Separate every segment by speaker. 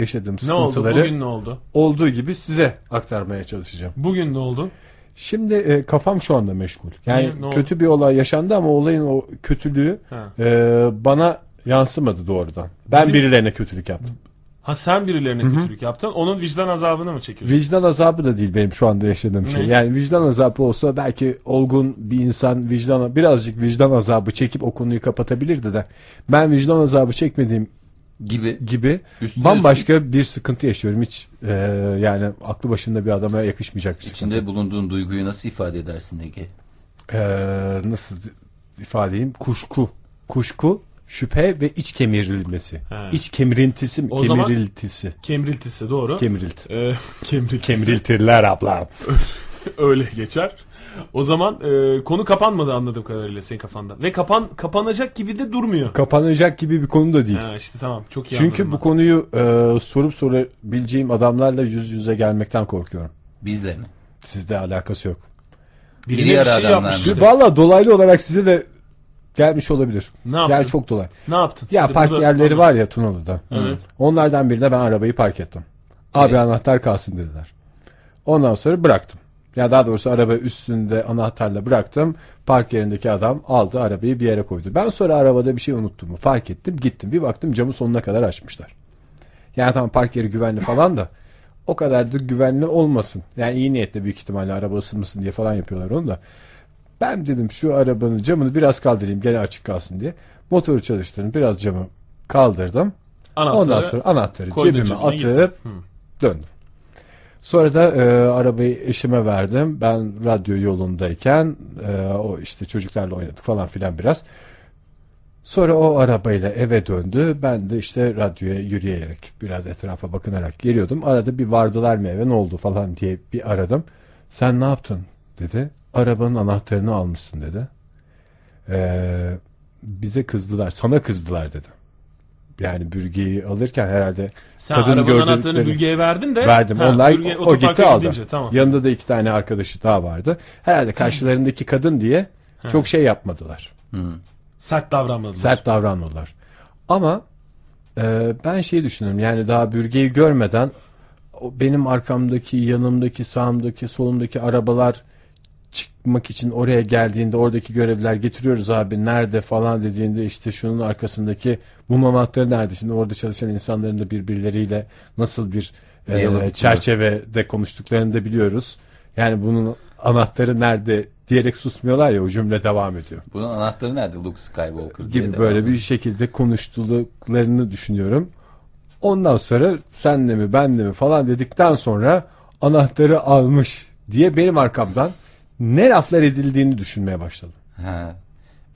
Speaker 1: yaşadığım
Speaker 2: Ne oldu?
Speaker 1: sıkıntıları
Speaker 2: Bugün ne oldu?
Speaker 1: olduğu gibi size aktarmaya çalışacağım.
Speaker 2: Bugün ne oldu?
Speaker 1: Şimdi e, kafam şu anda meşgul. Yani
Speaker 2: Niye? Ne oldu?
Speaker 1: kötü bir olay yaşandı ama olayın o kötülüğü
Speaker 2: Ha.
Speaker 1: e, bana yansımadı doğrudan. Ben
Speaker 2: Bizim-
Speaker 1: birilerine kötülük yaptım.
Speaker 2: Ha sen birilerine kötülük yaptın. Onun vicdan azabını mı çekiyorsun?
Speaker 1: Vicdan azabı da değil benim şu anda yaşadığım şey.
Speaker 2: Ne?
Speaker 1: Yani vicdan azabı olsa belki olgun bir insan vicdan birazcık vicdan azabı çekip o konuyu kapatabilirdi de. Ben vicdan azabı çekmediğim
Speaker 3: gibi.
Speaker 1: gibi
Speaker 3: Üstüne
Speaker 1: bambaşka bir sıkıntı yaşıyorum. Hiç e, yani aklı başında bir adama yakışmayacak bir sıkıntı.
Speaker 3: İçinde bulunduğun duyguyu nasıl ifade edersin Ege?
Speaker 1: Ee, nasıl di- ifade edeyim? Kuşku. Kuşku, şüphe ve iç kemirilmesi.
Speaker 2: He.
Speaker 1: İç kemirintisi mi?
Speaker 2: O zaman-
Speaker 1: Kemiriltisi.
Speaker 2: Kemriltisi doğru.
Speaker 1: Kemirilt.
Speaker 2: Ee, kemriltisi.
Speaker 1: Kemiriltirler ablam.
Speaker 2: Öyle geçer. O zaman e, konu kapanmadı anladığım kadarıyla senin kafanda. Ve kapan kapanacak gibi de durmuyor.
Speaker 1: Kapanacak gibi bir konu da değil.
Speaker 2: Ha, işte tamam çok iyi
Speaker 1: Çünkü
Speaker 2: anladım
Speaker 1: bu
Speaker 2: ben.
Speaker 1: konuyu e, sorup sorabileceğim adamlarla yüz yüze gelmekten korkuyorum.
Speaker 3: Bizle mi?
Speaker 1: Sizde alakası yok.
Speaker 2: Birine
Speaker 3: İri
Speaker 2: bir
Speaker 3: yarı
Speaker 2: şey
Speaker 3: adamlar
Speaker 2: yapmış
Speaker 3: mı?
Speaker 2: işte.
Speaker 1: Valla dolaylı olarak size de gelmiş olabilir.
Speaker 2: Ne
Speaker 1: Gel
Speaker 2: yaptın?
Speaker 1: çok dolay.
Speaker 2: Ne yaptın?
Speaker 1: Ya
Speaker 2: Hadi
Speaker 1: park
Speaker 2: burada-
Speaker 1: yerleri var ya Tunalı'da.
Speaker 2: Evet.
Speaker 1: Onlardan birine ben arabayı park ettim. Abi
Speaker 3: Evet.
Speaker 1: anahtar kalsın dediler. Ondan sonra bıraktım. Ya daha doğrusu araba üstünde anahtarla bıraktım. Park yerindeki adam aldı arabayı bir yere koydu. Ben sonra arabada bir şey unuttuğumu fark ettim. Gittim bir baktım camı sonuna kadar açmışlar. Yani tamam park yeri güvenli falan da o kadar da güvenli olmasın. Yani iyi niyetle büyük ihtimalle araba ısınmasın diye falan yapıyorlar onu da. Ben dedim şu arabanın camını biraz kaldırayım gene açık kalsın diye. Motoru çalıştırdım biraz camı kaldırdım.
Speaker 2: Anahtarı
Speaker 1: Ondan sonra anahtarı
Speaker 2: koydun
Speaker 1: cebime
Speaker 2: cebine
Speaker 1: atıp döndüm. Sonra da e, arabayı eşime verdim. Ben radyo yolundayken e, o işte çocuklarla oynadık falan filan biraz. Sonra o arabayla eve döndü. Ben de işte radyoya yürüyerek biraz etrafa bakınarak geliyordum. Arada bir vardılar mı eve ne oldu falan diye bir aradım. Sen ne yaptın dedi. Arabanın anahtarını almışsın dedi. Ee, bize kızdılar sana kızdılar dedi. Yani bürgeyi alırken herhalde
Speaker 2: Sen
Speaker 1: kadın
Speaker 2: arabanın
Speaker 1: gördükleri-
Speaker 2: anahtarını bülgeye verdin de.
Speaker 1: verdim.
Speaker 2: Ha,
Speaker 1: Onlar
Speaker 2: bürge
Speaker 1: o
Speaker 2: otoparka
Speaker 1: gitti aldı.
Speaker 2: gidince, Tamam.
Speaker 1: Yanında da iki tane arkadaşı daha vardı. Herhalde karşılarındaki kadın diye çok şey yapmadılar.
Speaker 2: Sert davranmadın.
Speaker 1: Sert davranmadılar. Ama e, ben şey düşünüyorum yani daha bürgeyi görmeden o benim arkamdaki, yanımdaki, sağımdaki, solumdaki arabalar çıkmak için oraya geldiğinde oradaki görevliler getiriyoruz abi nerede falan dediğinde işte şunun arkasındaki mum anahtarı nerede? Şimdi orada çalışan insanların da birbirleriyle nasıl bir e,
Speaker 3: Diyalog içinde.
Speaker 1: çerçevede konuştuklarını da biliyoruz. Yani bunun anahtarı nerede diyerek susmuyorlar ya o cümle devam ediyor
Speaker 3: Bunun anahtarı nerede Luke Skywalker diye
Speaker 1: gibi
Speaker 3: devam
Speaker 1: böyle
Speaker 3: ediyor.
Speaker 1: bir şekilde konuştuklarını düşünüyorum. Ondan sonra senle mi benle mi falan dedikten sonra anahtarı almış diye benim arkamdan ne laflar edildiğini düşünmeye başladım.
Speaker 3: Ha.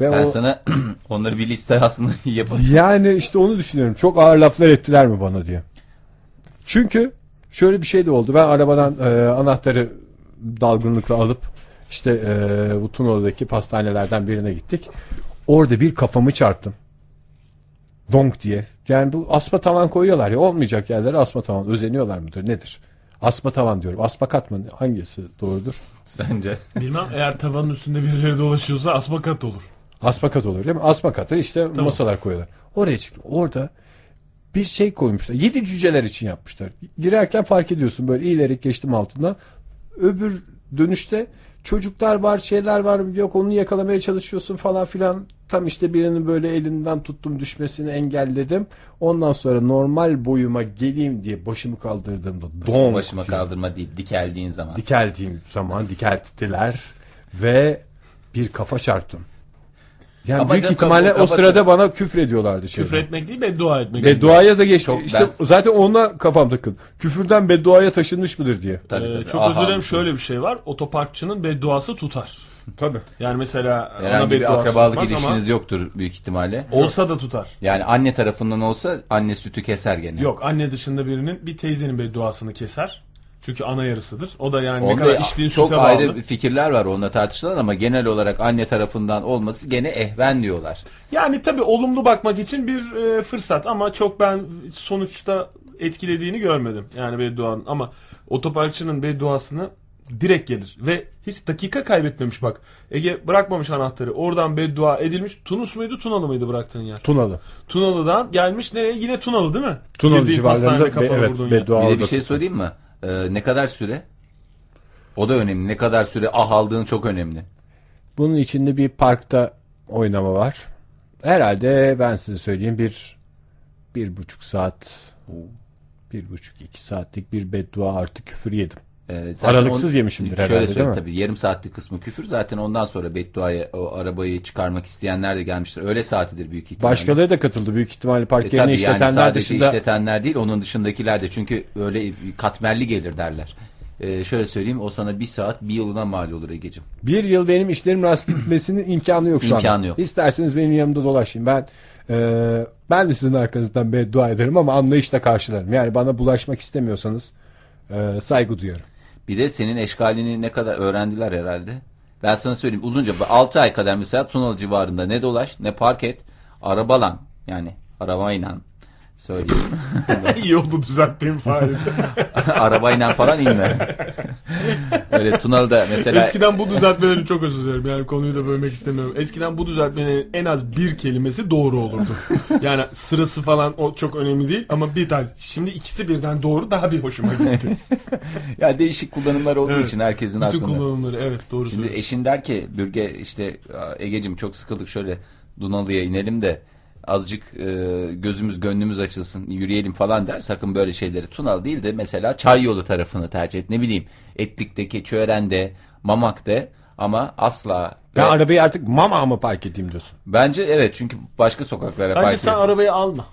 Speaker 1: Ve
Speaker 3: Ben
Speaker 1: o,
Speaker 3: sana onları bir liste aslında yapalım.
Speaker 1: yani işte onu düşünüyorum. Çok ağır laflar ettiler mi bana diye. Çünkü şöyle bir şey de oldu. Ben arabadan e, anahtarı dalgınlıkla alıp işte e, bu Tunalı'daki pastanelerden birine gittik. Orada bir kafamı çarptım. Donk diye. Yani bu asma tavan koyuyorlar ya olmayacak yerlere asma tavan özeniyorlar mıdır nedir? Asma tavan diyorum. Asma kat mı? Hangisi doğrudur?
Speaker 3: Sence?
Speaker 2: Bilmem eğer tavanın üstünde birileri dolaşıyorsa asmakat olur.
Speaker 1: Asmakat olur değil mi? Asmakata işte masalar koyuyorlar. Oraya çıktım. Orada bir şey koymuşlar. Yedi cüceler için yapmışlar. Girerken fark ediyorsun böyle iyilerek geçtim altından. Öbür dönüşte çocuklar var şeyler var yok onu yakalamaya çalışıyorsun falan filan. Tam işte birinin böyle elinden tuttum düşmesini engelledim. Ondan sonra normal boyuma geleyim diye başımı kaldırdığımda don
Speaker 3: Başıma kaldırma deyip dikeldiğin zaman.
Speaker 1: dikeldiğim zaman dikelttiler ve bir kafa çarptım. Yani
Speaker 3: Ama
Speaker 1: büyük
Speaker 3: canım,
Speaker 1: ihtimalle
Speaker 3: kafa-
Speaker 1: o
Speaker 3: kafa-
Speaker 1: sırada bana küfür ediyorlardı şeyden.
Speaker 2: Küfür etmek değil beddua etmek.
Speaker 1: Bedduaya da geç.
Speaker 3: Çok
Speaker 1: işte
Speaker 3: ben-
Speaker 1: zaten onunla kafam takıldı. Küfürden bedduaya taşınmış mıdır diye.
Speaker 3: Tabii,
Speaker 2: Ee,
Speaker 3: tabii.
Speaker 2: çok
Speaker 3: Aha.
Speaker 2: özür dilerim şöyle bir şey var. Otoparkçının bedduası tutar.
Speaker 1: Tabii.
Speaker 2: Yani mesela ona
Speaker 3: Herhangi bir
Speaker 2: bedduası
Speaker 3: akrabalık
Speaker 2: tutmaz ama
Speaker 3: ilişkiniz yoktur büyük ihtimalle.
Speaker 2: olsa da tutar.
Speaker 3: Yani anne tarafından olsa anne sütü keser gene.
Speaker 2: Yok anne dışında birinin bir teyzenin bedduasını keser. Çünkü ana yarısıdır. O da yani ne
Speaker 3: Onda
Speaker 2: kadar içtiğin
Speaker 3: çok
Speaker 2: süte bağlı.
Speaker 3: ayrı fikirler var onunla tartışılan ama genel olarak anne tarafından olması gene ehven diyorlar.
Speaker 2: Yani tabii olumlu bakmak için bir e, fırsat ama çok ben sonuçta etkilediğini görmedim. Yani bedduanın ama otoparkçının bedduasını direkt gelir. Ve hiç dakika kaybetmemiş bak. Ege bırakmamış anahtarı. Oradan beddua edilmiş. Tunus muydu Tunalı mıydı bıraktığın yer?
Speaker 1: Tunalı.
Speaker 2: Tunalı'dan gelmiş nereye? Yine Tunalı değil mi?
Speaker 1: Tunalı
Speaker 2: Girdiğin
Speaker 1: civarlarında
Speaker 2: pastanede
Speaker 1: be,
Speaker 2: kafanı
Speaker 1: evet,
Speaker 2: vurduğun yer.
Speaker 1: beddua
Speaker 3: Bir de bir
Speaker 1: orada.
Speaker 3: şey söyleyeyim mi? Ee, ne kadar süre? O da önemli. Ne kadar süre ah aldığın çok önemli.
Speaker 1: Bunun içinde bir parkta oynama var. Herhalde ben size söyleyeyim bir bir buçuk saat bir buçuk iki saatlik bir beddua artı küfür yedim.
Speaker 3: Ee, zaten
Speaker 1: Aralıksız yemişimdir
Speaker 3: Şöyle
Speaker 1: herhalde,
Speaker 3: söyleyeyim
Speaker 1: değil mi?
Speaker 3: tabii yarım saatlik kısmı küfür zaten ondan sonra bedduaya o arabayı çıkarmak isteyenler de gelmiştir. Öyle saatidir büyük ihtimalle.
Speaker 1: Başkaları da katıldı büyük ihtimalle park
Speaker 3: E,
Speaker 1: yerini
Speaker 3: tabii
Speaker 1: işletenler
Speaker 3: yani sadece
Speaker 1: dışında
Speaker 3: işletenler değil onun dışındakiler de çünkü öyle katmerli gelir derler. Ee, şöyle söyleyeyim o sana bir saat bir yılına mal olur Ege'cim.
Speaker 1: bir yıl benim işlerim rast gitmesinin imkanı yok şu an.
Speaker 3: İmkanı yok.
Speaker 1: İsterseniz benim yanımda dolaşın. Ben e, ben de sizin arkanızdan beddua ederim ama anlayışla karşılarım. Yani bana bulaşmak istemiyorsanız e, saygı duyarım.
Speaker 3: Bir de senin eşkalini ne kadar öğrendiler herhalde. Ben sana söyleyeyim uzunca 6 ay kadar mesela Tunalı civarında ne dolaş ne park et arabalan yani arabayla söyleyeyim
Speaker 2: İyi oldu düzelttiğim faaliyet.
Speaker 3: arabayla falan inme. Öyle Tunalı'da mesela
Speaker 2: Eskiden bu düzeltmeleri çok özür dilerim. Yani konuyu da bölmek istemiyorum. Eskiden bu düzeltmenin en az bir kelimesi doğru olurdu. Yani sırası falan o çok önemli değil ama bir tane. Şimdi ikisi birden doğru daha bir hoşuma gitti.
Speaker 3: ya değişik kullanımlar olduğu
Speaker 2: Evet.
Speaker 3: için herkesin
Speaker 2: Bütün
Speaker 3: aklında.
Speaker 2: kullanımları evet doğru
Speaker 3: Şimdi
Speaker 2: söylüyorsun.
Speaker 3: eşin der ki Bürge işte "Aa, Ege'cim çok sıkıldık şöyle Dunalı'ya inelim de azıcık e, gözümüz gönlümüz açılsın yürüyelim falan der. Sakın böyle şeyleri Tunalı değil de mesela çay yolu tarafını tercih et. Ne bileyim Etlik'teki Çöğren'de Mamak'te ama asla
Speaker 1: Ben
Speaker 3: Ve
Speaker 1: arabayı artık mama mı park edeyim diyorsun.
Speaker 3: bence evet çünkü başka sokaklara
Speaker 2: Bence
Speaker 3: park
Speaker 2: sen
Speaker 3: ediyor.
Speaker 2: arabayı alma.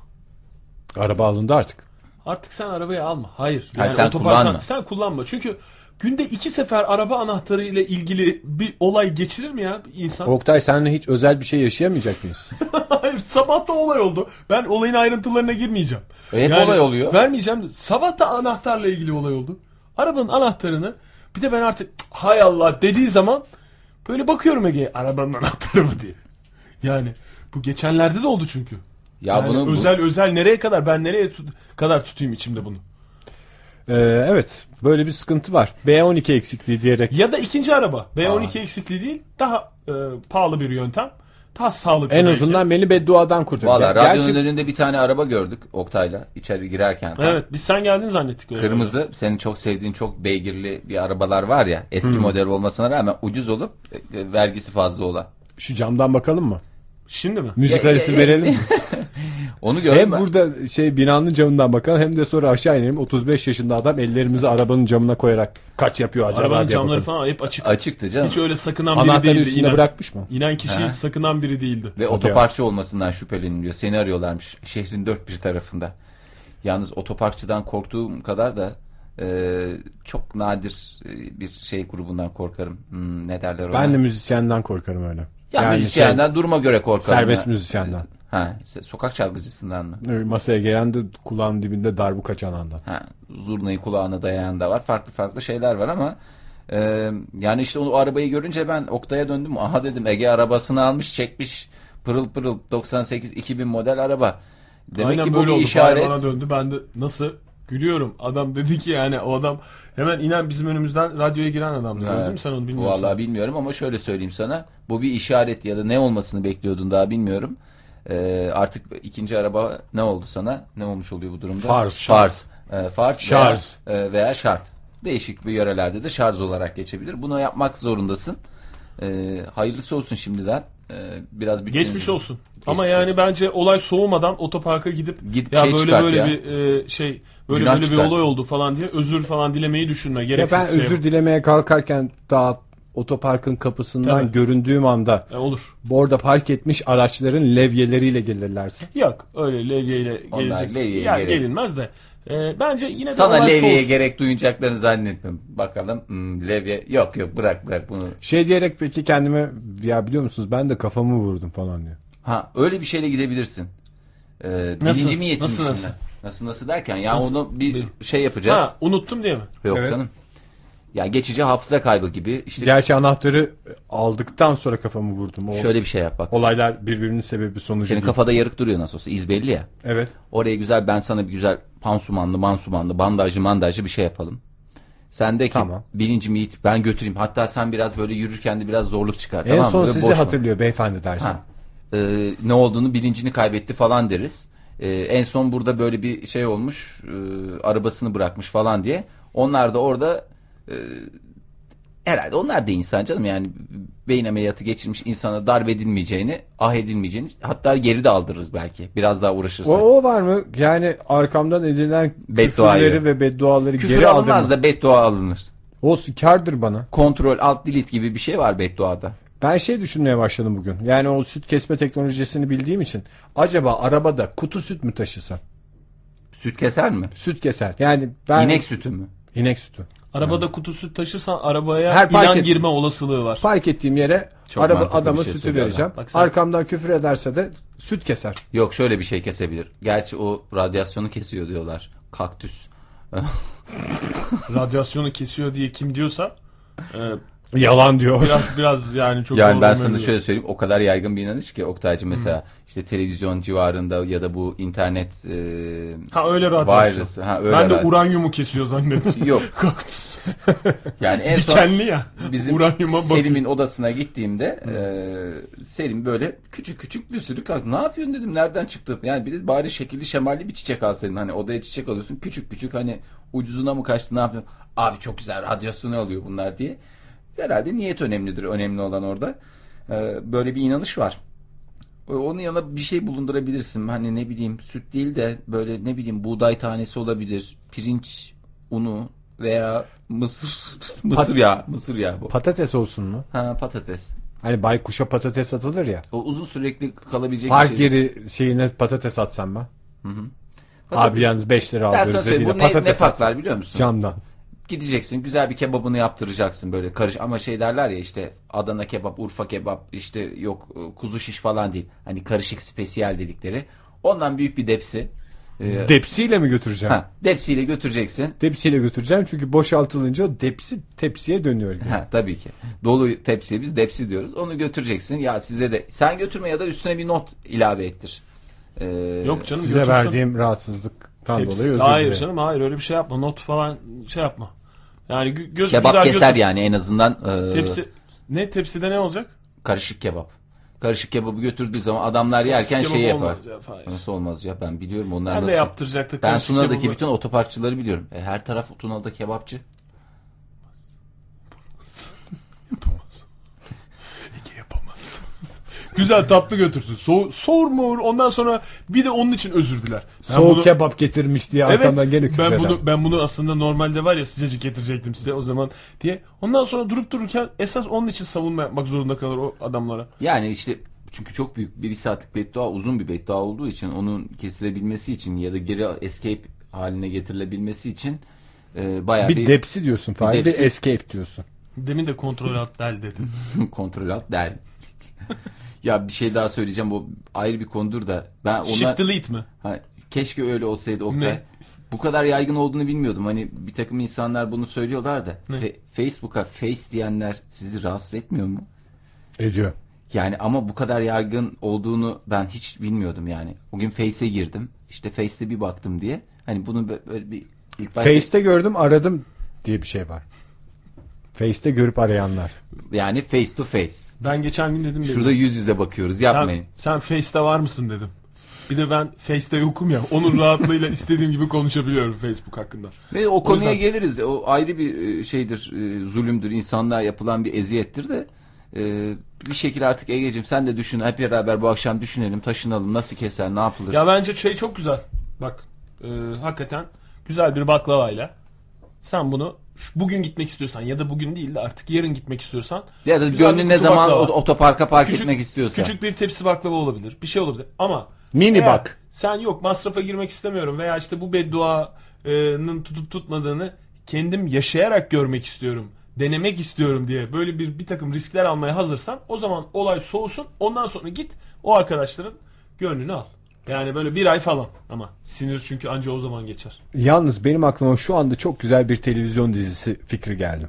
Speaker 1: Araba alındı artık.
Speaker 2: Artık sen arabayı alma. Hayır.
Speaker 3: Hayır, sen
Speaker 2: otoparktan-
Speaker 3: kullanma.
Speaker 2: Sen kullanma. Çünkü günde iki sefer araba anahtarı ile ilgili bir olay geçirir mi ya bir insan?
Speaker 1: Oktay senle hiç özel bir şey yaşayamayacak mıyız?
Speaker 2: Hayır sabah da olay oldu. Ben olayın ayrıntılarına girmeyeceğim.
Speaker 3: E, hep olay oluyor.
Speaker 2: Vermeyeceğim. de, Sabah da anahtarla ilgili olay oldu. Arabanın anahtarını bir de ben artık "Cık, hay Allah dediği zaman böyle bakıyorum Ege'ye arabanın anahtarı mı diye. Yani bu geçenlerde de oldu çünkü.
Speaker 3: Ya
Speaker 2: yani
Speaker 3: bunu bu-
Speaker 2: özel özel nereye kadar ben nereye tut- kadar tutayım içimde bunu.
Speaker 1: Ee, evet. Böyle bir sıkıntı var. B12 eksikliği diyerek.
Speaker 2: Ya da ikinci araba B12 eksikliği değil daha e, pahalı bir yöntem. Daha sağlıklı.
Speaker 1: En
Speaker 2: belki.
Speaker 1: azından beni bedduadan kurtardı.
Speaker 3: Valla
Speaker 1: Ya,
Speaker 3: radyonun
Speaker 1: gerçi
Speaker 3: önünde bir tane araba gördük Oktay'la içeri girerken. falan.
Speaker 2: Evet biz sen geldin zannettik. öyle.
Speaker 3: Kırmızı senin çok sevdiğin çok beygirli bir arabalar var ya eski
Speaker 1: Hmm.
Speaker 3: model olmasına rağmen ucuz olup e, e, vergisi fazla olan.
Speaker 1: şu camdan bakalım mı?
Speaker 2: Şimdi mi?
Speaker 1: Müzik
Speaker 3: Ya, ya,
Speaker 1: arası
Speaker 3: ya.
Speaker 1: verelim. mi?
Speaker 3: Onu
Speaker 1: hem
Speaker 3: gördüm ben.
Speaker 1: burada şey binanın camından bakalım hem de sonra aşağı inelim. 35 yaşında adam ellerimizi arabanın camına koyarak kaç yapıyor acaba
Speaker 2: Arabanın
Speaker 1: diye
Speaker 2: camları
Speaker 1: bakalım.
Speaker 2: falan hep açık.
Speaker 3: Açıktı canım.
Speaker 2: Hiç öyle sakınan biri
Speaker 1: Anahtarı
Speaker 2: değildi.
Speaker 1: üstüne
Speaker 2: İnan,
Speaker 1: bırakmış mı?
Speaker 2: İnan kişi hiç sakınan biri değildi.
Speaker 3: Ve otoparkçı olmasından şüpheleniliyor. Seni arıyorlarmış şehrin dört bir tarafında. Yalnız otoparkçıdan korktuğum kadar da e, çok nadir e, bir şey grubundan korkarım. Hmm, ne derler ona?
Speaker 1: Ben de müzisyenden korkarım öyle.
Speaker 3: ya
Speaker 1: Yani
Speaker 3: müzisyenden duruma göre
Speaker 1: şey,
Speaker 3: korkarım.
Speaker 1: serbest
Speaker 3: ya.
Speaker 1: müzisyenden. Ee,
Speaker 3: Ha, se- sokak çalgıcısından mı?
Speaker 1: Masaya gelen de kulağın dibinde darbuka çalandan.
Speaker 3: Ha, zurnayı kulağına dayayan da var. Farklı farklı şeyler var ama e, yani işte onu arabayı görünce ben Oktay'a döndüm. Aha dedim Ege arabasını almış çekmiş. Pırıl pırıl 98 2000 model araba. Demek
Speaker 2: Aynen
Speaker 3: ki bu
Speaker 2: böyle
Speaker 3: bir
Speaker 2: oldu.
Speaker 3: işaret.
Speaker 2: Bana döndü. Ben de nasıl gülüyorum. Adam dedi ki yani o adam hemen inen bizim önümüzden radyoya giren adamdı.
Speaker 3: Ha,
Speaker 2: Gördün mü sen onu bilmiyorum.
Speaker 3: Ee, Vallahi bilmiyorum ama şöyle söyleyeyim sana. Bu bir işaret ya da ne olmasını bekliyordun daha bilmiyorum. E, artık ikinci araba ne oldu sana? Ne olmuş oluyor bu durumda?
Speaker 1: Farz.
Speaker 3: Farz. E, farz
Speaker 1: Şarj.
Speaker 3: Veya, e, veya şart. Değişik bir yörelerde de şarj olarak geçebilir. Bunu yapmak zorundasın. E, hayırlısı olsun şimdiden. E, biraz bütçenizi-
Speaker 2: Geçmiş olsun. Ama yani bence olay soğumadan otoparka gidip
Speaker 3: Gidip
Speaker 2: ya
Speaker 3: şey
Speaker 2: böyle
Speaker 3: çıkart
Speaker 2: böyle
Speaker 3: ya.
Speaker 2: bir e, şey böyle
Speaker 3: Günah
Speaker 2: böyle bir
Speaker 3: çıkart.
Speaker 2: olay oldu falan diye özür falan dilemeyi düşünme.
Speaker 1: Ya
Speaker 2: Gereksiz
Speaker 1: ben
Speaker 2: şey.
Speaker 1: özür dilemeye kalkarken daha otoparkın kapısından
Speaker 2: Tabii.
Speaker 1: göründüğüm anda
Speaker 2: E, olur.
Speaker 1: orada park etmiş araçların levyeleriyle gelirlerse.
Speaker 2: Yok öyle levyeyle
Speaker 3: Onlar
Speaker 2: gelecek.
Speaker 3: levyeye
Speaker 2: Ya
Speaker 3: gerek-
Speaker 2: gelinmez de. E, bence yine de
Speaker 3: Sana
Speaker 2: olay
Speaker 3: levyeye
Speaker 2: soğusun.
Speaker 3: gerek duyacaklarını zannetmiyorum. Bakalım hmm, levye yok yok bırak bırak bunu.
Speaker 1: Şey diyerek peki kendime ya biliyor musunuz ben de kafamı vurdum falan diye.
Speaker 3: Ha öyle bir şeyle gidebilirsin. Ee,
Speaker 2: Nasıl?
Speaker 3: Bilinci mi yetim
Speaker 2: Nasıl,
Speaker 3: işinden?
Speaker 2: nasıl?
Speaker 3: Nasıl nasıl derken ya
Speaker 2: Nasıl?
Speaker 3: onu bir
Speaker 2: Bir-
Speaker 3: şey yapacağız.
Speaker 2: Ha unuttum diye mi?
Speaker 3: Yok
Speaker 1: Evet.
Speaker 3: canım. Ya geçici hafıza kaybı gibi işte
Speaker 1: Gerçi anahtarı aldıktan sonra kafamı vurdum. O
Speaker 3: şöyle bir şey yap bak.
Speaker 1: olaylar birbirinin sebebi sonucu.
Speaker 3: Senin
Speaker 1: değil.
Speaker 3: kafada yarık duruyor nasıl olsa iz belli ya.
Speaker 1: Evet.
Speaker 3: Oraya güzel ben sana bir güzel pansumanlı mansumanlı bandajlı mandajlı bir şey yapalım. Sendeki
Speaker 1: Tamam.
Speaker 3: bilincimi yitip ben götüreyim. Hatta sen biraz böyle yürürken de biraz zorluk çıkar.
Speaker 1: en
Speaker 3: tamam mı?
Speaker 1: son
Speaker 3: Böyle
Speaker 1: sizi
Speaker 3: boş ver.
Speaker 1: hatırlıyor beyefendi dersin.
Speaker 3: Ha. Ee, ne olduğunu bilincini kaybetti falan deriz. Ee, en son burada böyle bir şey olmuş. e, arabasını bırakmış falan diye. Onlar da orada e, herhalde onlar da insan canım yani beyin ameliyatı geçirmiş insana darp edilmeyeceğini, ah edilmeyeceğini hatta geri de aldırırız belki. Biraz daha uğraşırsak.
Speaker 1: O, o var mı? Yani arkamdan edilen
Speaker 3: Bedduayı.
Speaker 1: küfürleri ve bedduaları
Speaker 3: Küfür
Speaker 1: geri
Speaker 3: alınmaz
Speaker 1: aldırma.
Speaker 3: da beddua alınır.
Speaker 1: Olsun kardır bana.
Speaker 3: Kontrol alt delete gibi bir şey var bedduada.
Speaker 1: Ben şey düşünmeye başladım bugün. Yani o süt kesme teknolojisini bildiğim için acaba arabada kutu süt mü taşısam?
Speaker 3: Süt keser mi?
Speaker 1: Süt keser. Yani ben
Speaker 3: İnek sütü mü?
Speaker 1: inek sütü.
Speaker 2: Arabada kutusu taşırsan arabaya
Speaker 1: Her fark
Speaker 2: ilan
Speaker 1: et-
Speaker 2: girme olasılığı var.
Speaker 1: Park ettiğim yere
Speaker 3: Çok
Speaker 1: araba
Speaker 3: mantıklı
Speaker 1: adama
Speaker 3: bir şey
Speaker 1: sütü
Speaker 3: söylüyor
Speaker 1: vereceğim.
Speaker 2: adam. Bak sen-
Speaker 1: Arkamdan küfür ederse de süt keser.
Speaker 3: Yok şöyle bir şey kesebilir. Gerçi o radyasyonu kesiyor diyorlar. Kaktüs.
Speaker 2: Radyasyonu kesiyor diye kim diyorsa e,
Speaker 1: Yalan diyor.
Speaker 2: biraz biraz yani çok
Speaker 3: Yani ben
Speaker 2: doğru
Speaker 3: sana şey
Speaker 2: demiyor.
Speaker 3: şöyle söyleyeyim. O kadar yaygın bir inanış ki Oktay'cığım mesela işte televizyon civarında ya da bu internet e,
Speaker 2: Ha öyle radyasyon.
Speaker 3: virüsü. Ha, öyle
Speaker 2: ben de
Speaker 3: radyo-
Speaker 2: uranyumu kesiyor zannettim.
Speaker 3: Yok.
Speaker 2: Kaktüs.
Speaker 3: Yani en son
Speaker 2: Dikenli ya.
Speaker 3: bizim
Speaker 2: uranyuma bakıyor.
Speaker 3: Selim'in odasına gittiğimde e, Selim böyle küçük küçük bir sürü kalk. Ne yapıyorsun dedim. Nereden çıktı? Yani bir de bari şekilli şemalli bir çiçek alsaydın. Hani odaya çiçek alıyorsun. Küçük küçük hani ucuzuna mı kaçtı ne yapıyorsun? Abi çok güzel radyasyonu alıyor bunlar diye. Herhalde niyet önemlidir. Önemli olan orada. E, böyle bir inanış var. E, Onun yanına bir şey bulundurabilirsin. Hani ne bileyim süt değil de böyle ne bileyim buğday tanesi olabilir. Pirinç unu veya mısır mısır ya mısır ya bu.
Speaker 1: Patates olsun mu?
Speaker 3: Ha patates.
Speaker 1: Hani baykuşa patates atılır ya.
Speaker 3: O uzun sürekli kalabilecek bir
Speaker 1: Park
Speaker 3: şey.
Speaker 1: yeri şeyine patates atsam ben.
Speaker 3: Patates-
Speaker 1: Abi yalnız 5 lira
Speaker 3: Ben sana
Speaker 1: alıyoruz
Speaker 3: söyleyeyim
Speaker 1: dediğine
Speaker 3: bu ne, ne
Speaker 1: patates atsam.
Speaker 3: patlar biliyor musun?
Speaker 1: Camdan.
Speaker 3: Gideceksin güzel bir kebabını yaptıracaksın böyle karış ama şey derler ya işte Adana kebap, Urfa kebap işte yok e, kuzu şiş falan değil. Hani karışık spesiyel dedikleri. Ondan büyük bir depsi. Ee,
Speaker 1: Depsiyle mi götüreceğim?
Speaker 3: ha, depsiyle götüreceksin.
Speaker 1: Depsiyle götüreceğim çünkü boşaltılınca o depsi tepsiye dönüyor.
Speaker 3: Ha, tabii ki. Dolu tepsiye biz depsi diyoruz. Onu götüreceksin. Ya size de sen götürme ya da üstüne bir not ilave ettir. Ee,
Speaker 2: Yok canım
Speaker 1: Size
Speaker 2: götürsün.
Speaker 1: verdiğim rahatsızlıktan
Speaker 2: Hepsi-
Speaker 1: dolayı özür
Speaker 2: Hayır
Speaker 1: dilerim.
Speaker 2: canım hayır öyle bir şey yapma. Not falan şey yapma. Yani gö- göz
Speaker 3: kebap
Speaker 2: güzel
Speaker 3: keser
Speaker 2: göz-
Speaker 3: yani en azından. e,
Speaker 2: Tepsi ne tepside ne olacak?
Speaker 3: Karışık kebap. Karışık kebabı götürdüğü zaman adamlar yerken
Speaker 2: Kebap
Speaker 3: şey yapar.
Speaker 2: olmaz ya, hayır.
Speaker 3: Nasıl olmaz ya ben biliyorum onlar
Speaker 2: Ben de
Speaker 3: nasıl.
Speaker 2: yaptıracaktık.
Speaker 3: ben
Speaker 2: karışık
Speaker 3: Tuna'daki
Speaker 2: kebabı.
Speaker 3: bütün otoparkçıları biliyorum. E, her taraf Tuna'da kebapçı.
Speaker 2: Ege yapamaz. Güzel tatlı götürsün. So soğurmuyor. Ondan sonra bir de onun için özür diler. Ben
Speaker 1: Soğuk
Speaker 2: bunu-
Speaker 1: kebap getirmiş diye
Speaker 2: Evet,
Speaker 1: arkamdan gene küfür
Speaker 2: ben
Speaker 1: eder.
Speaker 2: bunu ben bunu aslında normalde var ya sıcacık getirecektim size o zaman diye. Ondan sonra durup dururken esas onun için savunma yapmak zorunda kalır o adamlara.
Speaker 3: Yani işte çünkü çok büyük bir, bir saatlik beddua uzun bir beddua olduğu için onun kesilebilmesi için ya da geri escape haline getirilebilmesi için e, bayağı
Speaker 1: bir,
Speaker 3: bir,
Speaker 1: depsi diyorsun Fahri. Bir,
Speaker 3: depsi.
Speaker 1: escape diyorsun.
Speaker 2: Demin de kontrol alt del dedim.
Speaker 3: kontrol alt der. ya bir şey daha söyleyeceğim bu ayrı bir konudur da ben ona
Speaker 2: Shift delete mi?
Speaker 3: Ha, keşke öyle olsaydı Oktay.
Speaker 2: Ne?
Speaker 3: Bu kadar yaygın olduğunu bilmiyordum. Hani bir takım insanlar bunu söylüyorlar da Fe- Facebook'a face diyenler sizi rahatsız etmiyor mu?
Speaker 1: Ediyor.
Speaker 3: Yani ama bu kadar yaygın olduğunu ben hiç bilmiyordum yani. Bugün Face'e girdim. İşte Face'te bir baktım diye. Hani bunu bö- böyle bir ilk başta
Speaker 1: Face'te gördüm aradım diye bir şey var. Face'te görüp arayanlar.
Speaker 3: yani face to face.
Speaker 2: Ben geçen gün dedim.
Speaker 3: Şurada yüz yüze bakıyoruz. Yapmayın.
Speaker 2: Sen, sen Face'te var mısın dedim. Bir de ben Face'te yokum ya. Onun rahatlığıyla istediğim gibi konuşabiliyorum Facebook hakkında.
Speaker 3: Ve o konuya
Speaker 2: yüzden-
Speaker 3: geliriz. O ayrı bir e, şeydir, e, zulümdür, insanlığa yapılan bir eziyettir de. e, Bir şekilde artık Ege'cim sen de düşün. Hep beraber bu akşam düşünelim, taşınalım. Nasıl keser, ne yapılır?
Speaker 2: Ya bence şey çok güzel. Bak e, hakikaten güzel bir baklavayla sen bunu şu- bugün gitmek istiyorsan ya da bugün değil de artık yarın gitmek istiyorsan
Speaker 3: Ya da
Speaker 2: güzel bir
Speaker 3: gönlün ne
Speaker 2: kutu
Speaker 3: zaman
Speaker 2: baklava.
Speaker 3: o- otoparka park
Speaker 2: Küçük-
Speaker 3: etmek istiyorsa.
Speaker 2: Küçük bir tepsi baklava olabilir. Bir şey olabilir. Ama
Speaker 1: Mini
Speaker 2: eğer
Speaker 1: bak.
Speaker 2: Sen yok masrafa girmek istemiyorum veya işte bu bedduanın tutup tutmadığını kendim yaşayarak görmek istiyorum. Denemek istiyorum diye böyle bir bir takım riskler almaya hazırsan o zaman olay soğusun. Ondan sonra git o arkadaşların gönlünü al. Yani böyle bir ay falan ama sinir çünkü anca o zaman geçer.
Speaker 1: Yalnız benim aklıma şu anda çok güzel bir televizyon dizisi fikri geldi.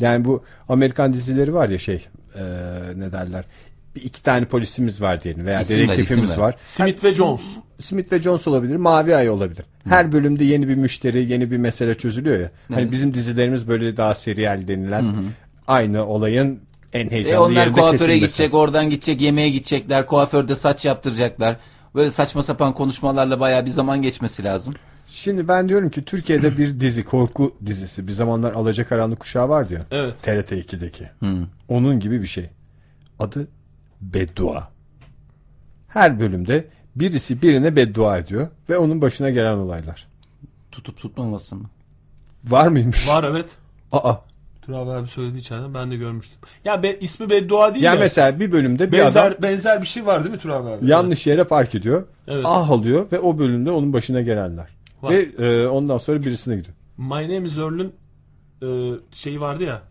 Speaker 1: Yani bu Amerikan dizileri var ya şey e, ne derler. Bir iki tane polisimiz var diyelim veya
Speaker 3: İsim ver,
Speaker 1: dedektifimiz
Speaker 3: isim ver.
Speaker 1: var.
Speaker 2: Smith ve Jones.
Speaker 1: Smith ve Jones olabilir. Mavi Ay olabilir. Her bölümde yeni bir müşteri, yeni bir mesele çözülüyor ya. Hani bizim dizilerimiz böyle daha seriyel denilen aynı olayın en
Speaker 3: E
Speaker 1: heyecanlı
Speaker 3: onlar
Speaker 1: yerinde
Speaker 3: kuaföre
Speaker 1: kesilmesi.
Speaker 3: gidecek, oradan gidecek, yemeğe gidecekler, kuaförde saç yaptıracaklar. Böyle saçma sapan konuşmalarla bayağı bir zaman geçmesi lazım.
Speaker 1: Şimdi ben diyorum ki Türkiye'de bir dizi, korku dizisi. Bir zamanlar Alacakaranlık Kuşağı vardı ya.
Speaker 2: Evet.
Speaker 1: TRT 2'deki. Onun gibi bir şey. Adı Beddua. Her bölümde birisi birine beddua ediyor ve onun başına gelen olaylar.
Speaker 3: Tutup tutmaması mı?
Speaker 1: Var mıymış?
Speaker 2: Var evet.
Speaker 1: Aa.
Speaker 2: Dur abi abi söyledi içeriden ben de görmüştüm. Ya be, ismi beddua değil
Speaker 1: Ya
Speaker 2: de
Speaker 1: mesela bir bölümde bir
Speaker 2: benzer,
Speaker 1: adam
Speaker 2: benzer bir şey var değil mi Turan abi?
Speaker 1: yanlış yere park ediyor.
Speaker 2: Evet.
Speaker 1: Ah alıyor ve o bölümde onun başına gelenler.
Speaker 2: Var.
Speaker 1: Ve e, ondan sonra birisine gidiyor.
Speaker 2: My Name is Earl'ün e, şeyi vardı ya.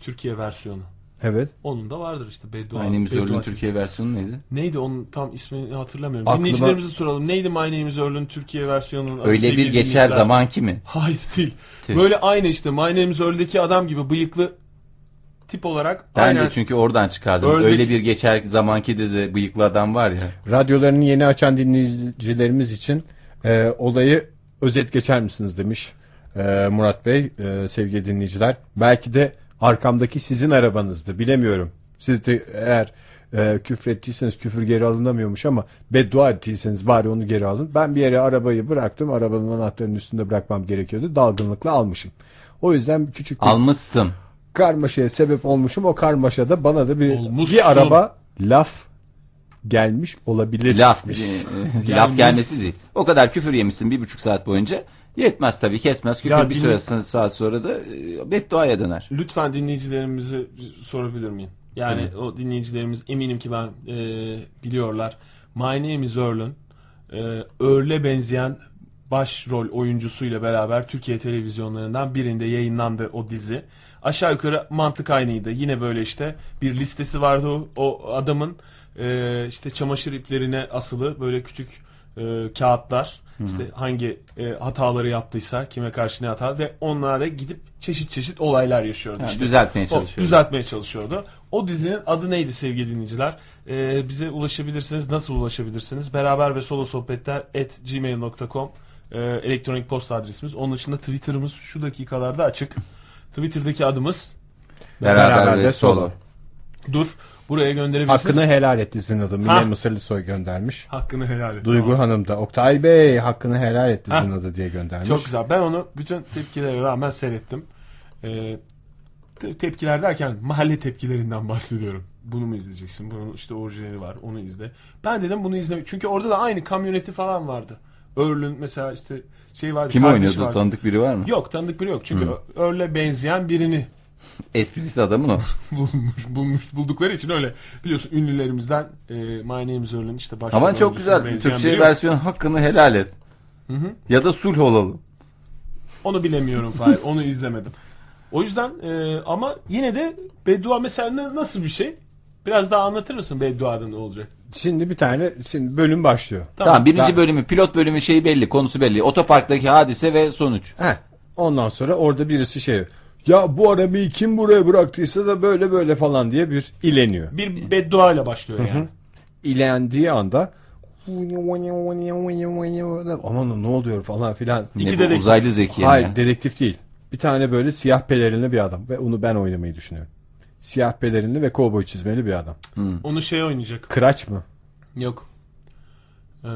Speaker 2: Türkiye versiyonu.
Speaker 1: Evet.
Speaker 2: Onun da vardır işte beddua.
Speaker 3: Aynı
Speaker 2: beddua
Speaker 3: Müzörlü'nün
Speaker 2: Türkiye.
Speaker 3: Türkiye versiyonu neydi?
Speaker 2: Neydi onun tam ismini hatırlamıyorum.
Speaker 1: Aklıma-
Speaker 2: Dinleyicilerimize soralım. Neydi My Name is Earl'ün Türkiye versiyonunun adı
Speaker 3: Öyle bir
Speaker 2: sevgili
Speaker 3: geçer
Speaker 2: dinleyiciler?
Speaker 3: zaman ki mi?
Speaker 2: Hayır değil.
Speaker 3: Tüh.
Speaker 2: Böyle aynı işte My Name is Earl'deki adam gibi bıyıklı tip olarak
Speaker 3: Ben
Speaker 2: aynen.
Speaker 3: de çünkü oradan çıkardım.
Speaker 2: Öyle-
Speaker 3: Öyle bir geçer zamanki dedi bıyıklı adam var ya.
Speaker 1: Radyolarını yeni açan dinleyicilerimiz için e, olayı özet geçer misiniz demiş e, Murat Bey e, sevgili dinleyiciler. Belki de arkamdaki sizin arabanızdı bilemiyorum. Siz de eğer e, küfür ettiyseniz küfür geri alınamıyormuş ama beddua ettiyseniz bari onu geri alın. Ben bir yere arabayı bıraktım arabanın anahtarının üstünde bırakmam gerekiyordu dalgınlıkla almışım. O yüzden küçük bir
Speaker 3: Almışsın.
Speaker 1: karmaşaya sebep olmuşum. O karmaşada bana da bir
Speaker 2: Olmuşsun.
Speaker 1: bir araba laf gelmiş olabilir.
Speaker 3: Laf, e, laf gelmesi değil. O kadar küfür yemişsin bir buçuk saat boyunca. Yetmez tabii kesmez. Küfür
Speaker 2: Ya
Speaker 3: bir
Speaker 2: din-
Speaker 3: süre sonra- saat sonra da e, bedduaya döner.
Speaker 2: Lütfen dinleyicilerimize sorabilir miyim? Yani o dinleyicilerimiz eminim ki ben e, biliyorlar. My Name is Earl'ın e, Earl'e benzeyen başrol oyuncusuyla beraber Türkiye televizyonlarından birinde yayınlandı o dizi. Aşağı yukarı mantık aynıydı. Yine böyle işte bir listesi vardı o, o adamın e, işte çamaşır iplerine asılı böyle küçük e, kağıtlar. İşte hangi e, hataları yaptıysa, kime karşı ne hata ve onlara gidip çeşit çeşit olaylar yaşıyordu.
Speaker 3: Ha,
Speaker 2: işte.
Speaker 3: düzeltmeye
Speaker 2: O,
Speaker 3: çalışıyor.
Speaker 2: düzeltmeye çalışıyordu. O dizinin adı neydi sevgili dinleyiciler? Ee, bize ulaşabilirsiniz. Nasıl ulaşabilirsiniz? Beraber ve solo sohbetler at gmail.com e, elektronik posta adresimiz. Onun dışında Twitter'ımız şu dakikalarda açık. Twitter'daki adımız
Speaker 3: Beraber, ve solo.
Speaker 2: dur buraya gönderebilirsiniz.
Speaker 1: Hakkını helal et dizinin adı.
Speaker 2: Ha.
Speaker 1: Mine Mısırlısoy göndermiş.
Speaker 2: Hakkını helal et.
Speaker 1: Duygu
Speaker 2: Tamam.
Speaker 1: Hanım da Oktay Bey hakkını helal et dizinin adı diye göndermiş.
Speaker 2: Çok güzel. Ben onu bütün tepkilere rağmen seyrettim. Ee, te- tepkiler derken mahalle tepkilerinden bahsediyorum. Bunu mu izleyeceksin? Bunun işte orijinali var. Onu izle. Ben dedim bunu izleme. Çünkü orada da aynı kamyoneti falan vardı. Örlün mesela işte şey vardı.
Speaker 3: Kim
Speaker 2: kardeşi
Speaker 3: oynuyordu?
Speaker 2: vardı.
Speaker 3: Tanıdık biri var mı?
Speaker 2: Yok tanıdık biri yok. Çünkü Örle benzeyen birini
Speaker 3: Esprisi adamın o.
Speaker 2: bulmuş, bulmuş buldukları için öyle. Biliyorsun ünlülerimizden e, My Name is Earl'ün işte başrol
Speaker 3: Ama çok
Speaker 2: oyuncusuna
Speaker 3: güzel.
Speaker 2: benzeyen
Speaker 3: Türkçe
Speaker 2: biri yok.
Speaker 3: versiyon hakkını helal et. Ya da sulh olalım.
Speaker 2: Onu bilemiyorum Fahir. Onu izlemedim. O yüzden e, ama yine de beddua mesela ne- nasıl bir şey? Biraz daha anlatır mısın bedduada ne olacak?
Speaker 1: Şimdi bir tane şimdi bölüm başlıyor.
Speaker 3: Tamam, birinci
Speaker 1: ben-
Speaker 3: bölümü, pilot bölümü şeyi belli, konusu belli. Otoparktaki hadise ve sonuç.
Speaker 1: Heh. Ondan sonra orada birisi şey ya bu arabayı kim buraya bıraktıysa da böyle böyle falan diye bir ileniyor.
Speaker 2: Bir beddua ile başlıyor yani.
Speaker 1: ilendiği anda aman ne oluyor falan filan.
Speaker 3: Yine
Speaker 2: İki
Speaker 3: bu
Speaker 2: dedektif.
Speaker 3: uzaylı zeki.
Speaker 1: Hayır
Speaker 3: yani.
Speaker 1: dedektif değil. Bir tane böyle siyah pelerinli bir adam ve onu ben oynamayı düşünüyorum. Siyah pelerinli ve kovboy çizmeli bir adam.
Speaker 2: Onu şey oynayacak.
Speaker 1: Kıraç mı?
Speaker 2: Yok. Ee,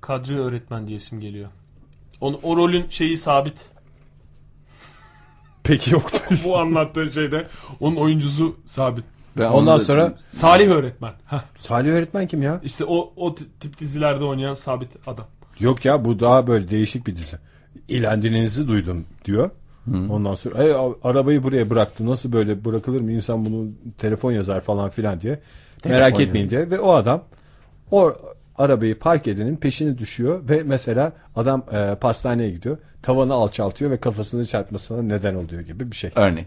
Speaker 2: kadri öğretmen diye isim geliyor. Onu, o rolün şeyi sabit.
Speaker 1: Peki yoktu.
Speaker 2: Bu anlattığı şeyde onun oyuncusu sabit.
Speaker 3: Ben onu
Speaker 1: Ondan
Speaker 3: da-
Speaker 1: sonra
Speaker 2: Salih öğretmen. Hah.
Speaker 1: Salih öğretmen kim ya?
Speaker 2: İşte o o ti- tip dizilerde oynayan sabit adam.
Speaker 1: Yok ya bu daha böyle değişik bir dizi. İlendiğinizi duydum diyor. Ondan sonra "Ey, a- arabayı buraya bıraktı. Nasıl böyle bırakılır mı? İnsan bunu telefon yazar falan filan diye. Merak
Speaker 3: yazar.
Speaker 1: etmeyin diye. Ve o adam o arabayı park edenin peşine düşüyor ve mesela adam e, pastaneye gidiyor. Tavanı alçaltıyor ve kafasını çarpmasına neden oluyor gibi bir şey.
Speaker 3: örnek.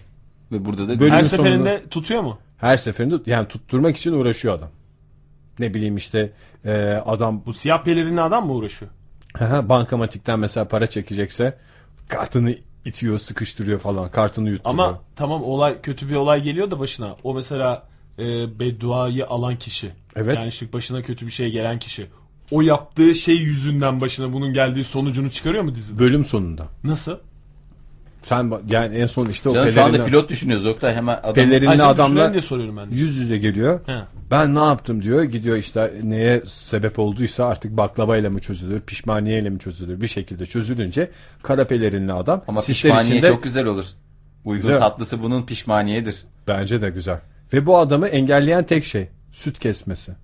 Speaker 3: Ve burada da
Speaker 1: Bölüm-
Speaker 2: Her
Speaker 1: Bölümün
Speaker 2: seferinde tutuyor mu?
Speaker 1: Her seferinde yani tutturmak için uğraşıyor adam. Ne bileyim işte e, adam
Speaker 2: Bu siyah pelerinli adam mı uğraşıyor?
Speaker 1: Aha, bankamatikten mesela para çekecekse kartını itiyor, sıkıştırıyor falan. Kartını yutturuyor.
Speaker 2: Ama tamam olay kötü bir olay geliyor da başına. O mesela e, bedduayı alan kişi.
Speaker 1: Evet.
Speaker 2: Yani işte başına kötü bir şey gelen kişi. o yaptığı şey yüzünden başına bunun geldiği sonucunu çıkarıyor mu dizide?
Speaker 1: Bölüm sonunda.
Speaker 2: Nasıl?
Speaker 1: Sen ba- yani en son işte o
Speaker 3: Canım, şu anda
Speaker 1: pelerinle,
Speaker 3: pilot düşünüyoruz Oktay hemen adam.
Speaker 1: pelerinli
Speaker 2: Ay, sen düşünüyorum
Speaker 1: adamla
Speaker 2: diye soruyorum ben. de.
Speaker 1: yüz yüze geliyor.
Speaker 2: He.
Speaker 1: Ben ne yaptım diyor. Gidiyor işte neye sebep olduysa artık baklavayla mı çözülür, pişmaniyeyle mi çözülür bir şekilde çözülünce kara pelerinli adam
Speaker 3: Ama
Speaker 1: sisler
Speaker 3: pişmaniye
Speaker 1: içinde
Speaker 3: çok güzel olur. Uygun
Speaker 1: Güzel.
Speaker 3: tatlısı bunun pişmaniyedir.
Speaker 1: bence de güzel. Ve bu adamı engelleyen tek şey süt kesmesi.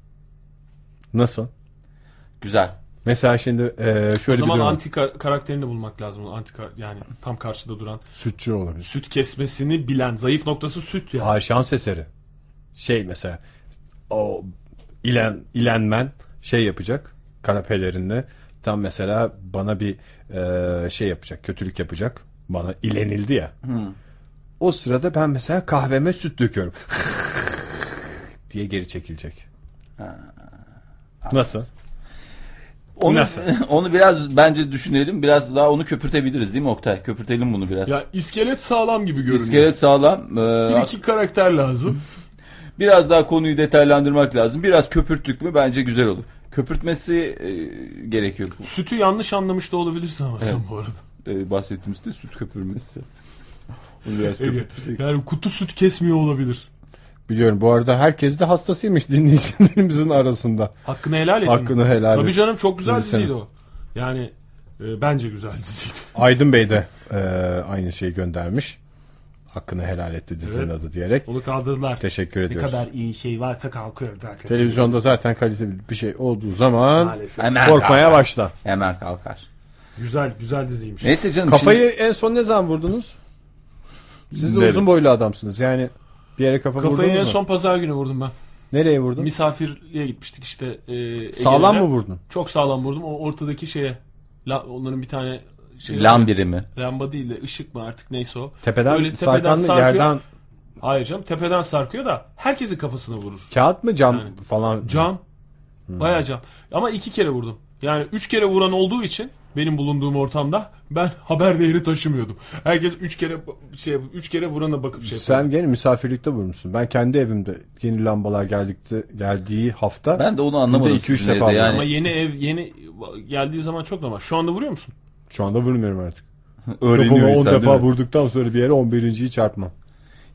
Speaker 1: Nasıl?
Speaker 3: Güzel.
Speaker 1: Mesela şimdi e, şöyle bir
Speaker 2: O zaman
Speaker 1: durum. var.
Speaker 2: anti kar- karakterini de bulmak lazım. Anti kar- yani tam karşıda duran.
Speaker 1: Sütçü olabilir.
Speaker 2: Süt kesmesini bilen. Zayıf noktası süt ya.
Speaker 1: Hayır şans eseri. Şey mesela o ilen ilenmen şey yapacak kara pelerinle tam mesela bana bir e, şey yapacak kötülük yapacak bana ilenildi ya. O sırada ben mesela kahveme süt döküyorum diye geri çekilecek. Nasıl?
Speaker 3: Onu,
Speaker 1: Nasıl?
Speaker 3: onu biraz bence düşünelim. Biraz daha onu köpürtebiliriz değil mi Oktay? Köpürtelim bunu biraz.
Speaker 2: Ya iskelet sağlam gibi görünüyor.
Speaker 3: İskelet sağlam. Ee,
Speaker 2: Bir iki karakter lazım.
Speaker 3: Biraz daha konuyu detaylandırmak lazım. Biraz köpürttük mü bence güzel olur. Köpürtmesi e, gerekiyor. Bu,
Speaker 2: Sütü yanlış anlamış da olabilirsin ama sen bu arada.
Speaker 3: E, bahsettiğimizde süt köpürmesi. Onu biraz
Speaker 2: Ege,
Speaker 3: köpürtürsek.
Speaker 2: yani kutu süt kesmiyor olabilir.
Speaker 1: Biliyorum bu arada herkes de hastasıymış dinleyicilerimizin arasında.
Speaker 2: Hakkını helal et.
Speaker 1: Hakkını helal
Speaker 2: Tabii
Speaker 1: et.
Speaker 2: canım çok güzel
Speaker 1: Dizisini.
Speaker 2: diziydi o. Yani e, bence güzel diziydi.
Speaker 1: Aydın Bey de e, aynı şeyi göndermiş. Hakkını helal etti dizinin
Speaker 2: Evet.
Speaker 1: adı diyerek.
Speaker 2: Onu kaldırdılar.
Speaker 1: Teşekkür
Speaker 2: ne
Speaker 1: ediyoruz.
Speaker 2: kadar iyi şey varsa kalkıyor zaten.
Speaker 1: Televizyonda zaten kaliteli bir şey olduğu zaman
Speaker 2: Maalesef.
Speaker 3: Hemen
Speaker 1: korkmaya
Speaker 3: kalkar.
Speaker 1: başla.
Speaker 3: Hemen kalkar.
Speaker 2: Güzel güzel diziymiş.
Speaker 3: Neyse canım. şimdi-
Speaker 1: Kafayı en son ne zaman vurdunuz? Siz de
Speaker 3: Nereye?
Speaker 1: uzun boylu adamsınız. Yani bir yere kafa
Speaker 2: Kafayı
Speaker 1: vurdunuz
Speaker 2: en
Speaker 1: mu?
Speaker 2: son pazar günü vurdum ben.
Speaker 1: Nereye vurdun?
Speaker 2: Misafirliğe gitmiştik işte. e, Ege'lere.
Speaker 1: Sağlam mı vurdun?
Speaker 2: Çok sağlam vurdum. O ortadaki şeye. La, onların bir tane şey.
Speaker 3: Lan birimi.
Speaker 2: Lamba değil de ışık mı artık neyse o.
Speaker 1: Tepeden,
Speaker 2: Böyle
Speaker 1: sarkan mı?
Speaker 2: sarkıyor.
Speaker 1: Yerden
Speaker 2: Hayır canım tepeden sarkıyor da herkesin kafasına vurur.
Speaker 1: kağıt mı cam
Speaker 2: Yani.
Speaker 1: falan?
Speaker 2: Cam. Bayağı cam. Ama iki kere vurdum. Yani üç kere vuran olduğu için benim bulunduğum ortamda ben haber değeri taşımıyordum. Herkes üç kere ba- şey üç kere vurana bakıp şey yapıyor.
Speaker 1: Sen gene misafirlikte vurmuşsun. Ben kendi evimde yeni lambalar geldikti, geldiği hafta
Speaker 3: Ben de onu anlamadım.
Speaker 1: iki, üç
Speaker 3: sizin
Speaker 1: defa
Speaker 3: evde
Speaker 1: aldım.
Speaker 2: Ama
Speaker 3: yani.
Speaker 2: yeni ev yeni geldiği zaman çok normal. Şu anda vuruyor musun?
Speaker 1: şu anda vurmuyorum artık.
Speaker 3: Öğreniyor
Speaker 1: Kafama 10
Speaker 3: insan değil
Speaker 1: defa
Speaker 3: mi?
Speaker 1: vurduktan sonra bir yere 11.yi çarpmam.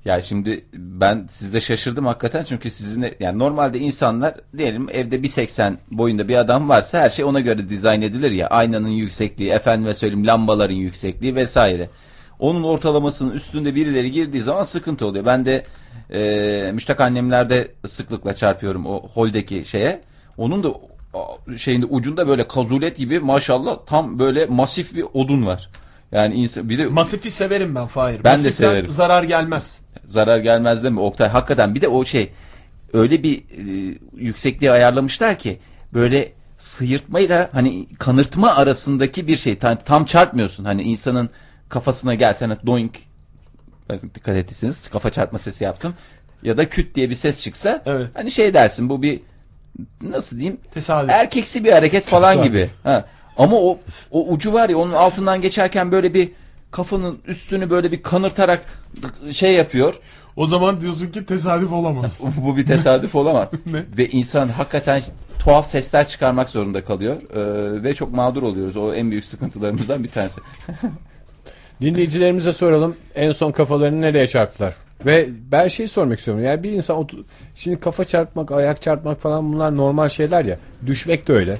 Speaker 3: Ya şimdi ben sizde şaşırdım hakikaten çünkü sizin yani normalde insanlar diyelim evde 1.80 boyunda bir adam varsa her şey ona göre dizayn edilir ya. Aynanın yüksekliği, efendime söyleyeyim lambaların yüksekliği vesaire. Onun ortalamasının üstünde birileri girdiği zaman sıkıntı oluyor. Ben de e, müştak annemlerde sıklıkla çarpıyorum o holdeki şeye. Onun da a, şeyinde ucunda böyle kazulet gibi maşallah tam böyle masif bir odun var. Yani insan bir de
Speaker 2: Masifi severim ben Fahir.
Speaker 3: Ben de
Speaker 2: Masiften
Speaker 3: severim.
Speaker 2: Zarar gelmez.
Speaker 3: zarar gelmez değil mi Oktay? Hakikaten bir de o şey öyle bir e, yüksekliğe ayarlamışlar ki böyle sıyırtmayla hani kanırtma arasındaki bir şey tam, tam çarpmıyorsun. Hani insanın kafasına gelse hani doink Ben dikkat ettiyseniz kafa çarpma sesi yaptım. Ya da küt diye bir ses çıksa
Speaker 2: Evet.
Speaker 3: hani şey dersin bu bir nasıl diyeyim
Speaker 2: Tesadüf.
Speaker 3: erkeksi bir hareket falan
Speaker 1: Tesadüf.
Speaker 3: gibi. Ha. Ama o o ucu var ya onun altından geçerken böyle bir kafanın üstünü böyle bir kanırtarak şey yapıyor.
Speaker 2: O zaman diyorsun ki tesadüf olamaz.
Speaker 3: Bu bir tesadüf olamaz.
Speaker 2: Ne?
Speaker 3: Ve insan hakikaten tuhaf sesler çıkarmak zorunda kalıyor. Ee, ve çok mağdur oluyoruz. O en büyük sıkıntılarımızdan bir tanesi.
Speaker 1: Dinleyicilerimize soralım en son kafalarını nereye çarptılar? Ve ben şey sormak istiyorum. Yani bir insan otu- şimdi kafa çarpmak, ayak çarpmak falan bunlar normal şeyler ya. Düşmek de öyle.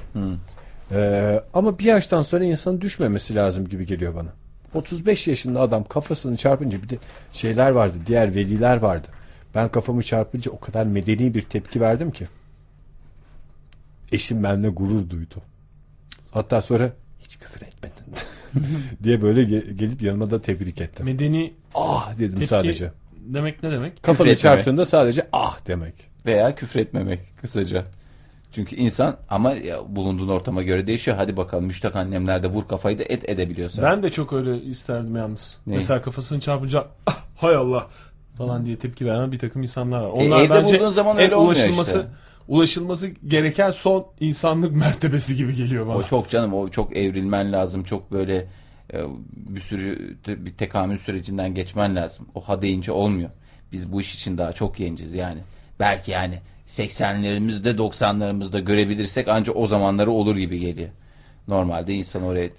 Speaker 1: Ee, ama bir yaştan sonra insanın düşmemesi lazım gibi geliyor bana. 35 yaşında adam kafasını çarpınca bir de şeyler vardı. Diğer veliler vardı. Ben kafamı çarpınca o kadar medeni bir tepki verdim ki. Eşim benimle gurur duydu. Hatta sonra hiç küfür etmedin diye böyle ge- gelip yanıma da tebrik etti.
Speaker 2: Medeni
Speaker 1: Ah dedim
Speaker 2: tepki
Speaker 1: sadece.
Speaker 2: demek ne demek?
Speaker 1: Kafanı
Speaker 3: etmemek.
Speaker 1: çarptığında sadece ah demek.
Speaker 3: Veya küfretmemek kısaca. Çünkü insan ama ya, bulunduğun ortama göre değişiyor. Hadi bakalım müştak annemlerde vur kafayı da et edebiliyorsan.
Speaker 2: Ben de çok öyle isterdim yalnız.
Speaker 3: Ne?
Speaker 2: Mesela kafasını çarpınca "Ah, hay Allah falan diye tepki veren bir takım insanlar var. Onlar
Speaker 3: E, evde
Speaker 2: bence
Speaker 3: bulduğun zaman
Speaker 2: en
Speaker 3: öyle olmuyor
Speaker 2: ulaşılması
Speaker 3: işte.
Speaker 2: ulaşılması gereken son insanlık mertebesi gibi geliyor bana.
Speaker 3: O çok canım o çok evrilmen lazım. Çok böyle e, bir sürü te- bir tekamül sürecinden geçmen lazım. O ha deyince olmuyor. Biz bu iş için daha çok genciz yani. belki yani 80'lerimizde 90'larımızda görebilirsek ancak o zamanları olur gibi geliyor. Normalde insan oraya e,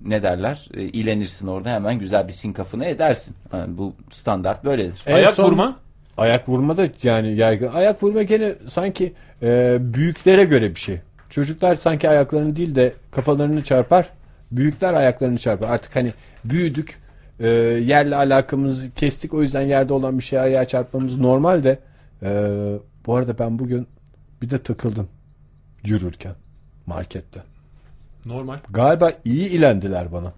Speaker 3: ne derler? E, ilenirsin orada hemen güzel bir sinkafını edersin. Yani bu standart böyledir.
Speaker 1: En
Speaker 2: Ayak
Speaker 1: son-
Speaker 2: vurma.
Speaker 1: Ayak vurma da yani yaygın. Ayak vurma gene sanki e, büyüklere göre bir şey. Çocuklar sanki ayaklarını değil de kafalarını çarpar. Büyükler ayaklarını çarpar. Artık hani büyüdük. e, yerle alakamızı kestik. O yüzden yerde olan bir şeye ayağa çarpmamız normal de. e, bu arada ben bugün bir de takıldım. Yürürken. Markette.
Speaker 2: Normal.
Speaker 1: Galiba iyi ilendiler bana.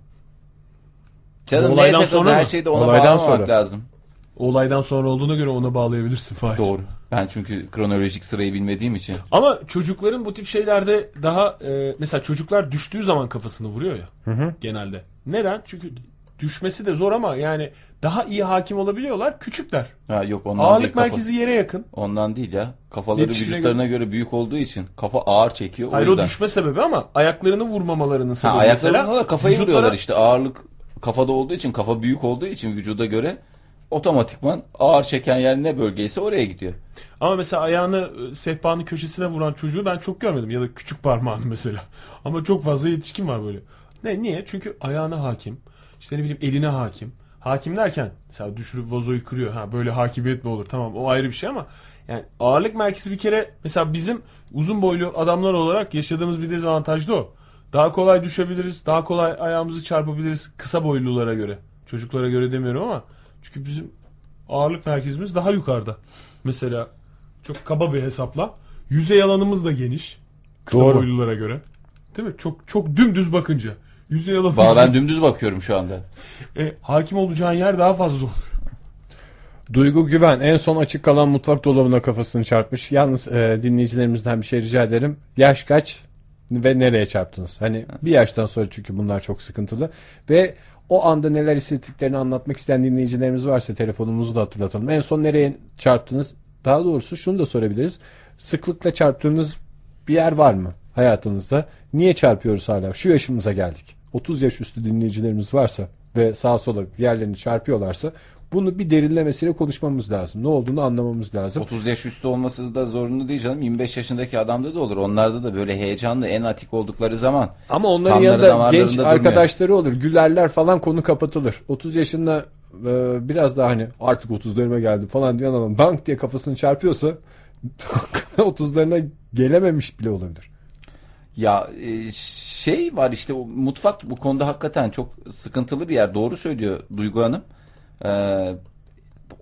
Speaker 3: Canım
Speaker 2: Olaydan
Speaker 3: olaydan
Speaker 2: sonra
Speaker 3: sonra her
Speaker 2: mı?
Speaker 3: şeyi de ona
Speaker 1: Olaydan
Speaker 3: bağlamamak
Speaker 1: sonra.
Speaker 3: lazım.
Speaker 2: O olaydan sonra olduğuna göre ona bağlayabilirsin Fahir.
Speaker 3: Doğru. Ben çünkü kronolojik sırayı bilmediğim için.
Speaker 2: Ama çocukların bu tip şeylerde daha e, mesela çocuklar düştüğü zaman kafasını vuruyor ya genelde. Neden? Çünkü düşmesi de zor ama yani daha iyi hakim olabiliyorlar küçükler.
Speaker 3: Ha yok ondan değil
Speaker 2: Ağırlık
Speaker 3: kafa-
Speaker 2: merkezi yere yakın.
Speaker 3: Ondan değil ya. Kafaları
Speaker 2: Yetişkine
Speaker 3: vücutlarına göre... büyük olduğu için kafa ağır çekiyor. O
Speaker 2: Hayır o
Speaker 3: yüzden.
Speaker 2: düşme sebebi ama ayaklarını vurmamalarının
Speaker 3: Ha,
Speaker 2: sebebi
Speaker 3: ayakları
Speaker 2: mesela.
Speaker 3: vuruyorlar, kafayı
Speaker 2: vücutlara-
Speaker 3: vuruyorlar işte. Ağırlık kafada olduğu için, kafa büyük olduğu için vücuda göre otomatikman ağır çeken yer ne bölgeyse oraya gidiyor.
Speaker 2: Ama mesela ayağını e, sehpanın köşesine vuran çocuğu ben çok görmedim ya da küçük parmağını mesela. Ama çok fazla yetişkin var böyle. Ne niye? Çünkü ayağına hakim. İşte ne bileyim eline hakim. Hakim derken mesela düşürüp vazoyu kırıyor. Ha böyle hakimiyet mi olur? Tamam o ayrı bir şey ama yani ağırlık merkezi bir kere mesela bizim uzun boylu adamlar olarak yaşadığımız bir dezavantaj da o. Daha kolay düşebiliriz. Daha kolay ayağımızı çarpabiliriz kısa boylulara göre. Çocuklara göre demiyorum ama çünkü bizim ağırlık merkezimiz daha yukarıda. Mesela çok kaba bir hesapla yüzey alanımız da geniş. Kısa
Speaker 1: Doğru.
Speaker 2: boylulara göre. Değil mi? Çok çok dümdüz bakınca yüzey alanımız
Speaker 3: Valla ben dümdüz bakıyorum şu anda.
Speaker 2: E, hakim olacağın yer daha fazla olur.
Speaker 1: Duygu Güven en son açık kalan mutfak dolabına kafasını çarpmış. Yalnız e, dinleyicilerimizden bir şey rica ederim. Yaş kaç ve nereye çarptınız? Hani bir yaştan sonra çünkü bunlar çok sıkıntılı. Ve o anda neler hissettiklerini anlatmak isteyen dinleyicilerimiz varsa telefonumuzu da hatırlatalım. En son nereye çarptınız? Daha doğrusu şunu da sorabiliriz. Sıklıkla çarptığınız bir yer var mı hayatınızda? Niye çarpıyoruz hala? Şu yaşımıza geldik. 30 yaş üstü dinleyicilerimiz varsa ve sağa sola yerlerini çarpıyorlarsa bunu bir derinlemesine konuşmamız lazım. Ne olduğunu anlamamız lazım.
Speaker 3: 30 yaş üstü olması da zorunlu değil canım. 25 yaşındaki adamda da olur. Onlarda da böyle heyecanlı en atik oldukları zaman.
Speaker 1: Ama onların
Speaker 3: kanları
Speaker 1: yanında
Speaker 3: damarlarında
Speaker 1: genç
Speaker 3: durmuyor.
Speaker 1: arkadaşları olur. Gülerler falan konu kapatılır. 30 yaşında e, biraz daha hani artık 30'larıma geldim falan diyen adam dank diye kafasını çarpıyorsa 30'larına gelememiş bile olabilir.
Speaker 3: Ya e, şey var işte o mutfak bu konuda hakikaten çok sıkıntılı bir yer. Doğru söylüyor Duygu Hanım. Ee,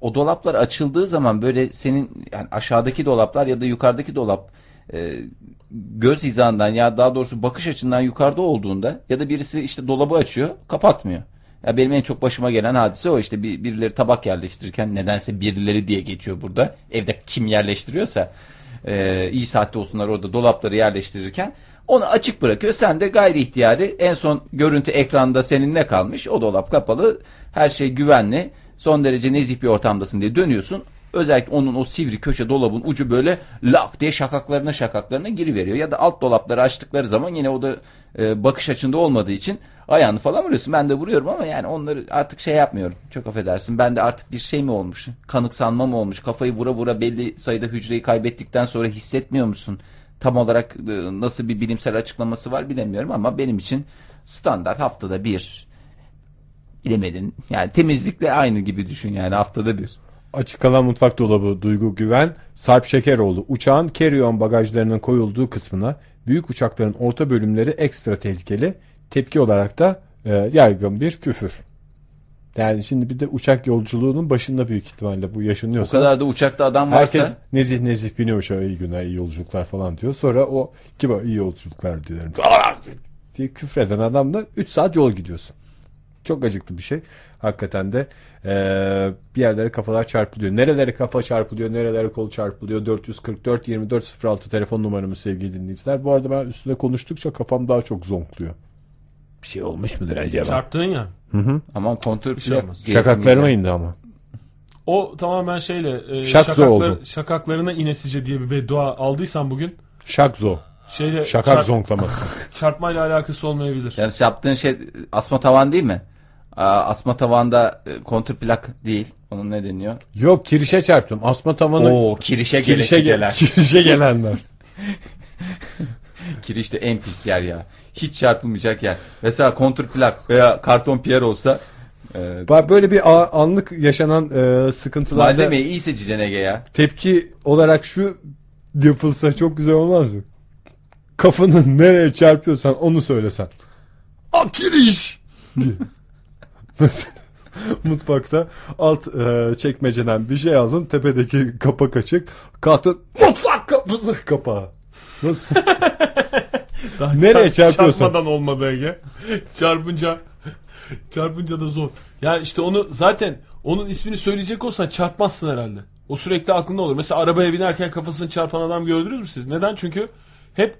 Speaker 3: o dolaplar açıldığı zaman böyle senin yani aşağıdaki dolaplar ya da yukarıdaki dolap e, göz hizandan ya daha doğrusu bakış açından yukarıda olduğunda ya da birisi işte dolabı açıyor kapatmıyor. Ya benim en çok başıma gelen hadise o işte bir, birileri tabak yerleştirirken nedense birileri diye geçiyor burada. Evde kim yerleştiriyorsa e, iyi saatte olsunlar orada dolapları yerleştirirken onu açık bırakıyor. Sen de gayri ihtiyari en son görüntü ekranda senin ne kalmış? O dolap kapalı. Her şey güvenli. Son derece nezih bir ortamdasın diye dönüyorsun. Özellikle onun o sivri köşe dolabın ucu böyle lak diye şakaklarına şakaklarına giriveriyor. Ya da alt dolapları açtıkları zaman yine o da e, bakış açında olmadığı için ayağını falan vuruyorsun. Ben de vuruyorum ama yani onları artık şey yapmıyorum. Çok affedersin. Ben de artık bir şey mi olmuş? Kanıksanma mı olmuş? Kafayı vura vura belli sayıda hücreyi kaybettikten sonra hissetmiyor musun? Tam olarak e, nasıl bir bilimsel açıklaması var bilemiyorum ama benim için standart haftada bir bilemedin. Yani temizlikle aynı gibi düşün yani haftada bir.
Speaker 1: Açık kalan mutfak dolabı Duygu Güven, Sarp Şekeroğlu uçağın carry-on bagajlarının koyulduğu kısmına büyük uçakların orta bölümleri ekstra tehlikeli. Tepki olarak da e, yaygın bir küfür. Yani şimdi bir de uçak yolculuğunun başında büyük ihtimalle bu
Speaker 3: O
Speaker 1: yaşanıyorsa.
Speaker 3: kadar da uçakta adam varsa
Speaker 1: Herkes nezih nezih biniyor uçağa iyi günler iyi yolculuklar falan diyor. Sonra o kibar iyi yolculuklar dilerim diye küfreden adamla 3 saat yol gidiyorsun. Çok acıklı bir şey. Hakikaten de eee, bir yerlere kafalar çarpılıyor. Nerelere kafa çarpılıyor, nerelere kol çarpılıyor. 444 2406 telefon numaramı sevgili dinleyiciler. Bu arada ben üstüne konuştukça kafam daha çok zonkluyor. Bir şey olmuş mudur acaba?
Speaker 2: Çarptığın ya.
Speaker 3: aman kontrol bir
Speaker 2: şey olmaz.
Speaker 1: Şakaklarıma indi ama.
Speaker 2: O tamamen şeyle e,
Speaker 1: Şakzo oldu.
Speaker 2: şakaklarına inesice diye bir beddua aldıysan bugün
Speaker 1: Şakzo.
Speaker 2: şeyle
Speaker 1: Şakak
Speaker 2: çarp-
Speaker 1: zonklaması.
Speaker 2: çarpmayla alakası olmayabilir.
Speaker 3: Yani şey, yaptığın şey e, asma tavan değil mi? Aa, Asma tavanda e, kontrplak değil. Onun ne deniyor?
Speaker 1: Yok kirişe çarptım. Asma tavanı
Speaker 3: Oo kirişe
Speaker 1: kirişe,
Speaker 3: gelesiceler.
Speaker 1: gel kirişe gelenler.
Speaker 3: Kiriş de en pis yer ya. Hiç çarpılmayacak yer. Mesela kontrplak veya karton piyer olsa e,
Speaker 1: Bak böyle bir a- anlık yaşanan e, sıkıntılarda
Speaker 3: malzemeyi iyi seçeceksin Ege ya.
Speaker 1: tepki olarak şu yapılsa çok güzel olmaz mı? Kafanı nereye çarpıyorsan onu söylesen.
Speaker 2: Ah kiriş.
Speaker 1: Mesela mutfakta alt e, çekmeceden bir şey aldın tepedeki kapak açık kalktın mutfak kapısı kapağı. Nasıl? Nereye çarpıyorsan.
Speaker 2: Çarpmadan olmadı Ege. Çarpınca çarpınca da zor. Yani işte onu zaten onun ismini söyleyecek olsan çarpmazsın herhalde. O sürekli aklında olur. Mesela arabaya binerken kafasını çarpan adam gördünüz mü siz? Neden? Çünkü hep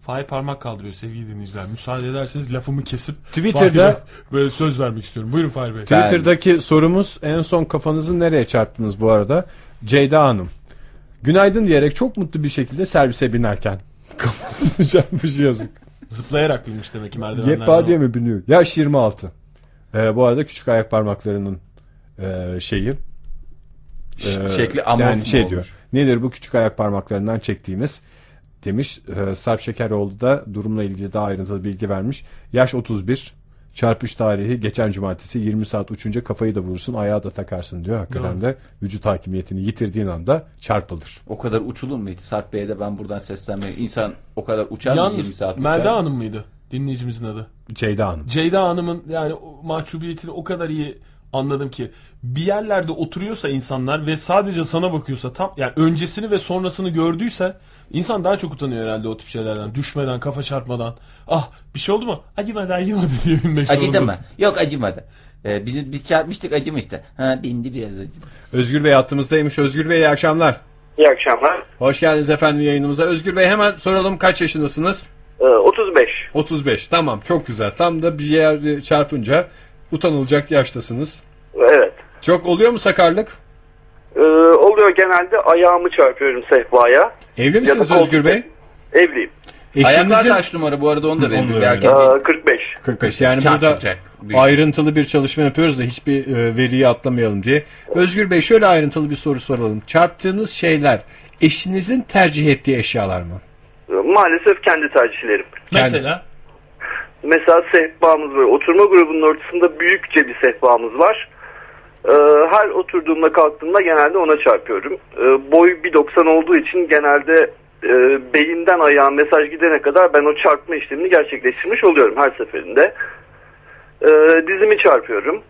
Speaker 2: Fahir parmak kaldırıyor sevgili dinleyiciler. Müsaade ederseniz lafımı kesip
Speaker 1: Twitter'da-
Speaker 2: Fahir'e böyle söz vermek istiyorum. Buyurun Fahir Bey.
Speaker 1: Twitter'daki sorumuz en son kafanızı nereye çarptınız bu arada? Ceyda Hanım. Günaydın diyerek çok mutlu bir şekilde servise binerken. Kafasını çarpmış yazık.
Speaker 2: Zıplayarak bilmiş demek ki merdivenlerden.
Speaker 1: Yelpaze mi biniyor? Yaş 26. Ee, bu arada küçük ayak parmaklarının e, şeyi. e,
Speaker 3: şekli amorf mu
Speaker 1: şey
Speaker 3: olur?
Speaker 1: diyor. Nedir bu küçük ayak parmaklarından çektiğimiz demiş. E, Sarp Şekeroğlu da durumla ilgili daha ayrıntılı bilgi vermiş. Yaş 31. Çarpış tarihi geçen cumartesi 20 saat uçunca kafayı da vurursun ayağı da takarsın diyor. Hakikaten de vücut hakimiyetini yitirdiğin anda çarpılır.
Speaker 3: O kadar uçulur mu hiç? Sarp Bey'e de ben buradan seslenmeyeyim. İnsan o kadar uçar mı 20
Speaker 2: Yalnız
Speaker 3: saat uçar
Speaker 2: Melda
Speaker 3: mı?
Speaker 2: Hanım mıydı dinleyicimizin adı?
Speaker 1: Ceyda Hanım.
Speaker 2: Ceyda Hanım'ın yani o mahcubiyetini o kadar iyi anladım ki bir yerlerde oturuyorsa insanlar ve sadece sana bakıyorsa tam yani öncesini ve sonrasını gördüyse insan daha çok utanıyor herhalde o tip şeylerden. Düşmeden, kafa çarpmadan. Ah bir şey oldu mu? Acımadı, acımadı diye binmek
Speaker 3: Acıdı mı?
Speaker 2: zorundasın.
Speaker 3: Yok acımadı. Ee, biz, biz çarpmıştık acımıştı. Ha bindi biraz acıdı.
Speaker 1: Özgür Bey hattımızdaymış. Özgür Bey iyi akşamlar.
Speaker 4: İyi akşamlar.
Speaker 1: Hoş geldiniz efendim yayınımıza. Özgür Bey hemen soralım kaç yaşındasınız?
Speaker 4: Ee, 35.
Speaker 1: 35. Tamam çok güzel. Tam da bir yer çarpınca utanılacak yaştasınız.
Speaker 4: Evet.
Speaker 1: Çok oluyor mu sakarlık?
Speaker 4: Ee, oluyor genelde ayağımı çarpıyorum sehpaya.
Speaker 1: Evli misiniz
Speaker 4: Ya da-
Speaker 1: Özgür Bey?
Speaker 4: Evliyim.
Speaker 3: Ayaklar
Speaker 1: Eşinizin
Speaker 3: kaç numara bu arada onu da
Speaker 1: onu da
Speaker 3: verin. Bir
Speaker 1: verelim.
Speaker 4: Ee,
Speaker 3: erkek değil.
Speaker 4: 45.
Speaker 1: 45. Yani burada
Speaker 3: Çarpılacak. Büyük.
Speaker 1: ayrıntılı bir çalışma yapıyoruz da hiçbir e, veriyi atlamayalım diye. Özgür Bey şöyle ayrıntılı bir soru soralım. Çarptığınız şeyler eşinizin tercih ettiği eşyalar mı?
Speaker 4: Ee, Maalesef kendi tercihlerim.
Speaker 2: Mesela
Speaker 4: Mesela sehpamız böyle oturma grubunun ortasında büyükçe bir sehpamız var. Ee, her oturduğumda kalktığımda genelde ona çarpıyorum. Ee, boy 1.90 olduğu için genelde e, beyimden ayağa mesaj gidene kadar ben o çarpma işlemini gerçekleştirmiş oluyorum her seferinde. Ee, dizimi çarpıyorum.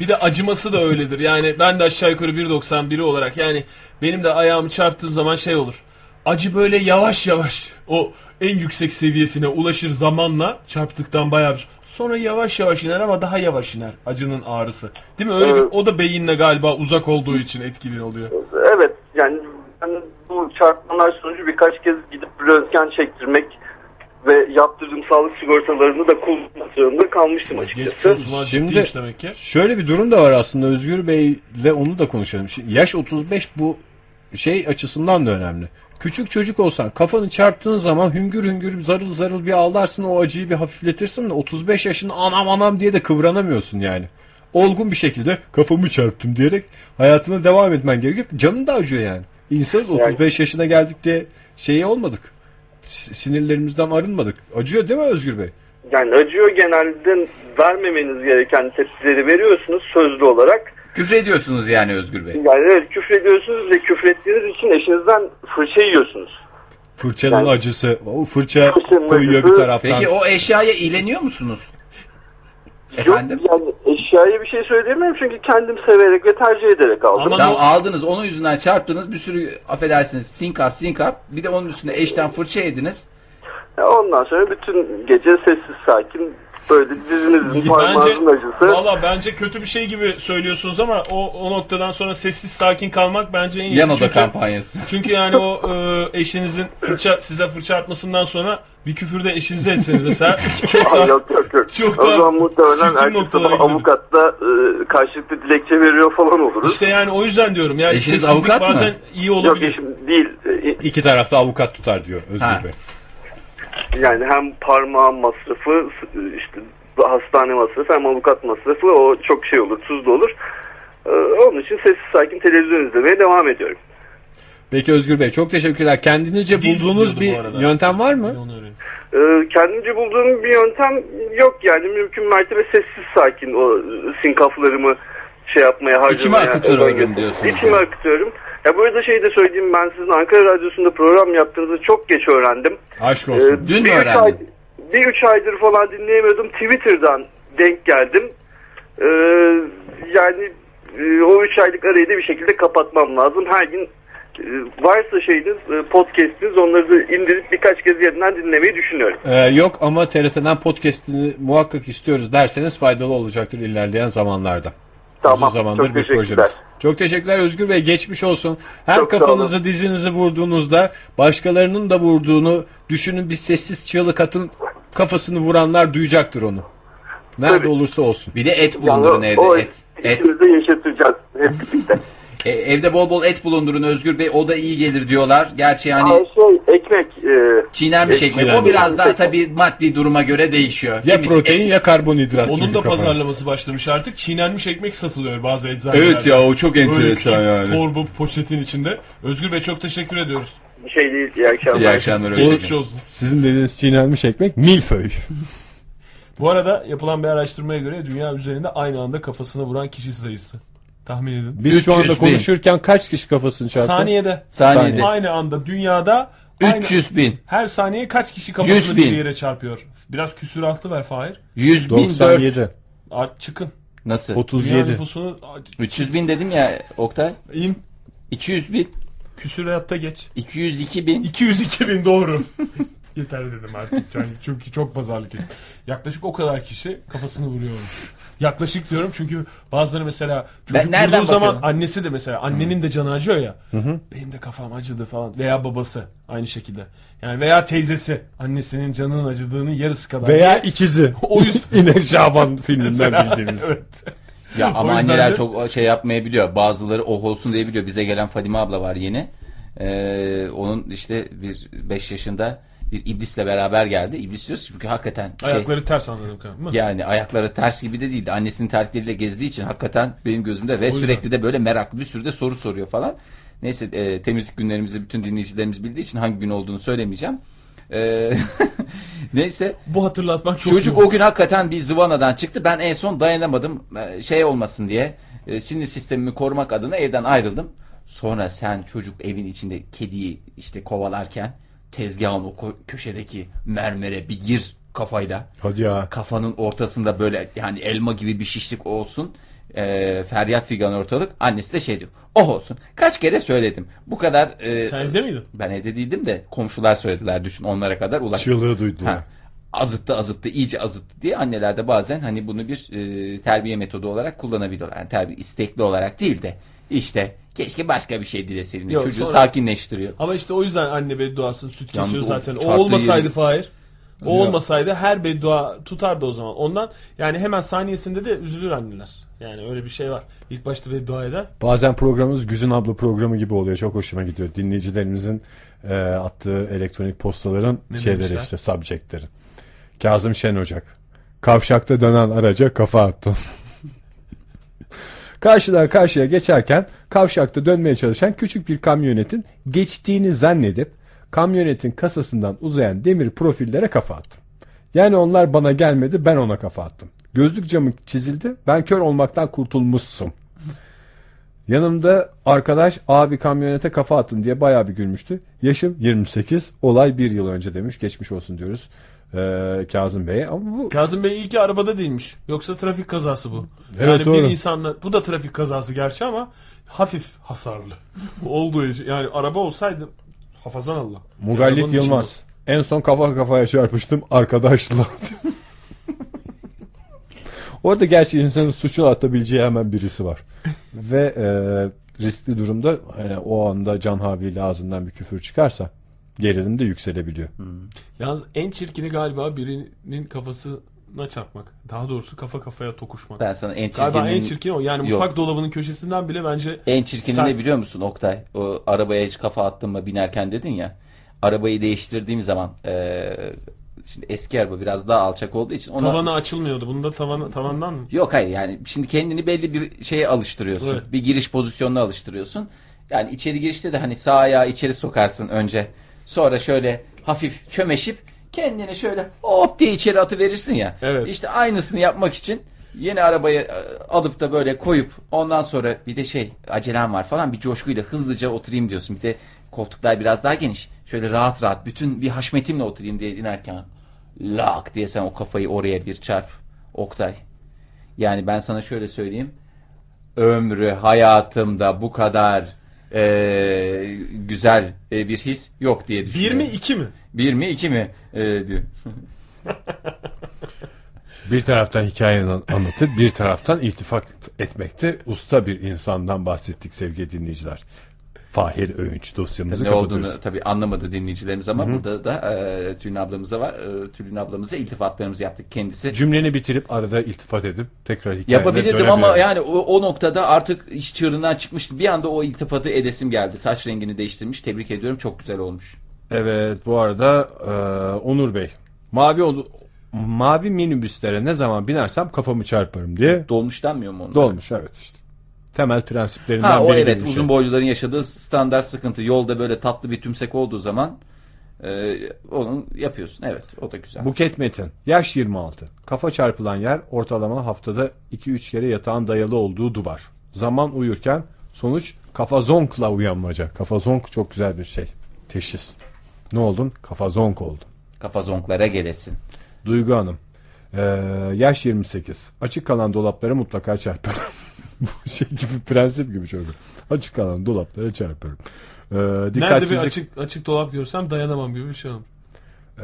Speaker 2: bir de acıması da öyledir. Yani ben de aşağı yukarı 1.91 olarak yani benim de ayağımı çarptığım zaman şey olur. Acı böyle yavaş yavaş o en yüksek seviyesine ulaşır zamanla çarptıktan bayağı bir- Sonra yavaş yavaş iner ama daha yavaş iner acının ağrısı. Değil mi? Öyle bir,
Speaker 4: Evet.
Speaker 2: o da beyinle galiba uzak olduğu için etkili oluyor.
Speaker 4: Evet yani ben bu çarpmalar sonucu birkaç kez gidip röntgen çektirmek ve yaptırdığım sağlık sigortalarını da kullanmak zorunda kalmıştım
Speaker 2: Geçmiş
Speaker 4: açıkçası.
Speaker 2: olsun lan,
Speaker 1: Şimdi-
Speaker 2: ciddiymiş demek ki.
Speaker 1: Şöyle bir durum da var aslında Özgür Bey'le onu da konuşalım. Şimdi Yaş 35 bu şey açısından da önemli. Küçük çocuk olsan kafanı çarptığın zaman hüngür hüngür zarıl zarıl bir ağlarsın o acıyı bir hafifletirsin de 35 yaşında anam anam diye de kıvranamıyorsun yani. Olgun bir şekilde kafamı çarptım diyerek hayatına devam etmen gerekiyor. Canın da acıyor yani. İnsanız 35 yaşına geldik diye şeyi olmadık. S- Sinirlerimizden arınmadık. Acıyor değil mi Özgür Bey?
Speaker 4: Yani acıyor genelde vermemeniz gereken tepkileri veriyorsunuz sözlü olarak.
Speaker 3: Küfür ediyorsunuz yani Özgür Bey.
Speaker 4: Yani evet küfrediyorsunuz ve küfrettiğiniz için eşinizden fırça yiyorsunuz.
Speaker 1: Fırçanın
Speaker 4: Yani-
Speaker 1: acısı. O fırça
Speaker 4: Fırçanın
Speaker 1: koyuyor
Speaker 4: acısı-
Speaker 1: bir taraftan.
Speaker 3: Peki o eşyaya ileniyor musunuz? Efendim?
Speaker 4: Yok yani eşyaya bir şey söyleyemiyorum çünkü kendim severek ve tercih ederek aldım.
Speaker 2: Ama-
Speaker 3: Tamam aldınız onun yüzünden çarptınız bir sürü affedersiniz sinkar sinkar bir de onun üstüne eşten fırça yediniz.
Speaker 4: Ondan sonra bütün gece sessiz sakin böyle dizinizin parmağınızın acısı.
Speaker 2: Valla bence kötü bir şey gibi söylüyorsunuz ama o, o noktadan sonra sessiz sakin kalmak bence en iyisi.
Speaker 3: Yan oda
Speaker 2: Çünkü-
Speaker 3: kampanyası.
Speaker 2: Çünkü yani o e, eşinizin fırça size fırça atmasından sonra bir küfür de eşinize etseniz mesela çok
Speaker 4: Ay,
Speaker 2: daha
Speaker 4: yok yok yok.
Speaker 2: Çok
Speaker 4: o
Speaker 2: daha
Speaker 4: zaman muhtemelen
Speaker 2: çirkin
Speaker 4: ertesi
Speaker 2: noktalara
Speaker 4: sabah
Speaker 2: gidelim.
Speaker 4: avukatta e, karşılıklı dilekçe veriyor falan oluruz.
Speaker 2: işte yani o yüzden diyorum yani
Speaker 3: Eşiniz
Speaker 2: sessizlik
Speaker 3: avukat mı?
Speaker 2: bazen iyi
Speaker 4: Yok
Speaker 2: olabilir.
Speaker 4: eşim değil. E,
Speaker 1: İki tarafta avukat tutar diyor Özgür
Speaker 3: Ha.
Speaker 1: Bey.
Speaker 4: Yani hem parmağın masrafı e, s- işte hastane masrafı hem avukat masrafı o çok şey olur tuzlu olur. Ee, onun için sessiz sakin televizyon izlemeye devam ediyorum.
Speaker 1: Peki Özgür Bey çok teşekkürler. Kendinizce
Speaker 2: Diz
Speaker 1: bulduğunuz
Speaker 2: izliyordu bu
Speaker 1: bir
Speaker 2: arada.
Speaker 1: yöntem var
Speaker 2: Ben
Speaker 1: mı?
Speaker 2: onu öğrendim.
Speaker 4: Ee, kendimce bulduğum bir yöntem yok yani mümkün mertebe sessiz sakin o e, sinkaflarımı şey yapmaya harcamaya.
Speaker 3: akıtıyorum
Speaker 4: özen göster-
Speaker 3: diyorsunuz
Speaker 4: İçime
Speaker 3: yani.
Speaker 4: akıtıyorum. Ya bu arada şey de söyleyeyim ben sizin Ankara Radyosu'nda program yaptığınızı çok geç öğrendim.
Speaker 1: Aşk
Speaker 4: Ee,
Speaker 1: olsun.
Speaker 3: Dün mü
Speaker 4: bir üç
Speaker 3: öğrendin?
Speaker 4: ay- bir üç aydır falan dinleyemiyordum. Twitter'dan denk geldim. Ee, yani e, o üç aylık arayı da bir şekilde kapatmam lazım. Her gün e, varsa şeyiniz, e, podcast'iniz onları da indirip birkaç kez yerinden dinlemeyi düşünüyorum.
Speaker 1: Ee, yok ama TRT'den podcast'ini muhakkak istiyoruz derseniz faydalı olacaktır ilerleyen zamanlarda.
Speaker 4: Tamam.
Speaker 1: Uzun zamandır
Speaker 4: Çok
Speaker 1: bir projemiz.
Speaker 4: teşekkürler.
Speaker 1: Çok teşekkürler Özgür Bey. Geçmiş olsun. Her
Speaker 4: Çok sağ
Speaker 1: kafanızı dizinizi vurduğunuzda başkalarının da vurduğunu düşünün bir sessiz çığlık atın kafasını vuranlar duyacaktır onu. Nerede
Speaker 4: Tabii.
Speaker 1: olursa olsun.
Speaker 3: Bir de et bulundurun
Speaker 4: Yani
Speaker 3: evde.
Speaker 4: o
Speaker 3: et. Et.
Speaker 4: içimizde yaşatacağız hep birlikte.
Speaker 3: E, evde bol bol et bulundurun Özgür Bey. O da iyi gelir diyorlar. Gerçi
Speaker 4: Ay
Speaker 3: hani
Speaker 4: şey ekmek e,
Speaker 3: çiğnenmiş
Speaker 4: Ekmek
Speaker 3: ekmek. O
Speaker 1: çiğnenmiş.
Speaker 3: biraz daha tabii maddi duruma göre değişiyor.
Speaker 1: Ya
Speaker 3: Kimisi
Speaker 1: protein
Speaker 3: et-
Speaker 1: ya karbonhidrat.
Speaker 2: Onun
Speaker 1: çünkü
Speaker 2: da
Speaker 1: kafana.
Speaker 2: pazarlaması başlamış artık. Çiğnenmiş ekmek satılıyor bazı eczanelerde.
Speaker 5: Evet ya o çok
Speaker 2: Böyle küçük
Speaker 5: enteresan yani.
Speaker 2: torba poşetin içinde. Özgür Bey çok teşekkür ediyoruz.
Speaker 4: şey değil iyi akşamlar.
Speaker 5: İyi akşamlar Özgür.
Speaker 2: Geçmiş olsun.
Speaker 1: Sizin dediğiniz çiğnenmiş ekmek milföy.
Speaker 2: Bu arada yapılan bir araştırmaya göre dünya üzerinde aynı anda kafasına vuran kişi sayısı. Tahmin edin.
Speaker 1: Biz şu
Speaker 3: 300
Speaker 1: anda
Speaker 3: bin.
Speaker 1: konuşurken kaç kişi kafasını çarptı?
Speaker 2: Saniyede.
Speaker 3: Saniyede.
Speaker 2: Aynı anda dünyada aynı-
Speaker 3: 300 bin.
Speaker 2: her saniye kaç kişi kafasını
Speaker 3: 100 bin.
Speaker 2: bir yere çarpıyor? Biraz küsuratlı ver Fahir.
Speaker 3: 100 bin dört.
Speaker 1: 97,
Speaker 2: Art çıkın.
Speaker 3: Nasıl?
Speaker 2: Dünya
Speaker 1: 37.
Speaker 2: nüfusunu
Speaker 3: 300 bin dedim ya Oktay.
Speaker 2: in
Speaker 3: 200 bin.
Speaker 2: küsuratta geç.
Speaker 3: 202 bin.
Speaker 2: 202 bin doğru. Yeter dedim artık Can. Çünkü çok pazarlık ettim. Yaklaşık o kadar kişi kafasını vuruyor. Yaklaşık diyorum çünkü bazıları mesela çocuk
Speaker 3: Ben nereden
Speaker 2: vurduğu zaman
Speaker 3: bakıyorum?
Speaker 2: annesi de mesela annenin de canı acıyor ya. Benim de kafam acıdı falan veya babası aynı şekilde. Yani veya teyzesi annesinin canının acıdığının yarısı kadar.
Speaker 1: Veya ikizi.
Speaker 2: o yüzden
Speaker 1: İnek Şaban filminden bildiğimiz.
Speaker 2: evet.
Speaker 3: Ya ama
Speaker 2: yüzden
Speaker 3: anneler
Speaker 2: de-
Speaker 3: çok şey yapmayabiliyor. Bazıları oh olsun diye biliyor. Bize gelen Fadime abla var yeni. Ee, onun işte bir 5 yaşında bir iblisle beraber geldi. İblis diyoruz ki çünkü hakikaten şey,
Speaker 2: Ayakları ters anladım kanka.
Speaker 3: yani ayakları ters gibi de değildi. Annesinin terkleriyle gezdiği için hakikaten benim gözümde ve
Speaker 2: yüzden.
Speaker 3: sürekli de böyle meraklı bir sürü de soru soruyor falan. Neyse e, temizlik günlerimizi bütün dinleyicilerimiz bildiği için hangi gün olduğunu söylemeyeceğim. Ee, neyse
Speaker 2: Bu hatırlatmak çok
Speaker 3: Çocuk
Speaker 2: iyi.
Speaker 3: o gün hakikaten bir zıvanadan çıktı. Ben en son dayanamadım e, şey olmasın diye. e, Sinir sistemimi korumak adına evden ayrıldım. Sonra sen çocuk evin içinde kediyi işte kovalarken tezgahın o ko- köşedeki mermere bir gir kafayla.
Speaker 1: Hadi ya.
Speaker 3: Kafanın ortasında böyle yani elma gibi bir şişlik olsun. E, feryat figan ortalık. Annesi de şey diyor. Oh olsun. Kaç kere söyledim. Bu kadar e,
Speaker 2: Sen evde miydin?
Speaker 3: ben evde değildim de komşular söylediler düşün onlara kadar ulaştı.
Speaker 1: Çığlığı duydu.
Speaker 3: Ha. Azıttı azıttı iyice azıttı diye anneler de bazen hani bunu bir e, terbiye metodu olarak kullanabiliyorlar. Yani terbiye istekli olarak değil de işte keşke başka bir şey dileseydin. diye
Speaker 2: Yok,
Speaker 3: Çocuğu
Speaker 2: sonra-
Speaker 3: sakinleştiriyor.
Speaker 2: Ama işte o yüzden anne bedduasını süt
Speaker 3: Yalnız
Speaker 2: kesiyor
Speaker 3: o
Speaker 2: zaten. O
Speaker 3: çarptığı
Speaker 2: olmasaydı
Speaker 3: yeri-
Speaker 2: Fahir. O olmasaydı her beddua tutardı o zaman. Ondan yani hemen saniyesinde de üzülür anneler. Yani öyle bir şey var. İlk başta beddua eder.
Speaker 1: Bazen programımız Güzin abla programı gibi oluyor. Çok hoşuma gidiyor. Dinleyicilerimizin e, attığı elektronik postaların şeyleri
Speaker 2: demişler?
Speaker 1: işte subjectleri. Kazım Şen Ocak. Kavşakta dönen araca kafa attım. Karşıdan karşıya geçerken kavşakta dönmeye çalışan küçük bir kamyonetin geçtiğini zannedip kamyonetin kasasından uzayan demir profillere kafa attım. Yani onlar bana gelmedi ben ona kafa attım. Gözlük camı çizildi ben kör olmaktan kurtulmuşsun. Yanımda arkadaş abi kamyonete kafa attın diye bayağı bir gülmüştü. Yaşım 28 olay bir yıl önce demiş geçmiş olsun diyoruz ee, Kazım Bey'e ama bu
Speaker 2: Kazım Bey iyi ki arabada değilmiş. Yoksa trafik kazası bu.
Speaker 1: Evet,
Speaker 2: yani
Speaker 1: doğru.
Speaker 2: bir insanla bu da trafik kazası gerçi ama hafif hasarlı. Olduğu için yani araba olsaydı hafazan Allah.
Speaker 1: Mugallit
Speaker 2: Arabanın içinde-
Speaker 1: Yılmaz. En son kafa kafaya çarpıştım arkadaşla. Orada gerçi insanın suçu atabileceği hemen birisi var. Ve e, riskli durumda hani o anda Can Havli'yle ağzından bir küfür çıkarsa gerilim de yükselebiliyor.
Speaker 2: Yalnız en çirkini galiba birinin kafasına çarpmak. Daha doğrusu kafa kafaya tokuşmak.
Speaker 3: Ben sana en
Speaker 2: Galiba en
Speaker 3: çirkinin
Speaker 2: çirkin o. Yani
Speaker 3: Yok. E-
Speaker 2: mutfak dolabının köşesinden bile bence
Speaker 3: en çirkini
Speaker 2: Sert.
Speaker 3: ne biliyor musun Oktay? O arabaya hiç kafa attın mı binerken dedin ya. Arabayı değiştirdiğim zaman e, Şimdi eski araba biraz daha alçak olduğu için ona
Speaker 2: Tavana açılmıyordu. Bunda tavan, tavandan mı?
Speaker 3: Yok hayır yani şimdi kendini belli bir şeye alıştırıyorsun.
Speaker 2: Evet.
Speaker 3: Bir giriş pozisyonuna alıştırıyorsun. Yani içeri girişte de hani sağ ayağı içeri sokarsın önce. Sonra şöyle hafif çömeşip kendini şöyle hop diye içeri atı verirsin ya.
Speaker 2: Evet.
Speaker 3: İşte aynısını yapmak için yeni arabayı e, alıp da böyle koyup ondan sonra bir de şey acelem var falan bir coşkuyla hızlıca oturayım diyorsun. Bir de koltuklar biraz daha geniş. Şöyle rahat rahat bütün bir haşmetimle oturayım diye inerken lak diye sen o kafayı oraya bir çarp. Oktay. Yani ben sana şöyle söyleyeyim. Ömrü hayatımda bu kadar e, güzel e, bir his yok diye
Speaker 2: Bir
Speaker 3: düşünüyorum.
Speaker 2: mi iki mi?
Speaker 3: Bir mi iki mi e, diyor.
Speaker 1: Bir taraftan hikayeyi an- anlatıp bir taraftan iltifat etmekte usta bir insandan bahsettik sevgili dinleyiciler. Fahir Öğünç dosyamızı
Speaker 3: ne
Speaker 1: kapatıyoruz.
Speaker 3: olduğunu tabii anlamadı dinleyicilerimiz ama burada da e, Tülin ablamıza var. E, Tülin ablamıza iltifatlarımızı yaptık kendisi.
Speaker 1: Cümleni bitirip arada iltifat edip tekrar hikayeye
Speaker 3: Yapabilirdim
Speaker 1: dönemiyorum.
Speaker 3: ama yani o, o noktada artık iş çığırından çıkmıştı. Bir anda o iltifatı edesim geldi. Saç rengini değiştirmiş. Tebrik ediyorum. Çok güzel olmuş.
Speaker 1: Evet bu arada e, Onur Bey mavi olu- mavi minibüslere ne zaman binersem kafamı çarparım diye
Speaker 3: Dolmuşlanmıyor mu onlar?
Speaker 1: dolmuş evet işte. Temel prensiplerinden
Speaker 3: Ha o
Speaker 1: biri de
Speaker 3: evet
Speaker 1: bir
Speaker 3: uzun
Speaker 1: şey.
Speaker 3: boyluların yaşadığı standart sıkıntı. Yolda böyle tatlı bir tümsek olduğu zaman e, onu yapıyorsun. Evet o da güzel.
Speaker 1: Buket Metin yaş 26. Kafa çarpılan yer ortalama haftada 2-3 kere yatağın dayalı olduğu duvar. Zaman uyurken sonuç kafa zonkla uyanmaca. Kafa zonk çok güzel bir şey. Teşhis. Ne oldun? Kafa zonk oldun.
Speaker 3: Kafa zonklara gelesin.
Speaker 1: Duygu Hanım. Ee, yaş 28. Açık kalan dolaplara mutlaka çarparım. Bu şey gibi prensip gibi çok. Açık kalan dolaplara çarparım. Ee,
Speaker 2: Nerede bir
Speaker 1: dikkatsizlik,
Speaker 2: açık açık dolap görsem dayanamam gibi bir şey oldu.
Speaker 1: Ee,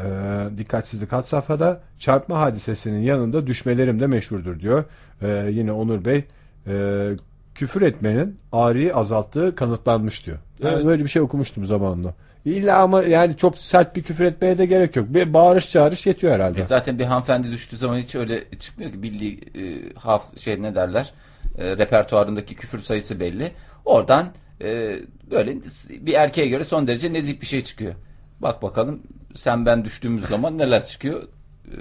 Speaker 1: dikkatsizlik had safhada. Çarpma hadisesinin yanında düşmelerim de meşhurdur diyor. Ee, yine Onur Bey. ee, küfür etmenin ağrıyı azalttığı kanıtlanmış diyor. Ben
Speaker 2: Evet.
Speaker 1: böyle bir şey okumuştum zamanında. İlla ama yani çok sert bir küfür etmeye de gerek yok. Bir bağırış çağırış yetiyor herhalde.
Speaker 3: E zaten bir hanımefendi düştüğü zaman hiç öyle çıkmıyor ki bildiği e, hafız şey ne derler e, repertuarındaki küfür sayısı belli. Oradan e, böyle bir erkeğe göre son derece nezih bir şey çıkıyor. Bak bakalım sen ben düştüğümüz zaman neler çıkıyor. E,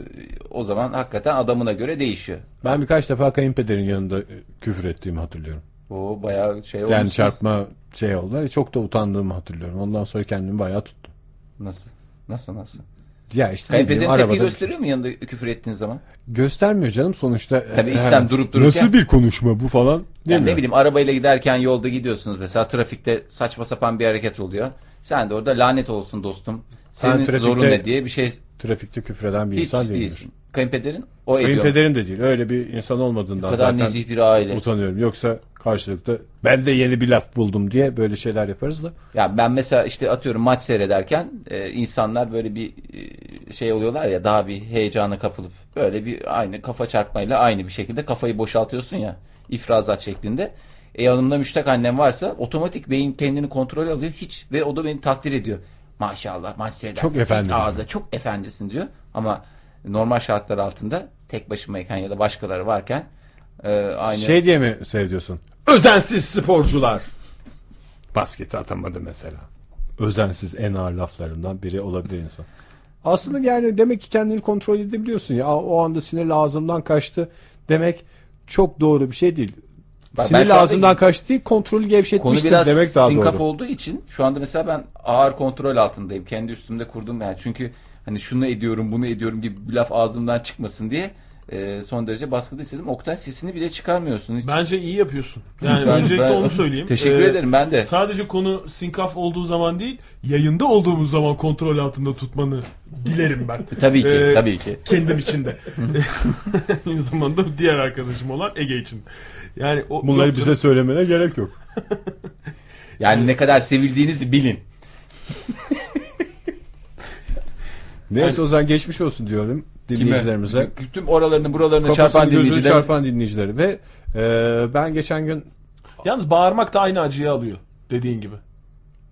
Speaker 3: o zaman hakikaten adamına göre değişiyor.
Speaker 1: Ben birkaç defa kayınpederin yanında e, küfür ettiğimi hatırlıyorum.
Speaker 3: O bayağı şey
Speaker 1: Yani
Speaker 3: olmuş.
Speaker 1: çarpma şey oldu. E, Çok da utandığımı hatırlıyorum. Ondan sonra kendimi bayağı tuttum.
Speaker 3: Nasıl? Nasıl nasıl?
Speaker 1: Ya işte ne bileyim,
Speaker 3: Kayınpederin tepki
Speaker 1: arabada şey.
Speaker 3: gösteriyor mu yanında küfür ettiğin zaman?
Speaker 1: göstermiyor canım sonuçta. e,
Speaker 3: Tabii
Speaker 1: e,
Speaker 3: istem durup dururken-
Speaker 1: Nasıl bir konuşma bu falan değil
Speaker 3: Yani
Speaker 1: mi?
Speaker 3: ne bileyim arabayla giderken yolda gidiyorsunuz mesela trafikte saçma sapan bir hareket oluyor. Sen de orada lanet olsun dostum. Senin
Speaker 1: trafikte
Speaker 3: zorun ne diye bir şey
Speaker 1: Trafikte küfreden bir
Speaker 3: hiç
Speaker 1: insan değildir.
Speaker 3: değilsin. Kayınpederin o ediyor.
Speaker 1: Kayınpederim de değil. Öyle bir insan olmadığından
Speaker 3: O kadar
Speaker 1: zaten
Speaker 3: nezih bir aile.
Speaker 1: utanıyorum. Yoksa karşılıklı ben de yeni bir laf buldum diye böyle şeyler yaparız da.
Speaker 3: Ya ben mesela işte atıyorum maç seyrederken e, insanlar böyle bir e, şey oluyorlar ya daha bir heyecana kapılıp böyle bir aynı kafa çarpmayla aynı bir şekilde kafayı boşaltıyorsun ya ifrazat şeklinde. E yanımda müştak annem varsa otomatik beyin kendini kontrol alıyor hiç ve o da beni takdir ediyor. Maşallah maç seyrederken
Speaker 1: Çok
Speaker 3: hiç
Speaker 1: efendisin.
Speaker 3: ağızda çok efendisin diyor ama normal şartlar altında tek başımayken ya da başkaları varken e, aynı
Speaker 1: Şey diye mi seyrediyorsun? Özensiz sporcular. Basketi atamadı mesela. Özensiz en ağır laflarından biri olabilir insan. Aslında yani demek ki kendini kontrol edebiliyorsun ya. O anda sinirli ağzımdan kaçtı demek çok doğru bir şey değil.
Speaker 3: ben
Speaker 1: Sinirli
Speaker 3: şu anda-
Speaker 1: ağzımdan kaçtı değil kontrolü
Speaker 3: Konu
Speaker 1: gevşetmiştim
Speaker 3: biraz
Speaker 1: demek daha
Speaker 3: sinkaf
Speaker 1: doğru.
Speaker 3: olduğu için şu anda mesela ben ağır kontrol altındayım. Kendi üstümde kurdum yani. Çünkü hani şunu ediyorum, bunu ediyorum gibi bir laf ağzımdan çıkmasın diye e, son derece baskıda istedim. Oktay sesini bile çıkarmıyorsun. Hiç.
Speaker 2: Bence iyi yapıyorsun. Yani
Speaker 3: Ben-
Speaker 2: öncelikle
Speaker 3: ben-
Speaker 2: onu söyleyeyim.
Speaker 3: Teşekkür
Speaker 2: Ee,
Speaker 3: ederim ben de.
Speaker 2: Sadece konu sinkaf olduğu zaman değil, yayında olduğumuz zaman kontrol altında tutmanı dilerim ben.
Speaker 3: Tabii ki,
Speaker 2: Ee,
Speaker 3: tabii ki.
Speaker 2: Kendim için de. Aynı zamanda diğer arkadaşım olan Ege için. Yani o,
Speaker 1: Bunları
Speaker 2: yok
Speaker 1: bize
Speaker 2: canım.
Speaker 1: söylemene gerek yok.
Speaker 3: Yani ne kadar sevildiğinizi bilin.
Speaker 1: Neyse o zaman geçmiş olsun diyorum dinleyicilerimize.
Speaker 3: Tüm oralarını buralarını
Speaker 1: Kafasını
Speaker 3: çarpan
Speaker 1: gözünü
Speaker 3: dinleyiciler.
Speaker 1: çarpan dinleyicileri ve e, ben geçen gün
Speaker 2: Yalnız bağırmak da aynı acıyı alıyor dediğin gibi.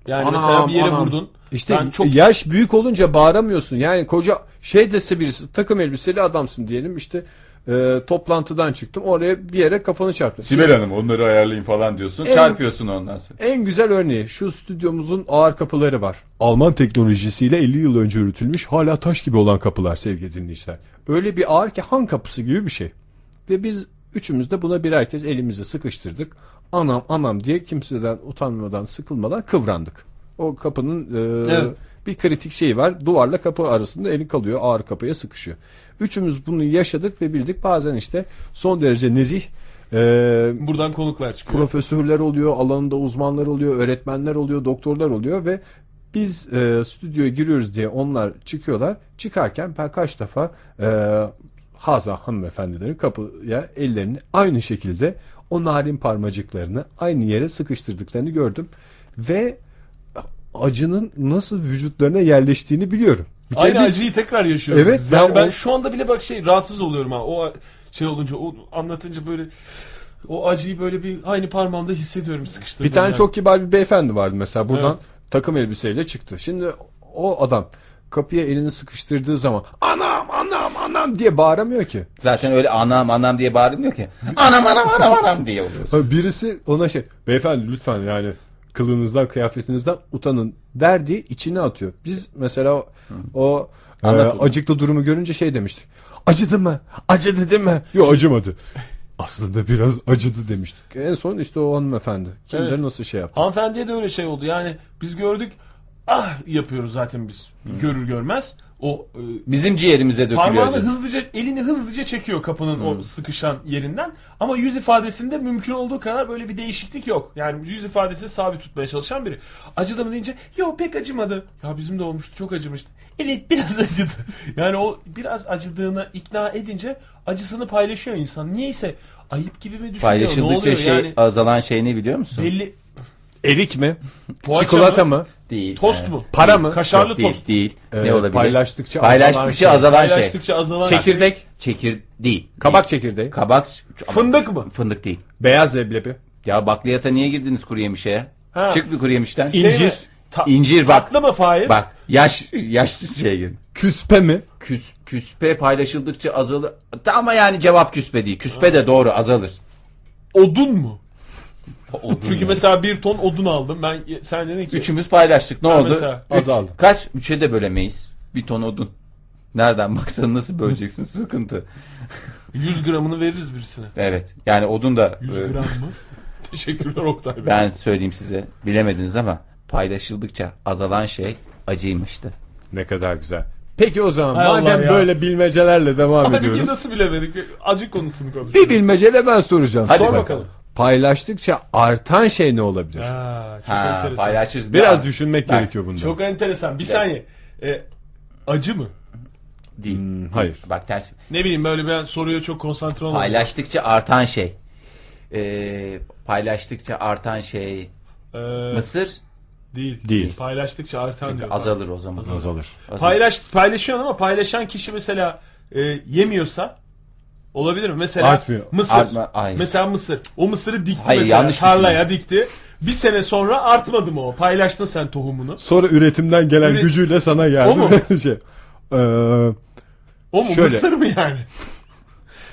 Speaker 2: Yani
Speaker 1: Anam,
Speaker 2: mesela bir yere
Speaker 1: anam.
Speaker 2: vurdun.
Speaker 1: İşte
Speaker 2: ben çok
Speaker 1: yaş büyük olunca bağıramıyorsun. Yani koca şey dese birisi takım elbiseli adamsın diyelim işte e, toplantıdan çıktım. Oraya bir yere kafanı çarptın.
Speaker 3: Sibel Hanım onları ayarlayın falan diyorsun.
Speaker 1: Evet.
Speaker 3: Çarpıyorsun ondan sonra.
Speaker 1: En güzel örneği şu stüdyomuzun ağır kapıları var. Alman teknolojisiyle 50 yıl önce üretilmiş hala taş gibi olan kapılar sevgili dinleyiciler. Öyle bir ağır ki han kapısı gibi bir şey. Ve biz üçümüz de buna bir herkes elimizi sıkıştırdık. Anam anam diye kimseden utanmadan sıkılmadan kıvrandık. O kapının e,
Speaker 2: Evet.
Speaker 1: bir kritik şeyi var. Duvarla kapı arasında elin kalıyor ağır kapıya sıkışıyor. Üçümüz bunu yaşadık ve bildik. Bazen işte son derece nezih e,
Speaker 2: Buradan konuklar çıkıyor.
Speaker 1: profesörler oluyor, alanında uzmanlar oluyor, öğretmenler oluyor, doktorlar oluyor ve biz e, stüdyoya giriyoruz diye onlar çıkıyorlar. Çıkarken ben kaç defa e, Haza hanımefendilerin kapıya ellerini aynı şekilde o narin parmacıklarını aynı yere sıkıştırdıklarını gördüm. Ve acının nasıl vücutlarına yerleştiğini biliyorum. Bir kere
Speaker 2: Aynı
Speaker 1: bir-
Speaker 2: acıyı tekrar yaşıyorum.
Speaker 1: Evet,
Speaker 2: Yani
Speaker 1: ben
Speaker 2: ben,
Speaker 1: o-
Speaker 2: şu anda bile bak şey rahatsız oluyorum ha. O şey olunca, o anlatınca böyle o acıyı böyle bir aynı parmağımda hissediyorum sıkıştırdım.
Speaker 1: Bir tane
Speaker 2: yani.
Speaker 1: çok kibar bir beyefendi vardı mesela buradan
Speaker 2: Evet.
Speaker 1: takım elbiseyle çıktı. Şimdi o adam kapıya elini sıkıştırdığı zaman anam anam anam diye bağıramıyor ki.
Speaker 3: Zaten öyle anam anam diye bağırmıyor ki. Anam anam anam anam diye oluyorsun.
Speaker 1: Ha, Birisi ona şey beyefendi lütfen yani kılığınızdan kıyafetinizden utanın der diye içine atıyor. Biz mesela o, o e,
Speaker 3: Anlat onu.
Speaker 1: acıklı durumu görünce şey demiştik. Acıdı mı? Acıdı değil mi? Yok acımadı. Aslında biraz acıdı demiştik. En son işte o hanımefendi. Kim
Speaker 2: Evet.
Speaker 1: bilir nasıl şey yaptı.
Speaker 2: Hanımefendiye de öyle şey oldu. Yani biz gördük. Ah yapıyoruz zaten biz. Görür görmez o e,
Speaker 3: Bizim ciğerimize dökülüyor
Speaker 2: parmağını
Speaker 3: acı.
Speaker 2: hızlıca elini hızlıca çekiyor kapının
Speaker 3: Hmm.
Speaker 2: o sıkışan yerinden ama yüz ifadesinde mümkün olduğu kadar böyle bir değişiklik yok. Yani yüz ifadesini sabit tutmaya çalışan biri. Acıdı mı deyince yok pek acımadı. Ya bizim de olmuştu çok acımıştı. Evet biraz acıdı. Yani o biraz acıdığına ikna edince acısını paylaşıyor insan. Niyeyse ayıp gibi mi düşünüyor? ne
Speaker 3: Paylaşıldıkça
Speaker 2: oluyor
Speaker 3: şey
Speaker 2: yani?
Speaker 3: azalan şey ne biliyor musun?
Speaker 2: Belli
Speaker 1: Erik mi?
Speaker 2: Poğaça
Speaker 1: Çikolata mı?
Speaker 3: Değil.
Speaker 2: tost
Speaker 3: Evet.
Speaker 2: mu?
Speaker 1: Para mı?
Speaker 2: Kaşarlı
Speaker 3: Yok,
Speaker 2: tost.
Speaker 3: Değil. değil.
Speaker 1: Ee,
Speaker 3: ne olabilir?
Speaker 1: paylaştıkça
Speaker 3: Paylaştıkça
Speaker 1: azalan şey.
Speaker 3: azalan şey.
Speaker 2: Paylaştıkça azalan
Speaker 1: Çekirdek.
Speaker 3: Çekir değil.
Speaker 1: Kabak
Speaker 3: Değil.
Speaker 1: çekirdeği.
Speaker 3: Kabak.
Speaker 2: Fındık mı?
Speaker 3: Fındık değil.
Speaker 1: Beyaz leblebi.
Speaker 3: Ya bakliyata niye girdiniz kuru yemişe?
Speaker 2: Ha.
Speaker 3: Çık bir kuru yemişten.
Speaker 2: Şey mi?
Speaker 1: İncir.
Speaker 2: Ta-
Speaker 3: İncir bak.
Speaker 2: Tatlı mı Fahir?
Speaker 3: Bak yaş yaşlı şeye gir.
Speaker 1: Küspe mi?
Speaker 3: Küs, küspe paylaşıldıkça azalır. Ama yani cevap küspe değil. Küspe de doğru azalır.
Speaker 2: Odun mu?
Speaker 3: Odun
Speaker 2: Çünkü
Speaker 3: ya.
Speaker 2: mesela bir ton odun aldım. Ben sen dedin ki
Speaker 3: üçümüz paylaştık. Ne oldu?
Speaker 2: mesela
Speaker 3: Üç-
Speaker 1: azaldı.
Speaker 3: Kaç? Üçe de bölemeyiz. Bir ton odun. Nereden baksan nasıl böleceksin? Sıkıntı.
Speaker 2: 100 gramını veririz birisine.
Speaker 3: Evet. Yani odun da
Speaker 2: 100
Speaker 3: e,
Speaker 2: gram mı? Teşekkürler Oktay Bey.
Speaker 3: ben söyleyeyim size. Bilemediniz ama paylaşıldıkça azalan şey acıymıştı.
Speaker 1: Ne kadar güzel. Peki o zaman
Speaker 2: Hay Allah
Speaker 1: madem
Speaker 2: ya.
Speaker 1: böyle bilmecelerle devam
Speaker 2: Halbuki
Speaker 1: ediyoruz.
Speaker 2: nasıl bilemedik? Acı konusunu
Speaker 1: Bir
Speaker 2: konuşuyoruz.
Speaker 1: bilmece de ben soracağım.
Speaker 3: Hadi
Speaker 1: Sor
Speaker 3: bakalım.
Speaker 1: Paylaştıkça artan şey ne olabilir?
Speaker 2: Ha, çok
Speaker 3: Ha,
Speaker 2: enteresan.
Speaker 3: paylaşırız.
Speaker 1: Biraz
Speaker 3: Ya,
Speaker 1: düşünmek
Speaker 3: Bak,
Speaker 1: gerekiyor bunda.
Speaker 2: Çok enteresan. Bir saniye. E, acı mı?
Speaker 3: Değil.
Speaker 1: Hmm, Hayır.
Speaker 3: Bak ters.
Speaker 2: Ne bileyim böyle ben soruya çok konsantre olamadım.
Speaker 3: Paylaştıkça artan şey. Ee, paylaştıkça artan şey.
Speaker 2: E,
Speaker 3: Mısır
Speaker 2: değil.
Speaker 1: Değil.
Speaker 2: Paylaştıkça artan
Speaker 3: Çünkü
Speaker 2: diyor.
Speaker 3: azalır o zaman.
Speaker 1: Azalır.
Speaker 3: Azalır.
Speaker 2: Paylaş, paylaşıyorsun ama paylaşan kişi mesela e, yemiyorsa olabilir mi? Mesela
Speaker 1: Artmıyor.
Speaker 2: mısır.
Speaker 3: Artma- Hayır.
Speaker 2: Mesela mısır. O mısırı dikti
Speaker 3: Hayır,
Speaker 2: mesela.
Speaker 3: yanlış
Speaker 2: tarlaya dikti. Bir sene sonra artmadı mı o? Paylaştın sen tohumunu.
Speaker 1: Sonra üretimden gelen
Speaker 2: Üret-
Speaker 1: gücüyle sana geldi.
Speaker 2: O mu?
Speaker 1: şey. Ee,
Speaker 2: O mu?
Speaker 1: Şöyle.
Speaker 2: Mısır mı yani?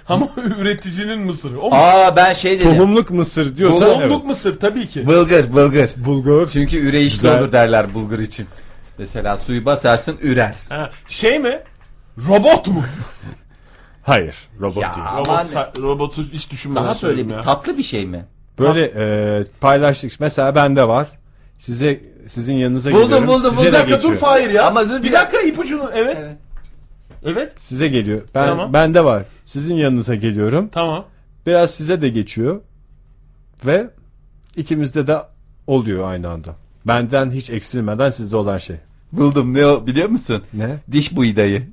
Speaker 2: ama üreticinin mısırı. O mu?
Speaker 3: Aa ben şey dedim.
Speaker 1: tohumluk mısır diyorsan
Speaker 2: Tohumluk Şey-
Speaker 1: evet.
Speaker 2: mısır tabii ki.
Speaker 3: Bulgur bulgur.
Speaker 1: Bulgur.
Speaker 3: Çünkü üreyişli
Speaker 1: Güzel.
Speaker 3: olur derler bulgur için. Mesela suyu basarsın ürer.
Speaker 2: Ha, şey mi? Robot mu?
Speaker 1: Hayır. Robot
Speaker 3: Ya.
Speaker 1: değil.
Speaker 2: Robot,
Speaker 3: Aman.
Speaker 2: sa- robotu hiç düşünmeden
Speaker 3: Daha böyle
Speaker 2: söylüyorum
Speaker 3: bir
Speaker 2: ya.
Speaker 3: tatlı bir şey mi?
Speaker 1: Böyle e, paylaştık. Mesela bende var. Size sizin yanınıza
Speaker 3: Buldum,
Speaker 1: geliyorum.
Speaker 3: buldum,
Speaker 1: size
Speaker 2: bir
Speaker 1: de
Speaker 2: dakika dur
Speaker 1: geçiyor.
Speaker 2: Fahir ya.
Speaker 3: Ama dur
Speaker 2: bir
Speaker 3: bir
Speaker 2: dakika ipucunu evet.
Speaker 3: Evet.
Speaker 2: Evet.
Speaker 1: Size geliyor. Ben
Speaker 2: Tamam.
Speaker 1: bende var. Sizin yanınıza geliyorum.
Speaker 2: Tamam.
Speaker 1: Biraz size de geçiyor. Ve ikimizde de oluyor aynı anda. Benden hiç eksilmeden sizde olan şey.
Speaker 3: Buldum ne o biliyor musun?
Speaker 1: Ne?
Speaker 3: Diş buğdayı.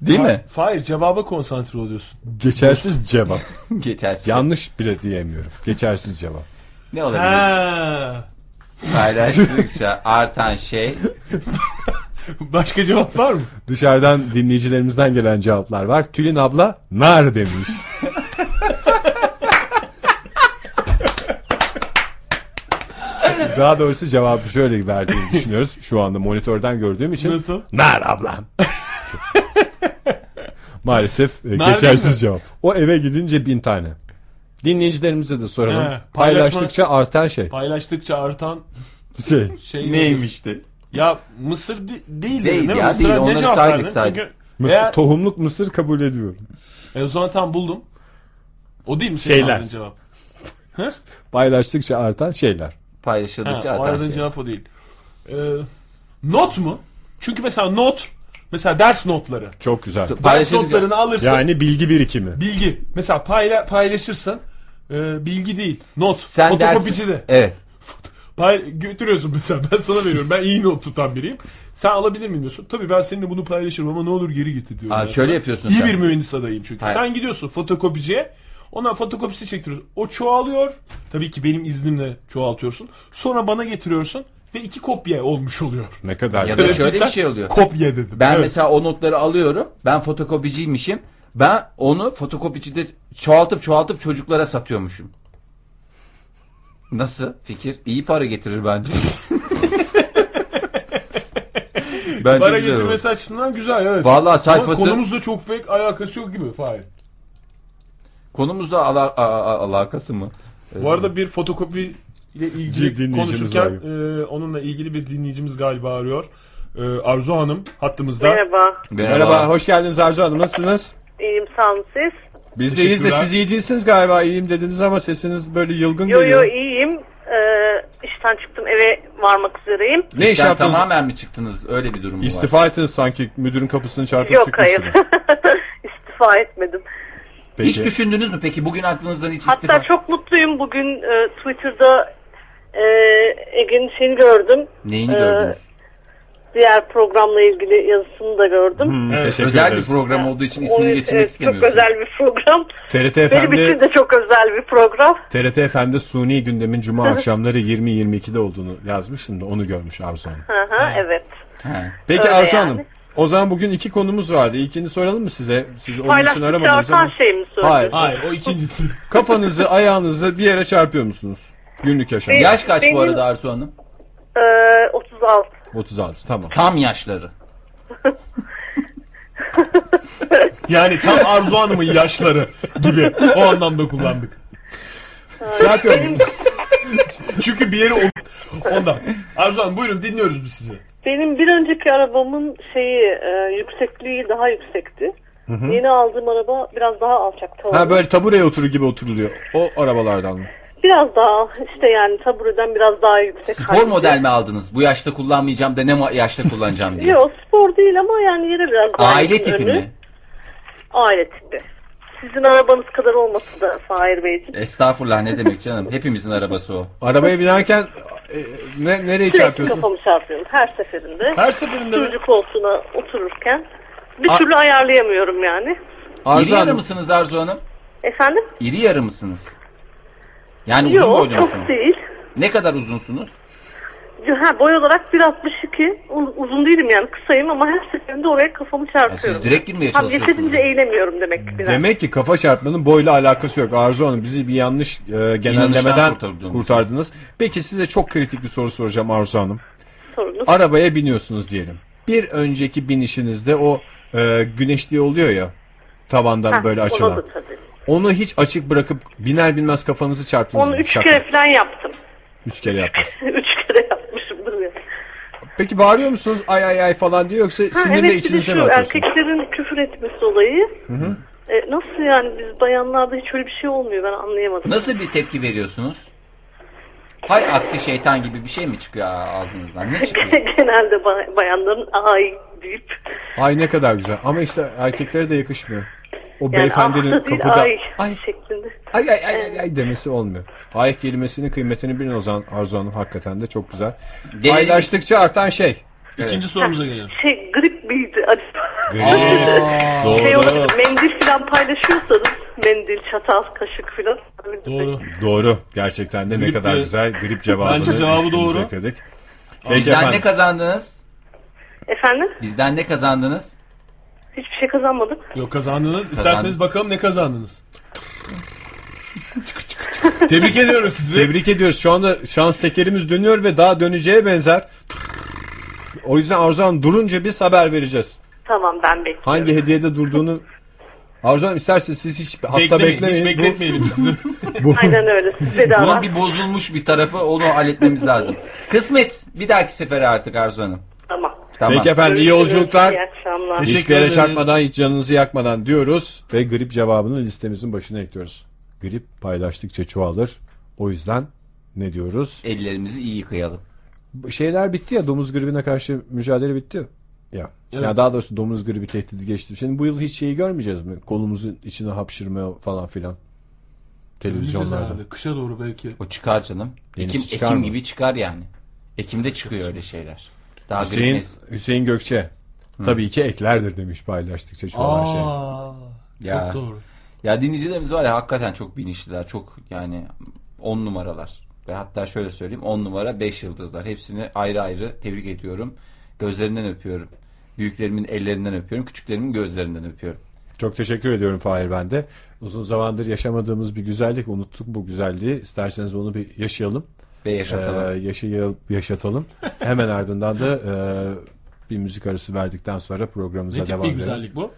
Speaker 3: Değil mi?
Speaker 2: Fahir cevaba konsantre oluyorsun.
Speaker 1: Geçersiz cevap.
Speaker 3: Geçersiz.
Speaker 1: Yanlış bile diyemiyorum. Geçersiz cevap.
Speaker 3: Ne olabilir?
Speaker 2: Ha.
Speaker 3: Paylaştıkça artan şey.
Speaker 2: Başka cevap var mı?
Speaker 1: Dışarıdan dinleyicilerimizden gelen cevaplar var. Tülin abla nar demiş. Daha doğrusu cevabı şöyle verdiğini düşünüyoruz. Şu anda monitörden gördüğüm için.
Speaker 2: Nasıl?
Speaker 1: Nar ablam. Maalesef e,
Speaker 2: Nerede mi?
Speaker 1: geçersiz cevap. O eve gidince bin tane. Dinleyicilerimize de soralım.
Speaker 2: He, paylaşma-
Speaker 1: Paylaştıkça artan şey.
Speaker 2: Paylaştıkça artan
Speaker 1: şey.
Speaker 2: şey
Speaker 3: Neymişti?
Speaker 2: Ya mısır de- değil,
Speaker 3: Değil
Speaker 2: değil mi?
Speaker 3: ya,
Speaker 2: Mısır'a
Speaker 3: değil.
Speaker 2: ne
Speaker 3: Onları
Speaker 2: cevap
Speaker 3: saydık,
Speaker 2: verdin?
Speaker 3: saydık.
Speaker 2: Çünkü
Speaker 1: Mısır,
Speaker 2: eğer-
Speaker 1: Tohumluk mısır kabul ediyorum.
Speaker 2: E o zaman tam buldum. O değil mi senin
Speaker 1: Şeyler.
Speaker 2: aradığın cevap? Hı?
Speaker 1: Paylaştıkça artan şeyler.
Speaker 2: Ha,
Speaker 3: Paylaşıldıkça
Speaker 2: o
Speaker 3: atan
Speaker 2: aradığın
Speaker 3: şey.
Speaker 2: cevap o değil. Ee, not mu? Çünkü mesela not, mesela ders notları.
Speaker 1: Çok güzel.
Speaker 2: Ders
Speaker 3: Paylaşıldıkça...
Speaker 2: notlarını alırsın,
Speaker 1: Yani bilgi birikimi.
Speaker 2: bilgi. Mesela payla, paylaşırsın, e, bilgi değil, not.
Speaker 3: Sen
Speaker 2: Fotokopici
Speaker 3: dersin.
Speaker 2: de.
Speaker 3: Evet.
Speaker 2: Pay- götürüyorsun mesela ben sana veriyorum. Ben iyi not tutan biriyim. Sen alabilir miyim diyorsun. Tabii ben seninle bunu paylaşırım ama ne olur geri getir diyorum.
Speaker 3: Aa,
Speaker 2: ben
Speaker 3: şöyle
Speaker 2: sana.
Speaker 3: yapıyorsun
Speaker 2: İyi
Speaker 3: sen.
Speaker 2: bir mühendis adayım çünkü.
Speaker 3: Hayır.
Speaker 2: Sen gidiyorsun fotokopiciye. Ona fotokopisi çektiriyorsun. O çoğalıyor. Tabii ki benim iznimle çoğaltıyorsun. Sonra bana getiriyorsun ve iki kopya olmuş oluyor.
Speaker 1: Ne kadar
Speaker 3: Ya da
Speaker 1: güzel.
Speaker 3: şöyle
Speaker 2: Sen
Speaker 3: bir şey oluyor.
Speaker 2: Kopya dedim.
Speaker 3: Ben
Speaker 2: Evet.
Speaker 3: mesela o notları alıyorum. Ben fotokopiciymişim. Ben onu fotokopicide çoğaltıp çoğaltıp çocuklara satıyormuşum. Nasıl fikir? İyi para getirir bence. bence
Speaker 2: Para
Speaker 3: güzel olur.
Speaker 2: getirmesi açısından güzel evet.
Speaker 3: Vallahi
Speaker 2: Ama
Speaker 3: sayfası
Speaker 2: konumuzla çok pek alakası yok gibi. Hayır.
Speaker 3: konumuzla ala- a- a- alakası mı?
Speaker 2: Bu arada bir fotokopi ile ilgili
Speaker 1: Dinleyicimiz
Speaker 2: konuşurken
Speaker 1: arıyor.
Speaker 2: e, onunla ilgili bir dinleyicimiz galiba arıyor. E, Arzu Hanım hattımızda.
Speaker 5: Merhaba,
Speaker 1: Merhaba, hoş geldiniz Arzu Hanım. Nasılsınız?
Speaker 5: iyiyim sağ olun siz.
Speaker 1: Biz deyiz de
Speaker 2: Teşekkürler.
Speaker 1: siz iyi değilsiniz galiba. İyiyim dediniz ama sesiniz böyle yılgın
Speaker 5: Yo yo
Speaker 1: geliyor.
Speaker 5: iyiyim. Ee, işten çıktım eve varmak üzereyim.
Speaker 1: Ne iş
Speaker 3: İşten
Speaker 1: yaptınız?
Speaker 3: tamamen mi çıktınız? Öyle bir durum mu var.
Speaker 1: İstifa ettiniz sanki müdürün kapısını çarpıp
Speaker 5: Yok hayır.
Speaker 1: çıkmışsınız.
Speaker 5: istifa etmedim.
Speaker 1: Peki.
Speaker 3: Hiç düşündünüz mü peki bugün aklınızdan hiç
Speaker 5: Hatta
Speaker 3: istifa?
Speaker 5: çok mutluyum bugün e, Twitter'da e, Ege'nin şeyini gördüm.
Speaker 3: Neyini
Speaker 5: Ee,
Speaker 3: gördünüz?
Speaker 5: Diğer programla ilgili yazısını da gördüm.
Speaker 1: Hmm,
Speaker 2: Evet,
Speaker 1: teşekkür
Speaker 3: Özel
Speaker 1: ederiz.
Speaker 3: bir program olduğu için
Speaker 5: O-
Speaker 3: ismini geçirmek
Speaker 5: evet, çok
Speaker 3: istemiyorsunuz.
Speaker 5: özel bir program.
Speaker 1: TRT
Speaker 5: Benim için
Speaker 1: FM'de,
Speaker 5: de çok özel bir program.
Speaker 1: TRT FM'de suni gündemin cuma akşamları 20-22'de olduğunu yazmış. Şimdi onu görmüş Arzu Hanım.
Speaker 5: Hı hı, evet.
Speaker 3: He.
Speaker 1: Peki
Speaker 5: Öyle
Speaker 1: Arzu
Speaker 5: yani.
Speaker 1: Hanım. O zaman bugün iki konumuz vardı. İlkini soralım mı size? Siz onun için
Speaker 5: Paylaştıkça
Speaker 1: aramadınız
Speaker 5: artan
Speaker 1: ama.
Speaker 5: şey mi
Speaker 1: Hayır.
Speaker 5: söylüyorsun?
Speaker 2: Hayır o ikincisi.
Speaker 1: Kafanızı, ayağınızı bir yere çarpıyor musunuz? Günlük yaşamda.
Speaker 3: Yaş kaç
Speaker 5: Benim-
Speaker 3: bu arada Arzu Hanım?
Speaker 5: Ee, 36.
Speaker 1: 36 tamam.
Speaker 3: Tam yaşları.
Speaker 2: yani tam Arzu Hanım'ın yaşları gibi o anlamda kullandık.
Speaker 1: Zaten
Speaker 2: Çünkü bir yeri o- ondan. Arzu Hanım buyurun dinliyoruz biz sizi.
Speaker 5: Benim bir önceki arabamın şeyi e, yüksekliği daha yüksekti. Yeni aldığım araba biraz daha alçak tavanlı.
Speaker 1: ha böyle tabureye oturur gibi oturuluyor. O arabalardan mı?
Speaker 5: Biraz daha işte yani tabureden biraz daha yüksek. Hani
Speaker 3: Spor
Speaker 5: halde.
Speaker 3: model mi aldınız? Bu yaşta kullanmayacağım da ne ma- yaşta kullanacağım diye.
Speaker 5: Yok spor değil ama yani yere biraz daha
Speaker 3: Aile
Speaker 5: yakın
Speaker 3: tipi
Speaker 5: önü.
Speaker 3: mi?
Speaker 5: Aile tipi. Sizin arabanız kadar olması da Fahir Beyciğim.
Speaker 3: Estağfurullah ne demek canım. Hepimizin arabası o.
Speaker 1: Arabaya binerken e, ne, nereye
Speaker 5: Sürekli
Speaker 1: çarpıyorsun?
Speaker 5: kafamı çarpıyorum her seferinde.
Speaker 2: Her seferinde mi?
Speaker 5: Sürücü koltuğuna otururken. Bir
Speaker 1: A-
Speaker 5: türlü ayarlayamıyorum yani.
Speaker 1: Arzu
Speaker 3: İri yarı
Speaker 1: Hanım.
Speaker 3: mısınız Arzu Hanım?
Speaker 5: Efendim?
Speaker 3: İri yarı mısınız? Yani uzun
Speaker 5: Yok
Speaker 3: boylu
Speaker 5: çok
Speaker 3: musunuz?
Speaker 5: değil.
Speaker 3: Ne kadar uzunsunuz?
Speaker 5: Ha, boy olarak 1.62. U- Uzun değilim yani kısayım ama her seferinde oraya kafamı
Speaker 3: Ya
Speaker 5: çarpıyorum.
Speaker 3: siz direkt girmeye
Speaker 5: Tam
Speaker 3: çalışıyorsunuz.
Speaker 5: yeterince eğilemiyorum demek ki. biraz.
Speaker 1: Demek ki kafa çarpmanın boyla alakası yok. Arzu Hanım bizi bir yanlış e, genellemeden
Speaker 3: kurtardınız.
Speaker 1: kurtardınız. Peki size çok kritik bir soru soracağım Arzu Hanım.
Speaker 5: Sorunuz.
Speaker 1: Arabaya biniyorsunuz diyelim. Bir önceki binişinizde o e, güneşliği oluyor ya tavandan
Speaker 5: Ha,
Speaker 1: böyle
Speaker 5: ona
Speaker 1: açılan.
Speaker 5: da tabii.
Speaker 1: Onu hiç açık bırakıp biner binmez kafanızı çarptınız.
Speaker 5: Onu
Speaker 1: mı?
Speaker 5: üç
Speaker 1: Şaka.
Speaker 5: kere falan yaptım.
Speaker 1: Üç kere yaptınız.
Speaker 5: üç kere yapmışımdır ya.
Speaker 1: Peki bağırıyor musunuz ay ay ay falan diye yoksa
Speaker 5: Ha,
Speaker 1: sinirle
Speaker 5: evet bir de
Speaker 1: içinize mi
Speaker 5: şu
Speaker 1: atıyorsunuz?
Speaker 5: erkeklerin küfür etmesi olayı. E, nasıl yani biz bayanlarda hiç öyle bir şey olmuyor ben anlayamadım.
Speaker 3: Nasıl bir tepki veriyorsunuz? Hay aksi şeytan gibi bir şey mi çıkıyor ağzınızdan? Ne çıkıyor?
Speaker 5: Genelde ba- bayanların ay deyip
Speaker 1: Ay ne kadar güzel ama işte erkeklere de yakışmıyor. O
Speaker 5: yani ah
Speaker 1: beyefendinin
Speaker 5: da değil
Speaker 1: kapıda
Speaker 5: ay,
Speaker 1: ay
Speaker 5: şeklinde.
Speaker 1: Ay ay ay ay, ay demesi olmuyor. Ay kelimesinin kıymetini bilin o zaman Arzu Hanım hakikaten de çok güzel.
Speaker 3: Gelelim.
Speaker 1: Paylaştıkça artan şey.
Speaker 2: İkinci sorumuza gelelim.
Speaker 5: Şey grip miydi acaba?
Speaker 3: Aa,
Speaker 5: Şey olabilir, mendil falan paylaşıyorsanız mendil, çatal, kaşık falan.
Speaker 2: Doğru.
Speaker 1: Doğru. Gerçekten de ne
Speaker 2: Grip
Speaker 1: kadar
Speaker 2: de-
Speaker 1: güzel grip cevabını
Speaker 2: Bence cevabı
Speaker 1: üstümüze
Speaker 2: doğru.
Speaker 1: ekledik. Peki
Speaker 3: Bizden
Speaker 1: efendim.
Speaker 3: ne kazandınız?
Speaker 5: Efendim?
Speaker 3: Bizden ne kazandınız?
Speaker 5: Hiçbir şey kazanmadık.
Speaker 2: Yok kazandınız. İsterseniz bakalım ne kazandınız. Tebrik ediyoruz sizi.
Speaker 1: Tebrik ediyoruz. Şu anda şans tekerimiz dönüyor ve daha döneceğe benzer. O yüzden Arzu Hanım durunca biz haber vereceğiz.
Speaker 5: Tamam ben bekliyorum.
Speaker 1: Hangi hediyede durduğunu Arzu Hanım isterseniz siz hiç hatta
Speaker 2: Beklemeyin,
Speaker 1: beklemeyin.
Speaker 2: hiç bekletmeyelim sizi.
Speaker 1: Bu, bu,
Speaker 5: Aynen öyle. Siz bedava.
Speaker 3: Bunun bir bozulmuş bir tarafı onu halletmemiz lazım. Kısmet bir dahaki sefere artık Arzu Hanım.
Speaker 5: Tamam.
Speaker 3: Tamam.
Speaker 1: Peki efendim iyi
Speaker 5: Görüşürüz,
Speaker 1: yolculuklar.
Speaker 5: İyi akşamlar.
Speaker 2: Teşekkür
Speaker 1: İlişkilere
Speaker 2: ederiz.
Speaker 1: çarpmadan hiç canınızı yakmadan diyoruz ve grip cevabını listemizin başına ekliyoruz. Grip paylaştıkça çoğalır. O yüzden ne diyoruz?
Speaker 3: Ellerimizi iyi yıkayalım.
Speaker 1: Bu Şeyler bitti ya domuz gribine karşı mücadele bitti ya.
Speaker 2: Evet.
Speaker 1: Ya daha doğrusu domuz gribi tehdidi geçti. Şimdi bu yıl hiç şeyi görmeyeceğiz mi? Kolumuzun içine hapşırma falan filan. Televizyonlarda.
Speaker 2: Herhalde, Kışa doğru belki.
Speaker 3: O çıkar canım.
Speaker 1: Yenisi
Speaker 3: Ekim,
Speaker 1: çıkar
Speaker 3: Ekim
Speaker 1: mı?
Speaker 3: gibi çıkar yani. Ekim'de çıkıyor öyle şeyler. Daha
Speaker 1: Hüseyin,
Speaker 3: grip
Speaker 1: Hüseyin Gökçe. Tabii ki eklerdir demiş paylaştıkça çoğalan şey.
Speaker 2: Aa,
Speaker 3: Ya.
Speaker 2: Çok doğru.
Speaker 3: Ya dinleyicilerimiz var ya hakikaten çok bilinçliler. Çok yani on numaralar. Ve hatta şöyle söyleyeyim on numara beş yıldızlar. Hepsini ayrı ayrı tebrik ediyorum. Gözlerinden öpüyorum. Büyüklerimin ellerinden öpüyorum. Küçüklerimin gözlerinden öpüyorum.
Speaker 1: Çok teşekkür ediyorum Fahir ben de. Uzun zamandır yaşamadığımız bir güzellik. Unuttuk bu güzelliği. İsterseniz onu bir yaşayalım.
Speaker 3: Ve
Speaker 1: Ee,
Speaker 3: yaşatalım.
Speaker 1: yaşayalım, yaşatalım. Hemen ardından da e, bir müzik arası verdikten sonra programımıza
Speaker 2: Ne tip
Speaker 1: devam
Speaker 2: bir
Speaker 1: edelim.
Speaker 2: güzellik bu?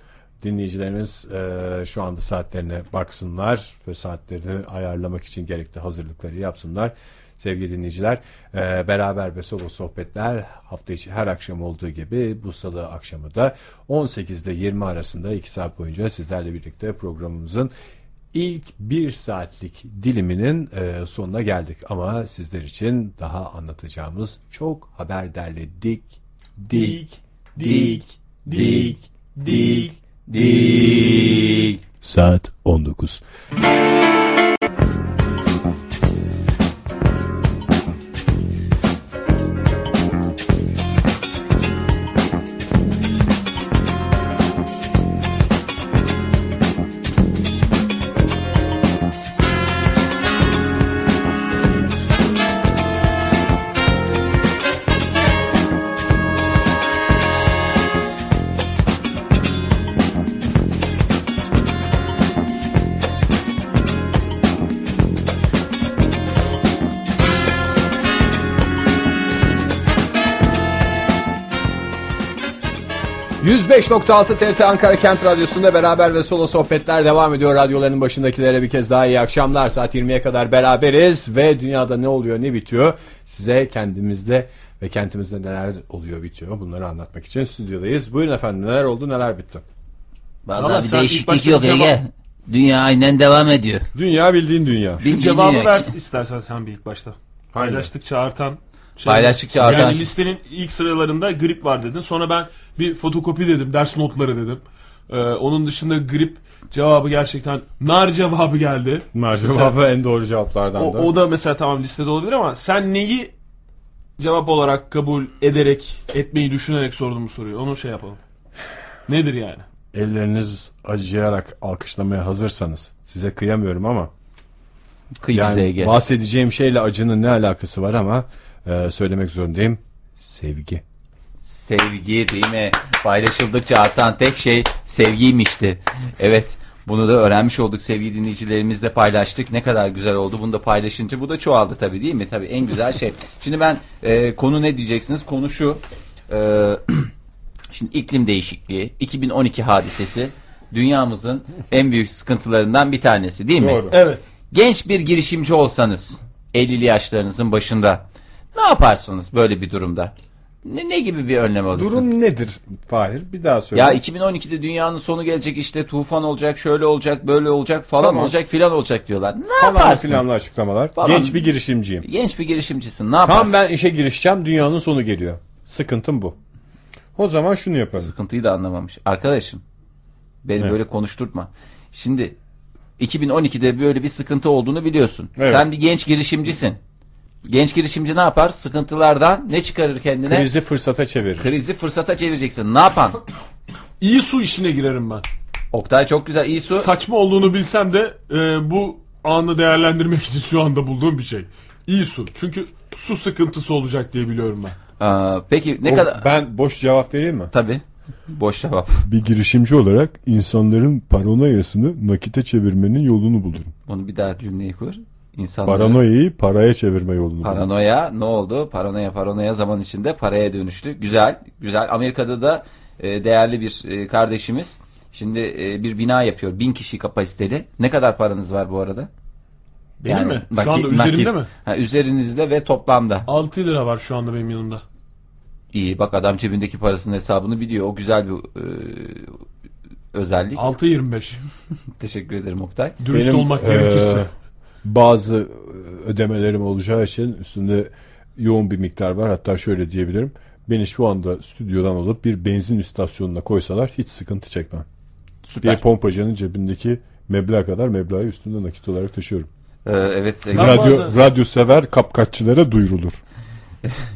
Speaker 1: Dinleyicilerimiz e, şu anda saatlerine baksınlar ve saatlerini ayarlamak için gerekli hazırlıkları yapsınlar. Sevgili dinleyiciler, e, beraber ve solo sohbetler hafta içi her akşam olduğu gibi bu salı akşamı da 18'de 20 arasında 2 saat boyunca sizlerle birlikte programımızın ilk bir saatlik diliminin e, sonuna geldik. Ama sizler için daha anlatacağımız çok haber derledik. Dik, dik, dik, dik, dik. Saat 19. ...105.6 TRT Ankara Kent Radyosu'nda beraber ve solo sohbetler devam ediyor. Radyoların başındakilere bir kez daha iyi akşamlar. Saat 20'ye kadar beraberiz ve dünyada ne oluyor ne bitiyor... ...size kendimizde ve kentimizde neler oluyor bitiyor bunları anlatmak için stüdyodayız. Buyurun efendim neler oldu neler bitti.
Speaker 2: Valla
Speaker 3: Vallahi bir
Speaker 2: sen ilk
Speaker 3: değişiklik
Speaker 2: başta
Speaker 3: yok
Speaker 2: bir cevap-
Speaker 3: Ege. Dünya aynen devam ediyor.
Speaker 1: Dünya bildiğin dünya.
Speaker 2: Bir
Speaker 3: Bildiğin
Speaker 2: cevabı
Speaker 3: dünya.
Speaker 2: ver istersen sen bir ilk başta. Paylaştıkça artan şey-
Speaker 3: Paylaştıkça artan-
Speaker 2: Yani listenin ilk sıralarında grip var dedin. Sonra ben bir fotokopi dedim. Ders notları dedim. Ee, onun dışında grip cevabı gerçekten nar cevabı geldi.
Speaker 1: Merhaba en doğru cevaplardan
Speaker 2: O,
Speaker 1: da.
Speaker 2: o da mesela tamam listede olabilir ama sen neyi cevap olarak kabul ederek, etmeyi düşünerek sordun bu soruyu. Onu şey yapalım. Nedir yani?
Speaker 1: Elleriniz acıyarak alkışlamaya hazırsanız size kıyamıyorum ama
Speaker 3: Kıy bize
Speaker 1: yani
Speaker 3: Ege.
Speaker 1: bahsedeceğim şeyle acının ne alakası var ama e, söylemek zorundayım. Sevgi.
Speaker 3: Sevgi değil mi? Paylaşıldıkça artan tek şey sevgiymişti. Evet bunu da öğrenmiş olduk sevgili dinleyicilerimizle paylaştık. Ne kadar güzel oldu bunu da paylaşınca bu da çoğaldı tabii değil mi? Tabii en güzel şey. Şimdi ben e, konu ne diyeceksiniz? Konu şu. E, şimdi iklim değişikliği 2012 hadisesi dünyamızın en büyük sıkıntılarından bir tanesi değil mi?
Speaker 2: Evet.
Speaker 3: Genç bir girişimci olsanız 50'li yaşlarınızın başında ne yaparsınız böyle bir durumda? Ne, ne gibi bir önlem alırsınız?
Speaker 1: Durum nedir Fahir? Bir daha söyle.
Speaker 3: Ya 2012'de dünyanın sonu gelecek işte tufan olacak, şöyle olacak, böyle olacak falan
Speaker 1: Tamam.
Speaker 3: olacak filan olacak diyorlar. Ne
Speaker 1: Falan
Speaker 3: yaparsın?
Speaker 1: filanlı açıklamalar.
Speaker 3: Falan.
Speaker 1: Genç bir girişimciyim.
Speaker 3: Genç bir girişimcisin. Ne
Speaker 1: Tam
Speaker 3: yaparsın?
Speaker 1: ben işe girişeceğim dünyanın sonu geliyor. Sıkıntım bu. O zaman şunu yaparım.
Speaker 3: Sıkıntıyı da anlamamış. Arkadaşım beni
Speaker 1: Evet.
Speaker 3: böyle konuşturtma. Şimdi 2012'de böyle bir sıkıntı olduğunu biliyorsun.
Speaker 1: Evet.
Speaker 3: Sen bir genç girişimcisin. Genç girişimci ne yapar? Sıkıntılardan ne çıkarır kendine?
Speaker 1: Krizi fırsata çevirir.
Speaker 3: Krizi fırsata çevireceksin. Ne yapan?
Speaker 2: İyi su işine girerim ben.
Speaker 3: Oktay çok güzel. iyi su.
Speaker 2: Saçma olduğunu bilsem de e, bu anı değerlendirmek için şu anda bulduğum bir şey. İyi su. Çünkü su sıkıntısı olacak diye biliyorum ben.
Speaker 3: Aa, peki ne
Speaker 1: O-
Speaker 3: kadar?
Speaker 1: Oh, Ben boş cevap vereyim mi?
Speaker 3: Tabii. Boş cevap.
Speaker 1: Bir girişimci olarak insanların paranoyasını nakite çevirmenin yolunu bulurum.
Speaker 3: Bunu bir daha cümleyi kur. İnsanları...
Speaker 1: Paranoyayı paraya çevirme yolunu bulurum.
Speaker 3: Paranoya ne oldu? Paranoya paranoya zaman içinde paraya dönüştü. Güzel, güzel. Amerika'da da e, değerli bir e, kardeşimiz Şimdi e, bir bina yapıyor. Bin kişi kapasiteli. Ne kadar paranız var bu arada?
Speaker 2: Benim
Speaker 3: Yani
Speaker 2: mi?
Speaker 3: nakit-
Speaker 2: şu anda üzerimde
Speaker 3: nakit-
Speaker 2: mi?
Speaker 3: Ha, üzerinizde ve toplamda.
Speaker 2: 6 lira var şu anda benim yanımda.
Speaker 3: İyi bak adam cebindeki parasının hesabını biliyor. O güzel bir e, özellik.
Speaker 2: 6.25.
Speaker 3: Teşekkür ederim Oktay.
Speaker 2: Dürüst
Speaker 1: Benim,
Speaker 3: e,
Speaker 2: olmak
Speaker 1: eee,
Speaker 2: gerekirse.
Speaker 1: Bazı e, ödemelerim olacağı için üstünde yoğun bir miktar var. Hatta şöyle diyebilirim. Beni şu anda stüdyodan alıp bir benzin istasyonuna koysalar hiç sıkıntı çekmem.
Speaker 3: Süper.
Speaker 1: Bir pompacının cebindeki meblağ kadar meblağı üstünde nakit olarak taşıyorum.
Speaker 3: Ee, evet. Ege-
Speaker 2: Ben
Speaker 1: radyo
Speaker 2: bazen-
Speaker 1: radyo sever kapkaççılara duyurulur.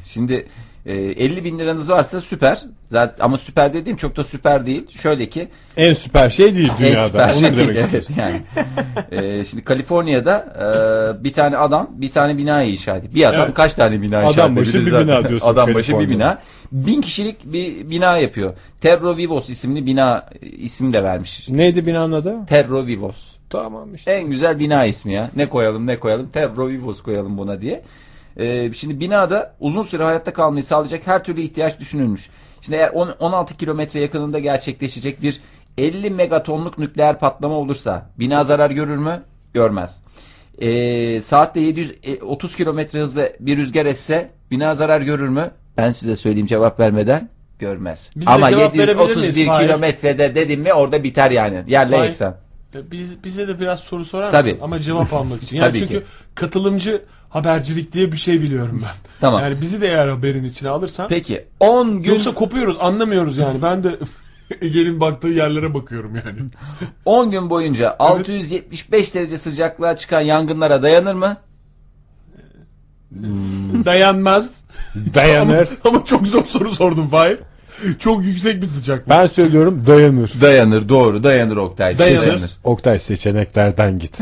Speaker 3: Şimdi e, 50 bin liranız varsa süper. Zaten ama süper dediğim çok da süper değil. Şöyle ki
Speaker 1: En süper şey değil
Speaker 3: en
Speaker 1: dünyada.
Speaker 3: süper
Speaker 1: Onu
Speaker 3: şey
Speaker 1: mu
Speaker 3: değil,
Speaker 1: demek
Speaker 3: evet,
Speaker 1: istiyorsun?
Speaker 3: yani. E, şimdi Kaliforniya'da e, bir tane adam bir tane binayı inşa ediyor. Bir adam
Speaker 1: Evet.
Speaker 3: kaç tane bina inşa
Speaker 1: Adam başı
Speaker 3: edebiliriz
Speaker 1: bir
Speaker 3: zaten?
Speaker 1: bina diyorsun
Speaker 3: Adam başı bir
Speaker 1: Kaliforniya'da.
Speaker 3: bina. Bin kişilik bir bina yapıyor. Terro Vivos isimli bina e, isim de vermiş.
Speaker 1: Neydi binanın adı?
Speaker 3: Terro Vivos.
Speaker 1: Tamam işte.
Speaker 3: En güzel bina ismi ya. Ne koyalım ne koyalım. Tebro Vivos koyalım buna diye. Ee, şimdi binada uzun süre hayatta kalmayı sağlayacak her türlü ihtiyaç düşünülmüş. Şimdi eğer on- 16 kilometre yakınında gerçekleşecek bir 50 megatonluk nükleer patlama olursa bina zarar görür mü? Görmez. Ee, saatte 730 kilometre hızla bir rüzgar esse bina zarar görür mü? Ben size söyleyeyim cevap vermeden görmez.
Speaker 2: Biz de
Speaker 3: Ama
Speaker 2: cevap verebilir miyiz,
Speaker 3: 731
Speaker 2: Fahir?
Speaker 3: kilometrede dedim mi orada biter yani. Yerle
Speaker 2: Fahir,
Speaker 3: eksen.
Speaker 2: E, Biz, bize de biraz soru sorar
Speaker 3: Tabii.
Speaker 2: mısın? Ama cevap almak için. Yani
Speaker 3: Tabii
Speaker 2: çünkü
Speaker 3: ki.
Speaker 2: katılımcı habercilik diye bir şey biliyorum ben.
Speaker 3: Tamam.
Speaker 2: Yani bizi de eğer haberin içine alırsan.
Speaker 3: Peki 10 gün
Speaker 2: Yoksa kopuyoruz anlamıyoruz yani. Ben de Ege'nin baktığı yerlere bakıyorum yani.
Speaker 3: 10 gün boyunca 675 derece sıcaklığa çıkan yangınlara dayanır mı?
Speaker 2: Dayanmaz.
Speaker 1: Dayanır.
Speaker 2: Ama, ama çok zor soru sordum Fahir. Çok yüksek bir sıcaklık.
Speaker 1: Ben söylüyorum dayanır.
Speaker 3: Dayanır doğru dayanır Oktay.
Speaker 2: Dayanır.
Speaker 3: seçenir.
Speaker 1: Oktay seçeneklerden git.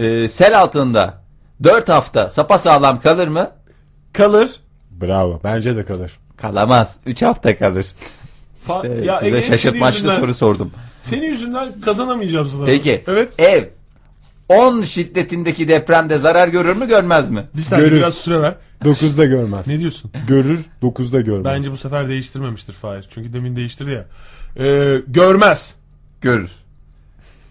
Speaker 3: Ee, sel altında 4 hafta sapasağlam kalır mı?
Speaker 2: Kalır.
Speaker 1: Bravo. Bence de kalır.
Speaker 3: Kalamaz. 3 hafta kalır.
Speaker 2: Fa-
Speaker 3: Ee,
Speaker 2: ya
Speaker 3: size
Speaker 2: Ege'nin
Speaker 3: şaşırtmaçlı
Speaker 2: senin yüzünden-
Speaker 3: soru sordum.
Speaker 2: Senin yüzünden kazanamayacağım sınavı.
Speaker 3: Peki
Speaker 2: Evet.
Speaker 3: ev 10 şiddetindeki depremde zarar görür mü görmez mi?
Speaker 2: Bir saniye
Speaker 1: Görür.
Speaker 2: biraz süre ver.
Speaker 1: 9'da görmez.
Speaker 2: Ne diyorsun?
Speaker 1: Görür 9'da görmez.
Speaker 2: Bence bu sefer değiştirmemiştir Fahir. Çünkü demin değiştirdi ya. Ee, görmez.
Speaker 3: Görür.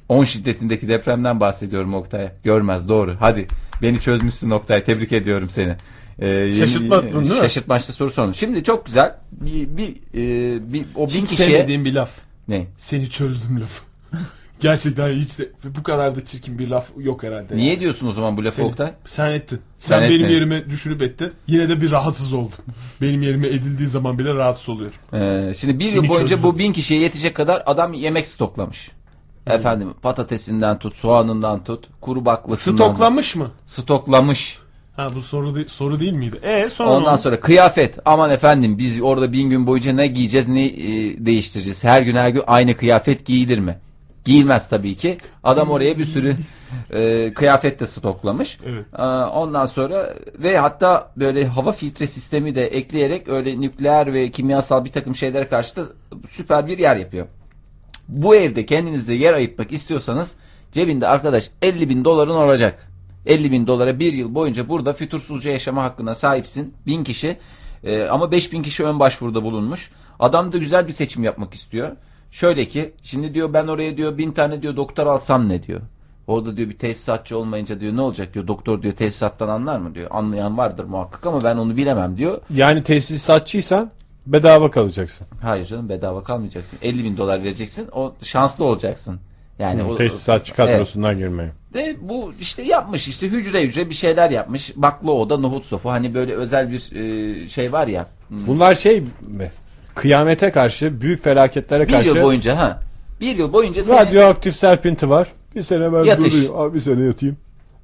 Speaker 3: 10 şiddetindeki depremden bahsediyorum Oktay. Görmez doğru. Hadi beni çözmüşsün Oktay. Tebrik ediyorum seni. Ee, yeni-
Speaker 2: Şaşırtmadın, değil mi?
Speaker 3: Şaşırtmaçlı soru sorun. Şimdi çok güzel. Bir, bir, e, bir- o bin
Speaker 2: Hiç
Speaker 3: kişiye...
Speaker 2: sevmediğim bir laf.
Speaker 3: Ne?
Speaker 2: Seni çözdüm lafı. Gerçekten hiç de, bu kadar da çirkin bir laf yok herhalde. yani.
Speaker 3: Niye diyorsun o zaman bu lafı
Speaker 2: Seni-
Speaker 3: Oktay?
Speaker 2: Sen ettin. Sen
Speaker 3: Ben
Speaker 2: benim
Speaker 3: etmedim.
Speaker 2: yerime düşünüp ettin. Yine de bir rahatsız oldum. Benim yerime edildiği zaman bile rahatsız oluyor.
Speaker 3: Ee, şimdi bir
Speaker 2: Seni
Speaker 3: yıl boyunca
Speaker 2: çözdüm.
Speaker 3: bu bin kişiye yetecek kadar adam yemek stoklamış. Efendim patatesinden tut, soğanından tut, kuru baklasından.
Speaker 2: Stoklanmış mı?
Speaker 3: Stoklamış.
Speaker 2: Ha bu soru de- soru değil miydi? E sonra
Speaker 3: Ondan sonra kıyafet. Aman efendim biz orada bin gün boyunca ne giyeceğiz ne e, değiştireceğiz. Her gün her gün aynı kıyafet giyilir mi? Giyilmez tabii ki. Adam oraya bir sürü e, kıyafet de stoklamış.
Speaker 2: Evet.
Speaker 3: Ee, ondan sonra ve hatta böyle hava filtre sistemi de ekleyerek öyle nükleer ve kimyasal bir takım şeylere karşı da süper bir yer yapıyor. Bu evde kendinize yer ayırtmak istiyorsanız cebinde arkadaş 50 bin doların olacak. 50 bin dolara bir yıl boyunca burada fütursuzca yaşama hakkına sahipsin. Bin kişi Ee, ama 5000 kişi ön başvuruda bulunmuş. Adam da güzel bir seçim yapmak istiyor. Şöyle ki şimdi diyor ben oraya diyor bin tane diyor doktor alsam ne diyor. Orada diyor bir tesisatçı olmayınca diyor ne olacak diyor doktor diyor tesisattan anlar mı diyor. Anlayan vardır muhakkak ama ben onu bilemem diyor.
Speaker 1: Yani tesisatçıysan bedava kalacaksın.
Speaker 3: Hayır canım bedava kalmayacaksın. 50 bin dolar vereceksin o şanslı olacaksın. Yani o,
Speaker 1: Tesisatçı
Speaker 3: Evet.
Speaker 1: kadrosundan girmeye.
Speaker 3: De bu işte yapmış işte hücre hücre bir şeyler yapmış. Baklı oda, nohut sofu hani böyle özel bir e, şey var ya.
Speaker 1: Bunlar şey mi? Kıyamete karşı, büyük felaketlere
Speaker 3: Bir
Speaker 1: karşı
Speaker 2: şey.
Speaker 3: yıl boyunca ha. Bir yıl boyunca seni
Speaker 1: radyoaktif serpinti var. Bir sene ben
Speaker 3: Yatış.
Speaker 1: durayım. Abi bir sene yatayım.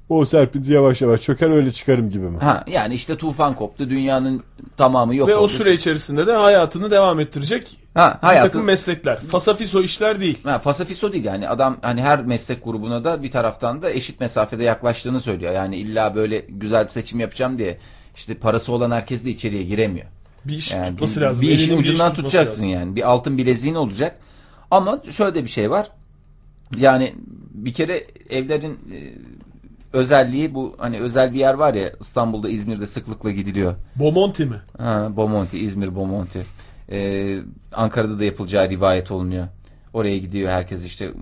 Speaker 1: O serpinti yavaş yavaş çöker öyle çıkarım gibi mi?
Speaker 3: ha yani işte tufan koptu. Dünyanın tamamı yok
Speaker 2: Ve o
Speaker 3: oldu.
Speaker 2: süre içerisinde de hayatını devam ettirecek
Speaker 3: ha
Speaker 2: bir takım
Speaker 3: hayatın
Speaker 2: meslekler. Fasafiso işler değil.
Speaker 3: Ha, fasafiso değil yani adam hani her meslek grubuna da bir taraftan da eşit mesafede yaklaştığını söylüyor. Yani illa böyle güzel seçim yapacağım diye işte parası olan herkes de içeriye giremiyor.
Speaker 2: Bir iş
Speaker 3: Yani
Speaker 2: tutması
Speaker 3: bir,
Speaker 2: lazım.
Speaker 3: bir işin
Speaker 2: Elinin bir iş
Speaker 3: ucundan
Speaker 2: tutması
Speaker 3: tutacaksın
Speaker 2: lazım.
Speaker 3: yani. Bir altın bileziğin olacak. Ama şöyle de bir şey var. Yani bir kere evlerin e, özelliği bu hani özel bir yer var ya İstanbul'da İzmir'de sıklıkla gidiliyor.
Speaker 2: Bomonti mi?
Speaker 3: Ha, Bomonti İzmir Bomonti. Ee, Ankara'da da yapılacağı rivayet olunuyor. Oraya gidiyor herkes işte mo-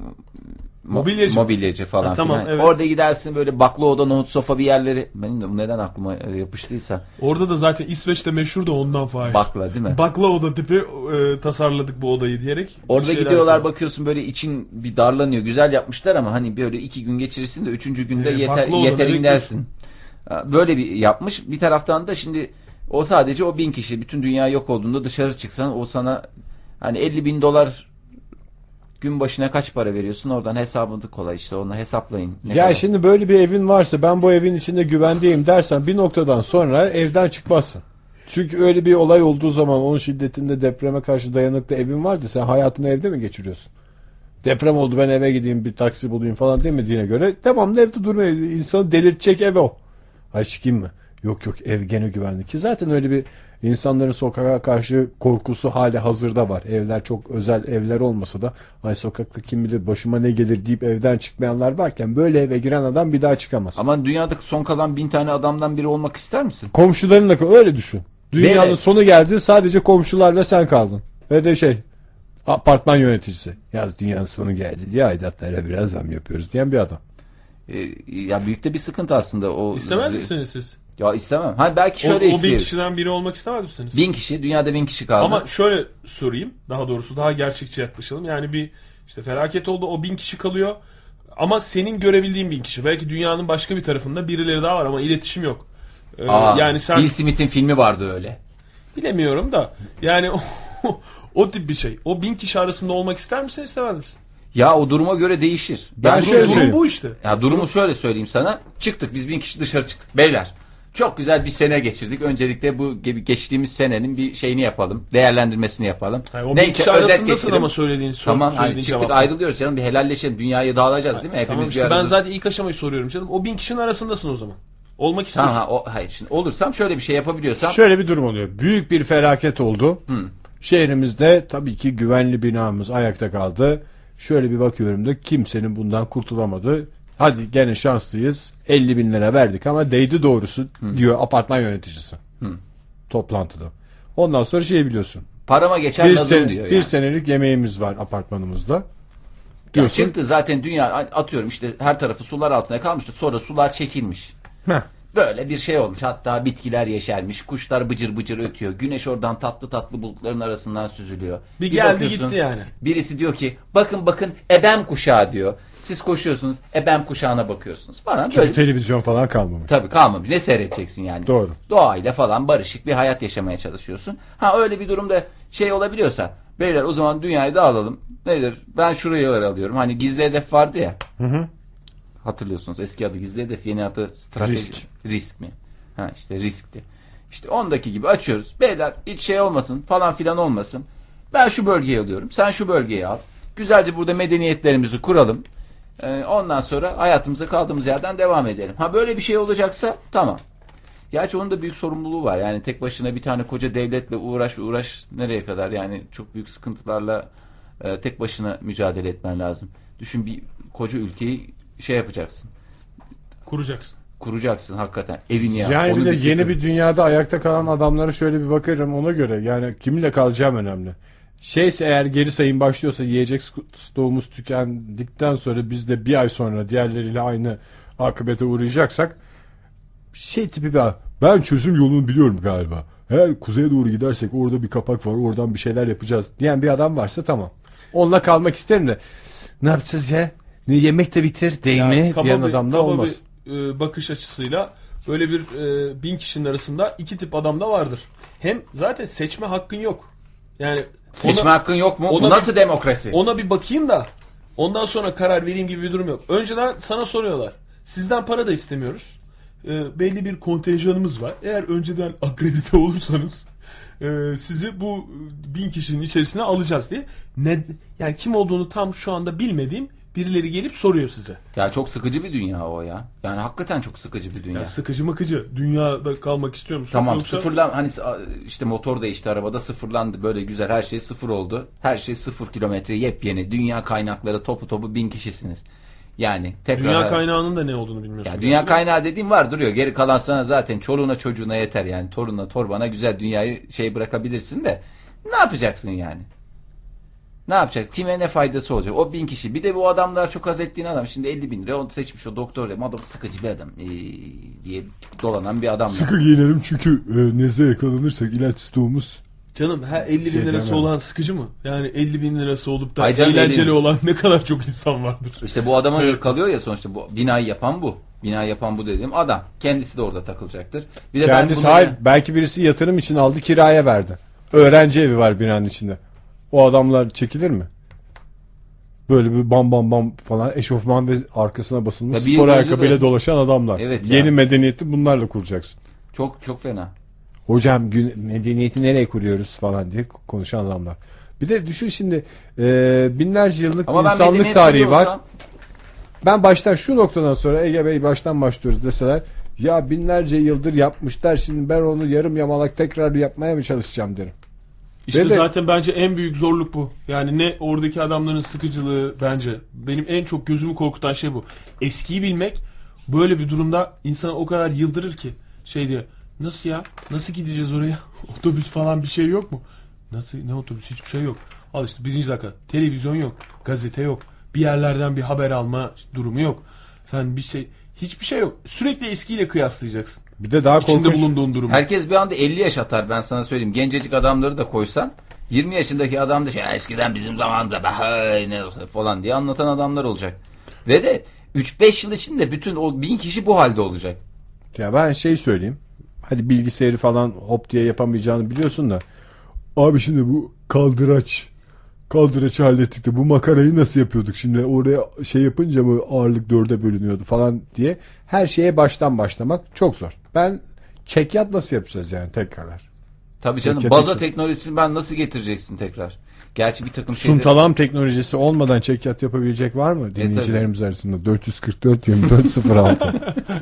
Speaker 2: Mobilyacı.
Speaker 3: mobilyacı falan
Speaker 2: Ha, tamam,
Speaker 3: filan.
Speaker 2: evet.
Speaker 3: Orada gidersin böyle baklı oda, nohut sofa bir yerleri. Benim de bu neden aklıma e, yapıştıysa
Speaker 2: Orada da zaten İsveç'te meşhur da ondan faiz.
Speaker 3: bakla değil mi?
Speaker 2: Bakla oda tipi e, tasarladık bu odayı diyerek. bir
Speaker 3: Orada
Speaker 2: şeyler
Speaker 3: gidiyorlar
Speaker 2: yapıyor.
Speaker 3: bakıyorsun böyle için bir darlanıyor. Güzel yapmışlar ama hani böyle iki gün geçirirsin de üçüncü günde
Speaker 2: Ee,
Speaker 3: yeter,
Speaker 2: bakla odaları
Speaker 3: yeterin
Speaker 2: bekliyorsun.
Speaker 3: dersin. Ha, Böyle bir yapmış. Bir taraftan da şimdi o sadece o bin kişi. Bütün dünya yok olduğunda dışarı çıksan o sana hani 50 bin dolar gün başına kaç para veriyorsun oradan hesabını kolay işte onu hesaplayın. Ne
Speaker 1: Ya
Speaker 3: kadar.
Speaker 1: şimdi böyle bir evin varsa ben bu evin içinde güvendeyim dersen bir noktadan sonra evden çıkmazsın. Çünkü öyle bir olay olduğu zaman onun şiddetinde depreme karşı dayanıklı evin vardı. Sen hayatını evde mi geçiriyorsun? Deprem oldu ben eve gideyim bir taksi bulayım falan demediğine göre devamlı evde durma. İnsanı delirtecek ev o. Ay çıkayım mı? Yok yok ev gene güvenli ki zaten öyle bir insanların sokağa karşı korkusu hali hazırda var. Evler çok özel evler olmasa da ay sokakta kim bilir başıma ne gelir deyip evden çıkmayanlar varken böyle eve giren adam bir daha çıkamaz.
Speaker 3: Aman dünyadaki son kalan bin tane adamdan biri olmak ister misin?
Speaker 1: Komşularınla kal- öyle düşün. Dünyanın
Speaker 3: Ve-
Speaker 1: sonu geldi sadece komşularla sen kaldın. Ve de şey apartman yöneticisi. Ya dünyanın sonu geldi diye aidatlara biraz zam yapıyoruz diyen bir adam.
Speaker 3: Ee, ya büyükte bir sıkıntı aslında. O
Speaker 2: İstemez misiniz siz?
Speaker 3: Ya istemem. Ha belki
Speaker 2: O, o
Speaker 3: şöyle
Speaker 2: bin
Speaker 3: isteyelim.
Speaker 2: kişiden biri olmak istemez misiniz?
Speaker 3: Bin kişi dünyada bin kişi kaldı.
Speaker 2: Ama şöyle sorayım. Daha doğrusu daha gerçekçi yaklaşalım. Yani bir işte felaket oldu. O bin kişi kalıyor. Ama senin görebildiğin bin kişi. Belki dünyanın başka bir tarafında birileri daha var ama iletişim yok. Ee,
Speaker 3: Aa,
Speaker 2: yani sen
Speaker 3: Bill Smith'in filmi vardı öyle.
Speaker 2: bilemiyorum da yani o, o tip bir şey. O bin kişi arasında olmak ister misin istemez misin?
Speaker 3: Ya o duruma göre değişir.
Speaker 1: Ben
Speaker 3: Yani
Speaker 1: şöyle
Speaker 2: Durum,
Speaker 3: durum-
Speaker 1: söyleyeyim.
Speaker 2: bu işte.
Speaker 3: Ya durumu şöyle söyleyeyim sana. Çıktık biz bin kişi dışarı çıktık. Beyler çok güzel bir sene geçirdik. Öncelikle bu gibi geçtiğimiz senenin bir şeyini yapalım. Değerlendirmesini yapalım.
Speaker 2: Yani o bin
Speaker 3: Neyse
Speaker 2: kişi
Speaker 3: özet
Speaker 2: arasındasın
Speaker 3: geçelim.
Speaker 2: ama söylediğin sor,
Speaker 3: Tamam hayır,
Speaker 2: söylediğin
Speaker 3: çıktık
Speaker 2: cevap.
Speaker 3: ayrılıyoruz canım. Bir helalleşelim. Dünyaya dağılacağız değil mi? Hepimiz
Speaker 2: Tamam
Speaker 3: bir
Speaker 2: işte
Speaker 3: arada.
Speaker 2: ben zaten ilk aşamayı soruyorum canım. O bin kişinin arasındasın o zaman. Olmak
Speaker 3: Tamam
Speaker 2: istiyorsun.
Speaker 3: ha, o, hayır şimdi olursam şöyle bir şey yapabiliyorsam.
Speaker 1: Şöyle bir durum oluyor. Büyük bir felaket oldu. Şehrimizde tabii ki güvenli binamız ayakta kaldı. Şöyle bir bakıyorum da kimsenin bundan kurtulamadı. Hadi gene şanslıyız. 50 bin lira verdik ama değdi doğrusu diyor apartman yöneticisi. Toplantıda. Ondan sonra şey biliyorsun.
Speaker 3: Parama geçer
Speaker 1: Bir,
Speaker 3: nazım
Speaker 1: sen-
Speaker 3: diyor.
Speaker 1: bir
Speaker 3: yani.
Speaker 1: senelik yemeğimiz var apartmanımızda.
Speaker 3: Ya
Speaker 1: diyorsun.
Speaker 3: çıktı zaten dünya atıyorum işte her tarafı sular altında kalmıştı. Sonra sular çekilmiş.
Speaker 1: Heh.
Speaker 3: Böyle bir şey olmuş. Hatta bitkiler yeşermiş. Kuşlar bıcır bıcır ötüyor. Güneş oradan tatlı tatlı bulutların arasından süzülüyor.
Speaker 2: Bir geldi
Speaker 3: bakıyorsun,
Speaker 2: gitti yani.
Speaker 3: Birisi diyor ki bakın bakın ebem kuşağı diyor. Siz koşuyorsunuz ebem kuşağına bakıyorsunuz falan. Böyle,
Speaker 1: Televizyon falan kalmamış.
Speaker 3: Tabii kalmamış. Ne seyredeceksin yani?
Speaker 1: Doğru.
Speaker 3: Doğayla falan barışık bir hayat yaşamaya çalışıyorsun. Ha öyle bir durumda şey olabiliyorsa beyler o zaman dünyayı dağılalım. Nedir? Ben şuraları alıyorum. Hani gizli hedef vardı ya. Hatırlıyorsunuz eski adı gizli hedef yeni adı strateji.
Speaker 1: Risk.
Speaker 3: Risk mi? Ha işte riskti. İşte ondaki gibi açıyoruz. Beyler hiç şey olmasın falan filan olmasın. Ben şu bölgeyi alıyorum. Sen şu bölgeyi al. Güzelce burada medeniyetlerimizi kuralım. Ee, ondan sonra hayatımıza kaldığımız yerden devam edelim. Ha böyle bir şey olacaksa tamam. Gerçi onun da büyük sorumluluğu var. Yani tek başına bir tane koca devletle uğraş uğraş nereye kadar yani çok büyük sıkıntılarla e, tek başına mücadele etmen lazım. Düşün bir koca ülkeyi şey yapacaksın.
Speaker 2: Kuracaksın.
Speaker 3: Kuracaksın hakikaten evini yap.
Speaker 1: Yani
Speaker 3: onu
Speaker 1: bir de
Speaker 3: bitir.
Speaker 1: yeni bir dünyada ayakta kalan adamlara şöyle bir bakarım ona göre. Yani kiminle kalacağım önemli. Şeyse eğer geri sayım başlıyorsa yiyecek stoğumuz tükendikten sonra biz de bir ay sonra diğerleriyle aynı akıbete uğrayacaksak şey tipi bir ben çözüm yolunu biliyorum galiba. Eğer kuzeye doğru gidersek orada bir kapak var oradan bir şeyler yapacağız diyen bir adam varsa tamam. Onunla kalmak isterim de ne yapacağız ya? Ne yemek de bitir değil
Speaker 2: Yani
Speaker 1: mi?
Speaker 2: kaba
Speaker 1: Diyen
Speaker 2: bir-
Speaker 1: adam da
Speaker 2: kaba
Speaker 1: olmaz.
Speaker 2: bir, e, bakış açısıyla böyle bir e, bin kişinin arasında iki tip adam da vardır. Hem zaten seçme hakkın yok. Yani
Speaker 3: Seçme
Speaker 2: ona,
Speaker 3: hakkın yok mu?
Speaker 2: ona
Speaker 3: Bu
Speaker 2: bir-
Speaker 3: nasıl demokrasi?
Speaker 2: ona bir bakayım da ondan sonra karar vereyim gibi bir durum yok. Önceden sana soruyorlar. Sizden para da istemiyoruz. E, belli bir kontenjanımız var. Eğer önceden akredite olursanız e, sizi bu e, bin kişinin içerisine alacağız diye. Ne, yani kim olduğunu tam şu anda bilmediğim birileri gelip soruyor size.
Speaker 3: Ya çok sıkıcı bir dünya o ya. Yani hakikaten çok sıkıcı bir dünya.
Speaker 2: Ya sıkıcı mıkıcı. Dünyada kalmak istiyor musun?
Speaker 3: Tamam
Speaker 2: Yoksa
Speaker 3: sıfırlan hani s- işte motor değişti arabada sıfırlandı böyle güzel her şey sıfır oldu. Her şey sıfır kilometre yepyeni dünya kaynakları topu topu bin kişisiniz. Yani tekrar
Speaker 2: Dünya kaynağının da ne olduğunu bilmiyorsun.
Speaker 3: Ya
Speaker 2: gerçi
Speaker 3: dünya
Speaker 2: de.
Speaker 3: kaynağı dediğim var duruyor geri kalan sana zaten çoluğuna çocuğuna yeter yani torununa torbana güzel dünyayı şey bırakabilirsin de Ne yapacaksın yani? Ne yapacak? Kime ne faydası olacak? O bin kişi. Bir de bu adamlar çok az ettiğin adam. Şimdi 50 bin lira onu seçmiş o doktor. dedim. Adam sıkıcı bir adam ee, diye dolanan bir adam.
Speaker 1: Sıkı giyinelim çünkü e, nezle yakalanırsak ilaç stoğumuz
Speaker 2: Canım her 50 bin
Speaker 1: Şey
Speaker 2: lirası
Speaker 1: demem.
Speaker 2: olan sıkıcı mı? Yani 50 bin lirası olup da
Speaker 3: Ay canım,
Speaker 2: eğlenceli
Speaker 3: elli-
Speaker 2: olan ne kadar çok insan vardır.
Speaker 3: İşte bu adama kalıyor ya sonuçta. Bu, binayı yapan bu. Binayı yapan bu dediğim adam. Kendisi de orada takılacaktır. Bir de ben
Speaker 1: Kendisi
Speaker 3: bunu-
Speaker 1: hayır belki birisi yatırım için aldı kiraya verdi. Öğrenci evi var binanın içinde. O adamlar çekilir mi? Böyle bir bam bam bam falan eşofman ve arkasına basılmış
Speaker 3: Ya bir
Speaker 1: spor
Speaker 3: yıl önce
Speaker 1: ayakkabıyla
Speaker 3: de-
Speaker 1: dolaşan adamlar.
Speaker 3: Evet ya.
Speaker 1: Yeni medeniyeti bunlarla kuracaksın.
Speaker 3: Çok çok fena.
Speaker 1: Hocam gün, medeniyeti nereye kuruyoruz falan diye konuşan adamlar. Bir de düşün şimdi e, binlerce yıllık
Speaker 3: Ama ben
Speaker 1: insanlık
Speaker 3: medeniyet
Speaker 1: tarihi var.
Speaker 3: kuruyorsam-
Speaker 1: Ben baştan şu noktadan sonra Ege Bey baştan başlıyoruz deseler ya binlerce yıldır yapmışlar şimdi ben onu yarım yamalak tekrar yapmaya mı çalışacağım derim.
Speaker 2: İşte
Speaker 1: Ve de-
Speaker 2: zaten bence en büyük zorluk bu. Yani ne oradaki adamların sıkıcılığı bence. Benim en çok gözümü korkutan şey bu. Eskiyi bilmek böyle bir durumda insanı o kadar yıldırır ki. Şey diyor. Nasıl ya? Nasıl gideceğiz oraya? Otobüs falan bir şey yok mu? Nasıl? Ne otobüs? Hiçbir şey yok. Al işte birinci dakika. Televizyon yok. Gazete yok. Bir yerlerden bir haber alma durumu yok. Sen bir şey... Hiçbir şey yok. Sürekli eskiyle kıyaslayacaksın.
Speaker 1: Bir de daha
Speaker 2: İçinde
Speaker 1: korkunç
Speaker 2: bulunduğun durumu.
Speaker 3: Herkes bir anda 50 yaş atar ben sana söyleyeyim. Gencecik adamları da koysan 20 yaşındaki adam da şey, "Ya eskiden bizim zamanımızda be, hey, ne olsa" falan diye anlatan adamlar olacak. Ve de 3-5 yıl içinde bütün o bin kişi bu halde olacak.
Speaker 1: ya ben şey söyleyeyim. Hadi bilgisayarı falan hop diye yapamayacağını biliyorsun da. Abi şimdi bu kaldıraç kaldıraçı hallettik de bu makarayı nasıl yapıyorduk şimdi oraya şey yapınca mı ağırlık dörde bölünüyordu falan diye her şeye baştan başlamak çok zor. Ben çekyat nasıl yapacağız yani tekrarlar?
Speaker 3: Tabii canım
Speaker 1: Peki,
Speaker 3: baza
Speaker 1: peki.
Speaker 3: teknolojisini ben nasıl getireceksin tekrar? Gerçi bir takım şeyler...
Speaker 1: Suntalam teknolojisi olmadan çekyat yapabilecek var
Speaker 3: E,
Speaker 1: mı dinleyicilerimiz arasında? 444 24 06.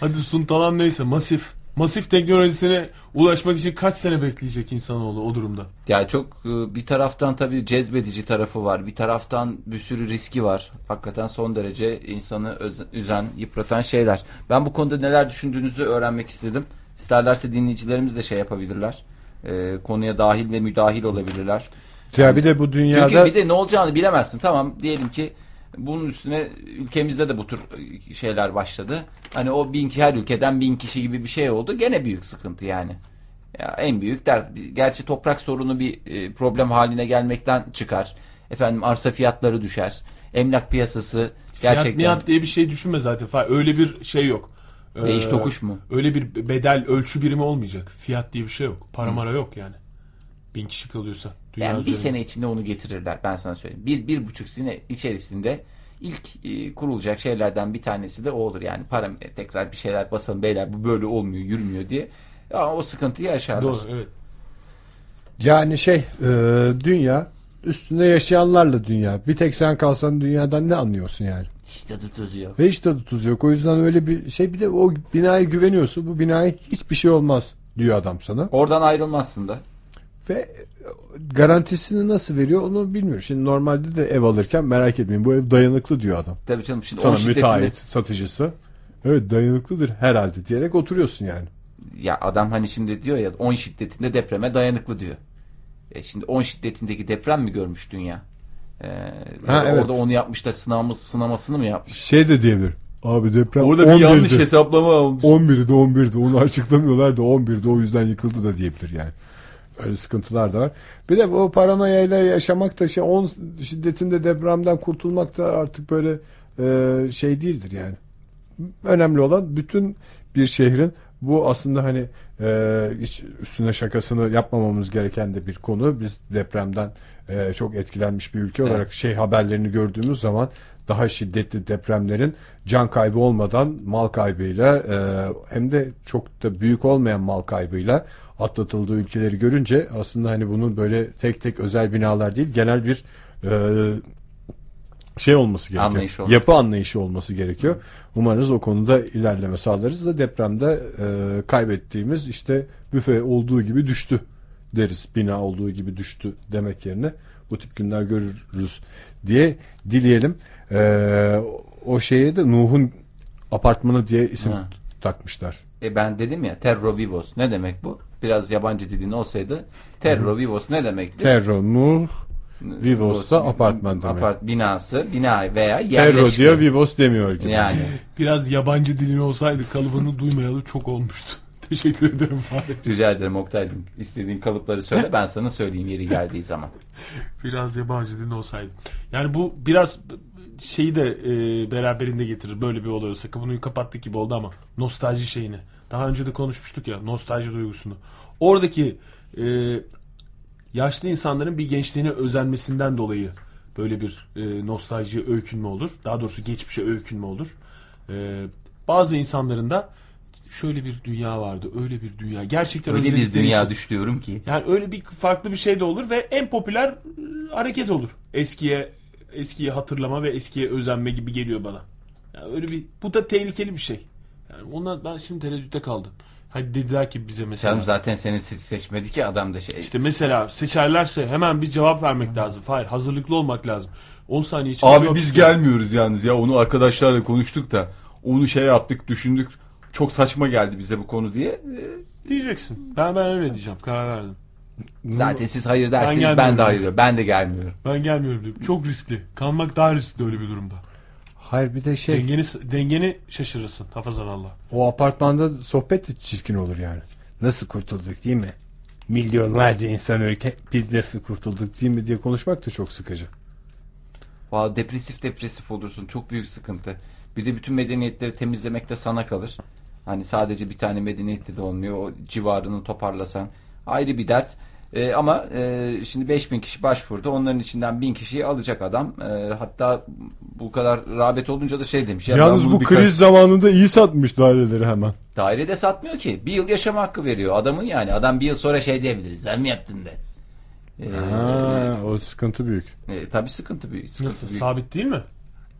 Speaker 2: Hadi suntalan neyse masif. Masif teknolojisine ulaşmak için kaç sene bekleyecek insanoğlu o durumda?
Speaker 3: Ya çok e, bir taraftan tabii cezbedici tarafı var. Bir taraftan bir sürü riski var. Hakikaten son derece insanı öz- üzen, yıpratan şeyler. Ben bu konuda neler düşündüğünüzü öğrenmek istedim. İsterlerse dinleyicilerimiz de şey yapabilirler. E, konuya dahil ve müdahil olabilirler.
Speaker 1: ya bir de bu dünyada
Speaker 3: Çünkü bir de ne olacağını bilemezsin. Tamam diyelim ki bunun üstüne ülkemizde de bu tür e, şeyler başladı. Hani o bin ki- her ülkeden bin kişi gibi bir şey oldu. Gene büyük sıkıntı yani. Ya en büyük dert. Gerçi toprak sorunu bir e, problem haline gelmekten çıkar. Efendim arsa fiyatları düşer. Emlak piyasası
Speaker 2: Gerçekten.
Speaker 3: gerçekten
Speaker 2: Miyat diye bir şey düşünme zaten. Fa- Öyle bir şey yok. Ee,
Speaker 3: Değiş tokuş mu?
Speaker 2: Öyle bir bedel ölçü birimi olmayacak. Fiyat diye bir şey yok. Para mara yok yani. Bin kişi kalıyorsa. Dünya
Speaker 3: Yani bir
Speaker 2: üzerinde.
Speaker 3: sene içinde onu getirirler ben sana söyleyeyim. Bir, bir buçuk sene içerisinde ilk e, kurulacak şeylerden bir tanesi de o olur. Yani para e, tekrar bir şeyler basalım beyler bu böyle olmuyor yürümüyor diye. Ya, o sıkıntıyı yaşarlar.
Speaker 2: Doğru evet.
Speaker 1: yani şey e, dünya üstünde yaşayanlarla dünya. Bir tek sen kalsan dünyadan ne anlıyorsun yani?
Speaker 3: Hiç tadı tuzu yok.
Speaker 1: Ve hiç tadı tuzu yok. O yüzden öyle bir şey bir de o binaya güveniyorsun. Bu binaya hiçbir şey olmaz diyor adam sana.
Speaker 3: Oradan ayrılmazsın da.
Speaker 1: Ve garantisini nasıl veriyor onu bilmiyorum. Şimdi normalde de ev alırken merak etmeyin bu ev dayanıklı diyor adam.
Speaker 3: Tabii canım şimdi
Speaker 1: Sana
Speaker 3: on şiddetinde-
Speaker 1: müteahhit satıcısı. Evet dayanıklıdır herhalde diyerek oturuyorsun yani.
Speaker 3: Ya adam hani şimdi diyor ya 10 şiddetinde depreme dayanıklı diyor. E şimdi 10 şiddetindeki deprem mi görmüş dünya? Ee,
Speaker 1: Ha, evet.
Speaker 3: Orada onu yapmış da sınavımız sınamasını mı yapmış?
Speaker 1: Şey de diyebilir. Abi deprem
Speaker 3: Orada
Speaker 1: 11'di.
Speaker 3: bir yanlış hesaplama olmuş.
Speaker 1: 11'di 11'di onu açıklamıyorlar da 11'di o yüzden yıkıldı da diyebilir yani. Öyle sıkıntılar da var. Bir de bu paranoyayla yaşamak da şey 10 şiddetinde depremden kurtulmak da artık böyle e, şey değildir yani. Önemli olan bütün bir şehrin bu aslında hani e, hiç üstüne şakasını yapmamamız gereken de bir konu. Biz depremden e, çok etkilenmiş bir ülke olarak şey haberlerini gördüğümüz zaman daha şiddetli depremlerin can kaybı olmadan mal kaybıyla e, hem de çok da büyük olmayan mal kaybıyla atlatıldığı ülkeleri görünce aslında hani bunun böyle tek tek özel binalar değil genel bir e, şey olması gerekiyor.
Speaker 3: Anlayış olması.
Speaker 1: Yapı anlayışı olması gerekiyor. Umarız o konuda ilerleme sağlarız da depremde e, kaybettiğimiz işte büfe olduğu gibi düştü deriz. Bina olduğu gibi düştü demek yerine bu tip günler görürüz diye dileyelim. E, o şeye de Nuh'un apartmanı diye isim
Speaker 3: Ha.
Speaker 1: takmışlar.
Speaker 3: E ben dedim ya Terro Vivos ne demek bu? Biraz yabancı dilin olsaydı Terro Vivos ne demekti?
Speaker 1: Terro Nur Vivos da apartman demek.
Speaker 3: Apart binası, bina veya
Speaker 1: Terro
Speaker 3: yerleşke.
Speaker 1: diyor Vivos demiyor gibi.
Speaker 3: Yani
Speaker 2: Biraz yabancı dilin olsaydı kalıbını duymayalı çok olmuştu. Teşekkür ederim Fahri.
Speaker 3: rica ederim Oktay'cığım. İstediğin kalıpları söyle ben sana söyleyeyim yeri geldiği zaman.
Speaker 2: Biraz yabancı dilin olsaydı. Yani bu biraz şeyi de e, beraberinde getirir böyle bir olay olsa. Bunu kapattık gibi oldu ama nostalji şeyini. Daha önce de konuşmuştuk ya nostalji duygusunu. Oradaki e, yaşlı insanların bir gençliğine özenmesinden dolayı böyle bir e, nostaljiye öykünme olur. Daha doğrusu geçmişe öykünme olur. E, bazı insanların da şöyle bir dünya vardı, öyle bir dünya. Gerçekten
Speaker 3: Öyle bir
Speaker 2: özledikleri
Speaker 3: dünya
Speaker 2: için-
Speaker 3: düşünüyorum ki.
Speaker 2: yani öyle bir farklı bir şey de olur ve en popüler e, hareket olur. Eskiye eskiyi hatırlama ve eskiye özenme gibi geliyor bana. Yani öyle bir bu da tehlikeli bir şey. Yani ondan ben şimdi tereddütte kaldım. Hani dediler ki bize mesela
Speaker 3: Canım zaten seni se- seçmedi ki adam da şey.
Speaker 2: işte mesela seçerlerse hemen bir cevap vermek lazım. Hayır, hazırlıklı olmak lazım. 10 saniye içinde
Speaker 6: Abi
Speaker 2: cevap
Speaker 6: biz
Speaker 2: istiyorum.
Speaker 6: gelmiyoruz yalnız ya onu arkadaşlarla konuştuk da onu şey yaptık düşündük çok saçma geldi bize bu konu diye.
Speaker 2: diyeceksin. Ben ben öyle diyeceğim. Karar verdim.
Speaker 3: Zaten siz hayır derseniz ben,
Speaker 2: gelmiyorum.
Speaker 3: de hayır. Ben de gelmiyorum.
Speaker 2: Ben gelmiyorum diyeyim. Çok riskli. Kalmak daha riskli öyle bir durumda.
Speaker 1: Hayır bir de şey
Speaker 2: Dengeni dengeni şaşırırsın. Hafazan Allah.
Speaker 1: o apartmanda sohbet de çirkin olur yani. Nasıl kurtulduk değil mi? Milyonlarca insan ölken biz nasıl kurtulduk değil mi diye konuşmak da çok sıkıcı.
Speaker 3: Valla depresif depresif olursun. Çok büyük sıkıntı. Bir de bütün medeniyetleri temizlemek de sana kalır. Hani sadece bir tane medeniyette de olmuyor. O civarını toparlasan ayrı bir dert. Ee, ama e, şimdi 5000 kişi başvurdu. Onların içinden 1000 kişiyi alacak adam. Ee, hatta bu kadar rağbet olunca da şey demiş. ya ben
Speaker 1: Yalnız
Speaker 3: bunu
Speaker 1: bu
Speaker 3: birkaç-
Speaker 1: kriz zamanında iyi satmış daireleri hemen.
Speaker 3: Dairede satmıyor ki. Bir yıl yaşam hakkı veriyor adamın yani. Adam bir yıl sonra şey diyebiliriz. Zam yaptım ben. Ee,
Speaker 1: Ha, o sıkıntı büyük.
Speaker 3: e, tabii sıkıntı büyük. Sıkıntı
Speaker 2: Nasıl?
Speaker 3: büyük.
Speaker 2: Sabit değil mi?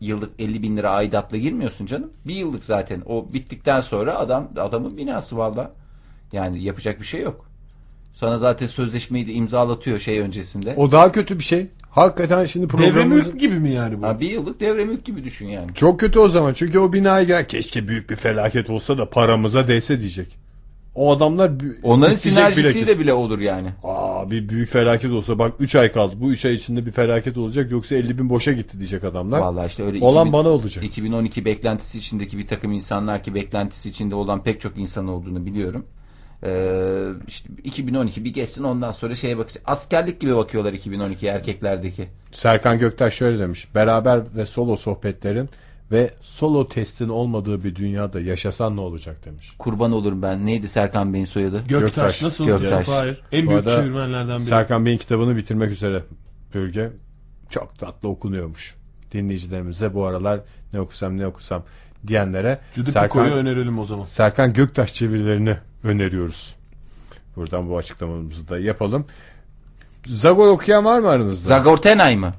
Speaker 3: Yıllık 50 bin lira aidatla girmiyorsun canım. Bir yıllık zaten. O bittikten sonra adam adamın binası valla. Yani yapacak bir şey yok. Sana zaten sözleşmeyi de imzalatıyor şey öncesinde.
Speaker 1: O daha kötü bir şey. Hakikaten şimdi
Speaker 2: Devre
Speaker 1: programımız...
Speaker 2: mülk gibi mi yani bu?
Speaker 3: Ha, bir yıllık devre mülk gibi düşün yani.
Speaker 1: Çok kötü o zaman çünkü o binaya gel keşke büyük bir felaket olsa da paramıza değse diyecek. O adamlar bi-
Speaker 3: Onların
Speaker 1: isteyecek
Speaker 3: sinerjisiyle
Speaker 1: bilakis.
Speaker 3: bile olur yani.
Speaker 1: Aa bir büyük felaket olsa bak 3 ay kaldı. Bu 3 ay içinde bir felaket olacak yoksa 50 bin boşa gitti diyecek adamlar.
Speaker 3: Vallahi işte öyle
Speaker 1: Olan
Speaker 3: 2000
Speaker 1: bana olacak.
Speaker 3: 2012 beklentisi içindeki bir takım insanlar ki beklentisi içinde olan pek çok insan olduğunu biliyorum. Ee, işte 2012 bir geçsin ondan sonra şeye bakacak. Askerlik gibi bakıyorlar 2012 erkeklerdeki.
Speaker 1: Serkan Göktaş şöyle demiş. Beraber ve solo sohbetlerin ve solo testin olmadığı bir dünyada yaşasan ne olacak demiş.
Speaker 3: Kurban olurum ben. Neydi Serkan Bey'in soyadı?
Speaker 2: Göktaş,
Speaker 1: Göktaş.
Speaker 2: nasıl
Speaker 3: Göktaş.
Speaker 2: unutuyorsun? Hayır. En
Speaker 1: Bu
Speaker 2: büyük
Speaker 1: arada
Speaker 2: çevirmenlerden biri.
Speaker 1: Serkan Bey'in kitabını bitirmek üzere bölge. Çok tatlı okunuyormuş. Dinleyicilerimize bu aralar ne okusam ne okusam diyenlere
Speaker 2: Judy Pico'yu
Speaker 1: Serkan,
Speaker 2: önerelim o zaman.
Speaker 1: Serkan Göktaş çevirilerini öneriyoruz. Buradan bu açıklamamızı da yapalım. Zagor okuyan var mı aranızda?
Speaker 3: Zagortenay mı?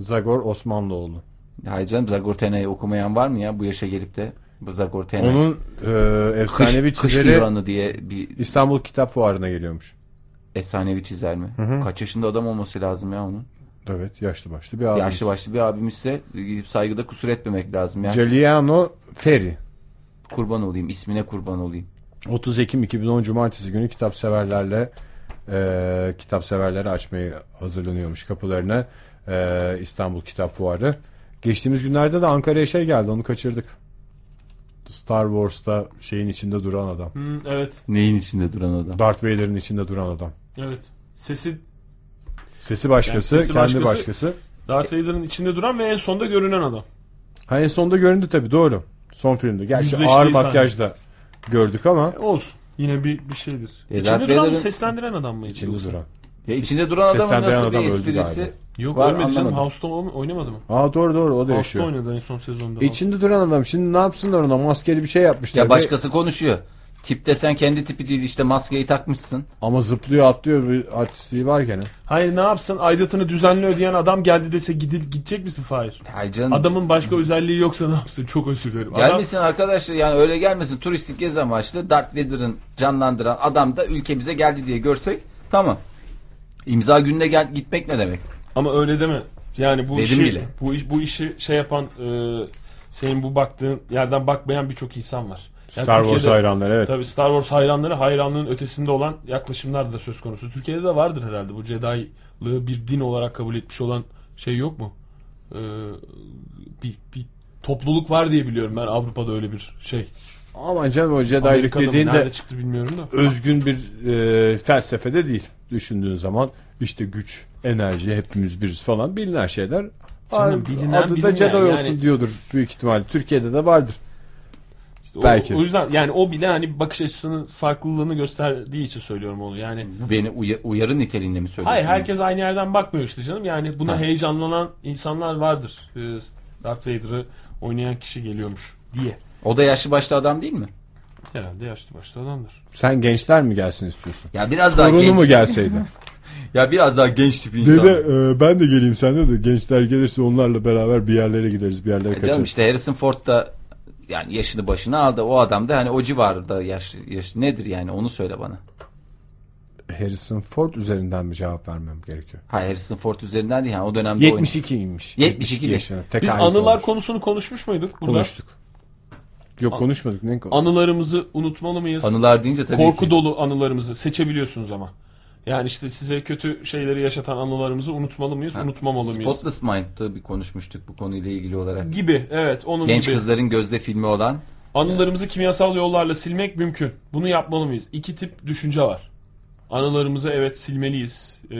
Speaker 1: Zagor Osmanlıoğlu.
Speaker 3: Hayır canım Zagortenay'ı okumayan var mı ya bu yaşa gelip de? Bu Zagortenay.
Speaker 1: Onun e,
Speaker 3: kış,
Speaker 1: efsanevi
Speaker 3: kış
Speaker 1: çizeri
Speaker 3: yılanı diye bir
Speaker 1: İstanbul Kitap Fuarı'na geliyormuş.
Speaker 3: efsanevi çizer mi? Kaç yaşında adam olması lazım ya onun?
Speaker 1: Evet yaşlı başlı bir abimiz.
Speaker 3: Yaşlı başlı bir abimizse e, gidip saygıda kusur etmemek lazım ya.
Speaker 1: Giuliano Ferri.
Speaker 3: kurban olayım. ismine kurban olayım.
Speaker 1: 30 Ekim 2010 Cumartesi günü kitap severlerle e, kitap severleri açmayı hazırlanıyormuş kapılarını e, İstanbul Kitap Fuarı. Geçtiğimiz günlerde de Ankara'ya şey geldi onu kaçırdık. Star Wars'ta şeyin içinde duran adam.
Speaker 2: Hmm, evet.
Speaker 3: Neyin içinde duran adam?
Speaker 1: Darth Vader'ın içinde duran adam.
Speaker 2: Evet. Sesi
Speaker 1: Sesi başkası,
Speaker 2: Yani sesi
Speaker 1: kendi
Speaker 2: başkası.
Speaker 1: başkası.
Speaker 2: Darth Vader'ın içinde duran ve en sonda görünen adam.
Speaker 1: Ha en sonda göründü tabii doğru. Son filmde. Gerçi
Speaker 2: Yüzleştiği
Speaker 1: ağır
Speaker 2: sahne.
Speaker 1: makyajda gördük ama
Speaker 2: E, olsun. Yine bir bir şeydir.
Speaker 3: E, Darth
Speaker 2: içinde duran
Speaker 3: Vader'ın-
Speaker 2: mı seslendiren adam mıydı?
Speaker 1: içinde
Speaker 2: yoksa?
Speaker 1: duran.
Speaker 3: Ya içinde duran adamın
Speaker 1: Seslendiren
Speaker 3: nasıl
Speaker 1: adam
Speaker 3: bir
Speaker 1: öldü
Speaker 3: esprisi?
Speaker 1: galiba.
Speaker 2: Yok
Speaker 3: Var,
Speaker 2: ölmedi canım.
Speaker 3: anlamadım.
Speaker 2: House'ta o- oynamadı mı?
Speaker 1: Aa doğru doğru o da
Speaker 2: House'ta
Speaker 1: yaşıyor.
Speaker 2: oynadı en son sezonda.
Speaker 1: İçinde duran adam şimdi ne yapsınlar ona maskeli bir şey yapmışlar.
Speaker 3: Ya başkası konuşuyor. Tip desen kendi tipi değil işte maskeyi takmışsın.
Speaker 1: Ama zıplıyor atlıyor bir artistliği var gene.
Speaker 2: Hayır ne yapsın? Aidatını düzenli ödeyen adam geldi dese gidil gidecek misin Fahir?
Speaker 3: Hay canım.
Speaker 2: Adamın başka özelliği yoksa ne yapsın? Çok özür dilerim. Adam,
Speaker 3: Gelmesin arkadaşlar yani öyle gelmesin turistik gezi amaçlı Darth Vader'ın canlandıran adam da ülkemize geldi diye görsek tamam. İmza gününe gel, gitmek ne demek?
Speaker 2: ama öyle deme. Yani bu
Speaker 3: Dedim
Speaker 2: işi
Speaker 3: bile.
Speaker 2: bu iş bu işi şey yapan e, senin bu baktığın yerden bakmayan birçok insan var.
Speaker 1: Star Wars
Speaker 2: Türkiye'de-
Speaker 1: hayranları evet.
Speaker 2: Tabii Star Wars hayranları hayranlığın ötesinde olan yaklaşımlar da söz konusu. Türkiye'de de vardır herhalde bu Jedi'lığı bir din olarak kabul etmiş olan şey yok mu? Ee, bir, bir topluluk var diye biliyorum ben Avrupa'da öyle bir şey.
Speaker 1: Ama canım o Jedi'lik
Speaker 2: Amerika'da mı,
Speaker 1: dediğin de
Speaker 2: nerede çıktı bilmiyorum da.
Speaker 1: özgün bir e, felsefede değil. Düşündüğün zaman işte güç, enerji hepimiz biriz falan bilinen şeyler.
Speaker 2: Canım,
Speaker 1: Aa,
Speaker 2: bilinen
Speaker 1: adı da
Speaker 2: bilinen
Speaker 1: Jedi
Speaker 2: yani.
Speaker 1: olsun diyordur büyük ihtimalle. Türkiye'de de vardır.
Speaker 2: İşte o-
Speaker 1: belki.
Speaker 2: O, yüzden yani o bile hani bakış açısının farklılığını gösterdiği için söylüyorum onu. Yani
Speaker 3: Bu Beni uya- uyarı niteliğinde mi söylüyorsun?
Speaker 2: Hayır herkes aynı yerden bakmıyor işte canım. Yani buna
Speaker 3: Ha.
Speaker 2: heyecanlanan insanlar vardır. Ee, Darth Vader'ı oynayan kişi geliyormuş diye.
Speaker 3: O da yaşlı başlı adam değil mi?
Speaker 2: Herhalde yaşlı başlı adamdır.
Speaker 1: Sen gençler mi gelsin istiyorsun?
Speaker 3: Ya biraz daha
Speaker 1: Torunu
Speaker 3: genç.
Speaker 1: mu gelseydi?
Speaker 6: Ya biraz daha genç tip insan.
Speaker 3: E
Speaker 1: ben de geleyim sende de gençler gelirse onlarla beraber bir yerlere gideriz bir yerlere
Speaker 3: Ya Canım işte Harrison Ford da yani yaşını başına aldı. O adam da hani o civarda yaş, yaş nedir yani onu söyle bana.
Speaker 1: Harrison Ford üzerinden mi cevap vermem gerekiyor?
Speaker 3: Ha Harrison Ford üzerinden değil yani o dönemde oynadı.
Speaker 1: 72'ymiş.
Speaker 3: 72
Speaker 1: yaşına.
Speaker 2: Biz
Speaker 1: tekabül
Speaker 2: anılar
Speaker 1: olmuş.
Speaker 2: konusunu konuşmuş muyduk burada?
Speaker 1: konuştuk. Yok konuşmadık. Ne konu-
Speaker 2: Anılarımızı unutmalı mıyız?
Speaker 3: Anılar deyince tabii
Speaker 2: Korku
Speaker 3: ki.
Speaker 2: dolu anılarımızı seçebiliyorsunuz ama. Yani işte size kötü şeyleri yaşatan anılarımızı unutmalı mıyız, unutmamalı mıyız?
Speaker 3: Spotless Mind'da bir konuşmuştuk bu konuyla ilgili olarak.
Speaker 2: Gibi evet onun
Speaker 3: Genç
Speaker 2: gibi.
Speaker 3: kızların gözde filmi olan
Speaker 2: Anılarımızı kimyasal yollarla silmek mümkün. Bunu yapmalı mıyız? İki tip düşünce var. Anılarımızı evet silmeliyiz e,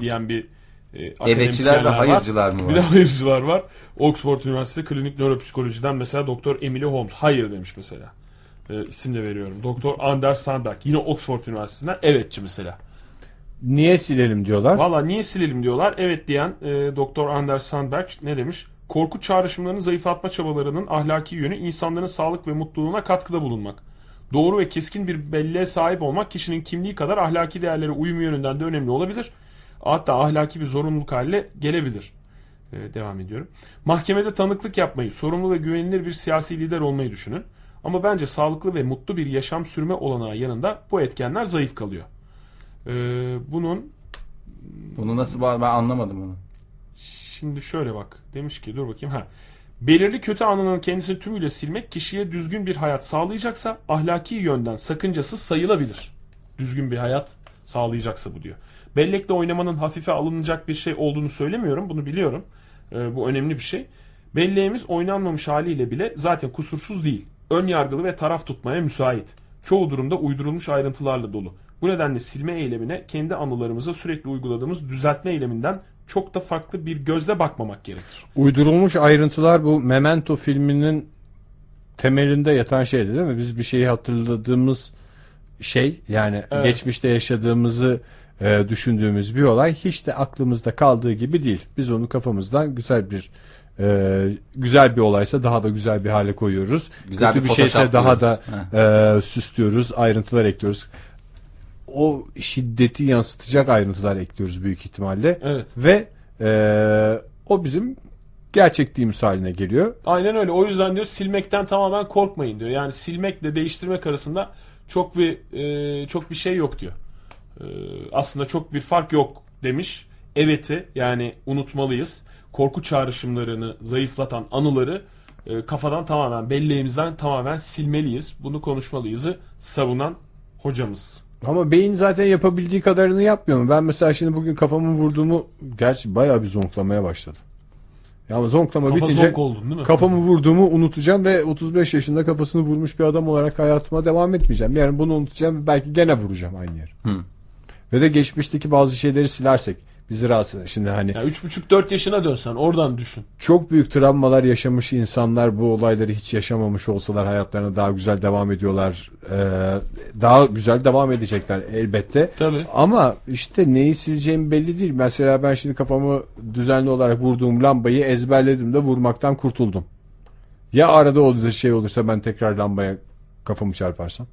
Speaker 2: diyen bir e, akademisyenler
Speaker 3: evetçiler ve
Speaker 2: var.
Speaker 3: hayırcılar mı
Speaker 2: Bir de
Speaker 3: var?
Speaker 2: hayırcılar var. Oxford Üniversitesi Klinik Nöropsikoloji'den mesela Doktor Emily Holmes hayır demiş mesela. E, isim de veriyorum. Doktor Anders Sandberg yine Oxford Üniversitesi'nden evetçi mesela.
Speaker 1: Niye silelim diyorlar.
Speaker 2: Valla niye silelim diyorlar. Evet diyen e, Doktor Anders Sandberg ne demiş? Korku çağrışımlarını zayıflatma çabalarının ahlaki yönü insanların sağlık ve mutluluğuna katkıda bulunmak. Doğru ve keskin bir belleğe sahip olmak kişinin kimliği kadar ahlaki değerlere uyum yönünden de önemli olabilir. Hatta ahlaki bir zorunluluk haline gelebilir. E, devam ediyorum. Mahkemede tanıklık yapmayı, sorumlu ve güvenilir bir siyasi lider olmayı düşünün. Ama bence sağlıklı ve mutlu bir yaşam sürme olanağı yanında bu etkenler zayıf kalıyor. E, bunun
Speaker 3: Bunu nasıl bağ- ben anlamadım onu.
Speaker 2: Şimdi şöyle bak. Demiş ki dur bakayım. Ha. Belirli kötü anının kendisini tümüyle silmek kişiye düzgün bir hayat sağlayacaksa ahlaki yönden sakıncasız sayılabilir. Düzgün bir hayat sağlayacaksa bu diyor. Bellekle oynamanın hafife alınacak bir şey olduğunu söylemiyorum. Bunu biliyorum. Ee, bu önemli bir şey. Belleğimiz oynanmamış haliyle bile zaten kusursuz değil. Ön yargılı ve taraf tutmaya müsait. Çoğu durumda uydurulmuş ayrıntılarla dolu. Bu nedenle silme eylemine kendi anılarımıza sürekli uyguladığımız düzeltme eyleminden çok da farklı bir gözle bakmamak gerekir.
Speaker 1: Uydurulmuş ayrıntılar bu Memento filminin temelinde yatan şeydi değil mi? Biz bir şeyi hatırladığımız şey yani
Speaker 2: Evet.
Speaker 1: geçmişte yaşadığımızı e, düşündüğümüz bir olay hiç de aklımızda kaldığı gibi değil. Biz onu kafamızdan güzel bir e, güzel bir olaysa daha da güzel bir hale koyuyoruz.
Speaker 3: Güzel
Speaker 1: Kötü
Speaker 3: bir
Speaker 1: bir, şeyse daha
Speaker 3: photoshoplıyoruz.
Speaker 1: da e, süslüyoruz, ayrıntılar ekliyoruz. O şiddeti yansıtacak ayrıntılar ekliyoruz büyük ihtimalle
Speaker 2: Evet.
Speaker 1: ve eee, o bizim gerçekliğimiz haline geliyor.
Speaker 2: Aynen öyle. O yüzden diyor silmekten tamamen korkmayın diyor. Yani silmekle değiştirmek arasında çok bir e, çok bir şey yok diyor. E, aslında çok bir fark yok demiş. Evet'i yani unutmalıyız. Korku çağrışımlarını zayıflatan anıları e, kafadan tamamen belleğimizden tamamen silmeliyiz. Bunu konuşmalıyızı savunan hocamız.
Speaker 1: Ama beyin zaten yapabildiği kadarını yapmıyor mu? Ben mesela şimdi bugün kafamı vurduğumu gerçi bayağı bir zonklamaya başladı. Ya ama zonklama
Speaker 2: Kafa
Speaker 1: bitince
Speaker 2: zonk oldun değil mi?
Speaker 1: kafamı vurduğumu unutacağım ve 35 yaşında kafasını vurmuş bir adam olarak hayatıma devam etmeyeceğim. Yani bunu unutacağım ve belki gene vuracağım aynı yere. Ve de geçmişteki bazı şeyleri silersek bizi rahatsız eder. Şimdi hani
Speaker 2: Ya 3,5-4 yaşına dönsen oradan düşün.
Speaker 1: çok büyük travmalar yaşamış insanlar bu olayları hiç yaşamamış olsalar hayatlarına daha güzel devam ediyorlar. Ee, daha güzel devam edecekler elbette.
Speaker 2: Tabii.
Speaker 1: Ama işte neyi sileceğim belli değil. Mesela ben şimdi kafamı düzenli olarak vurduğum lambayı ezberledim de vurmaktan kurtuldum. Ya arada o şey olursa ben tekrar lambaya kafamı çarparsam.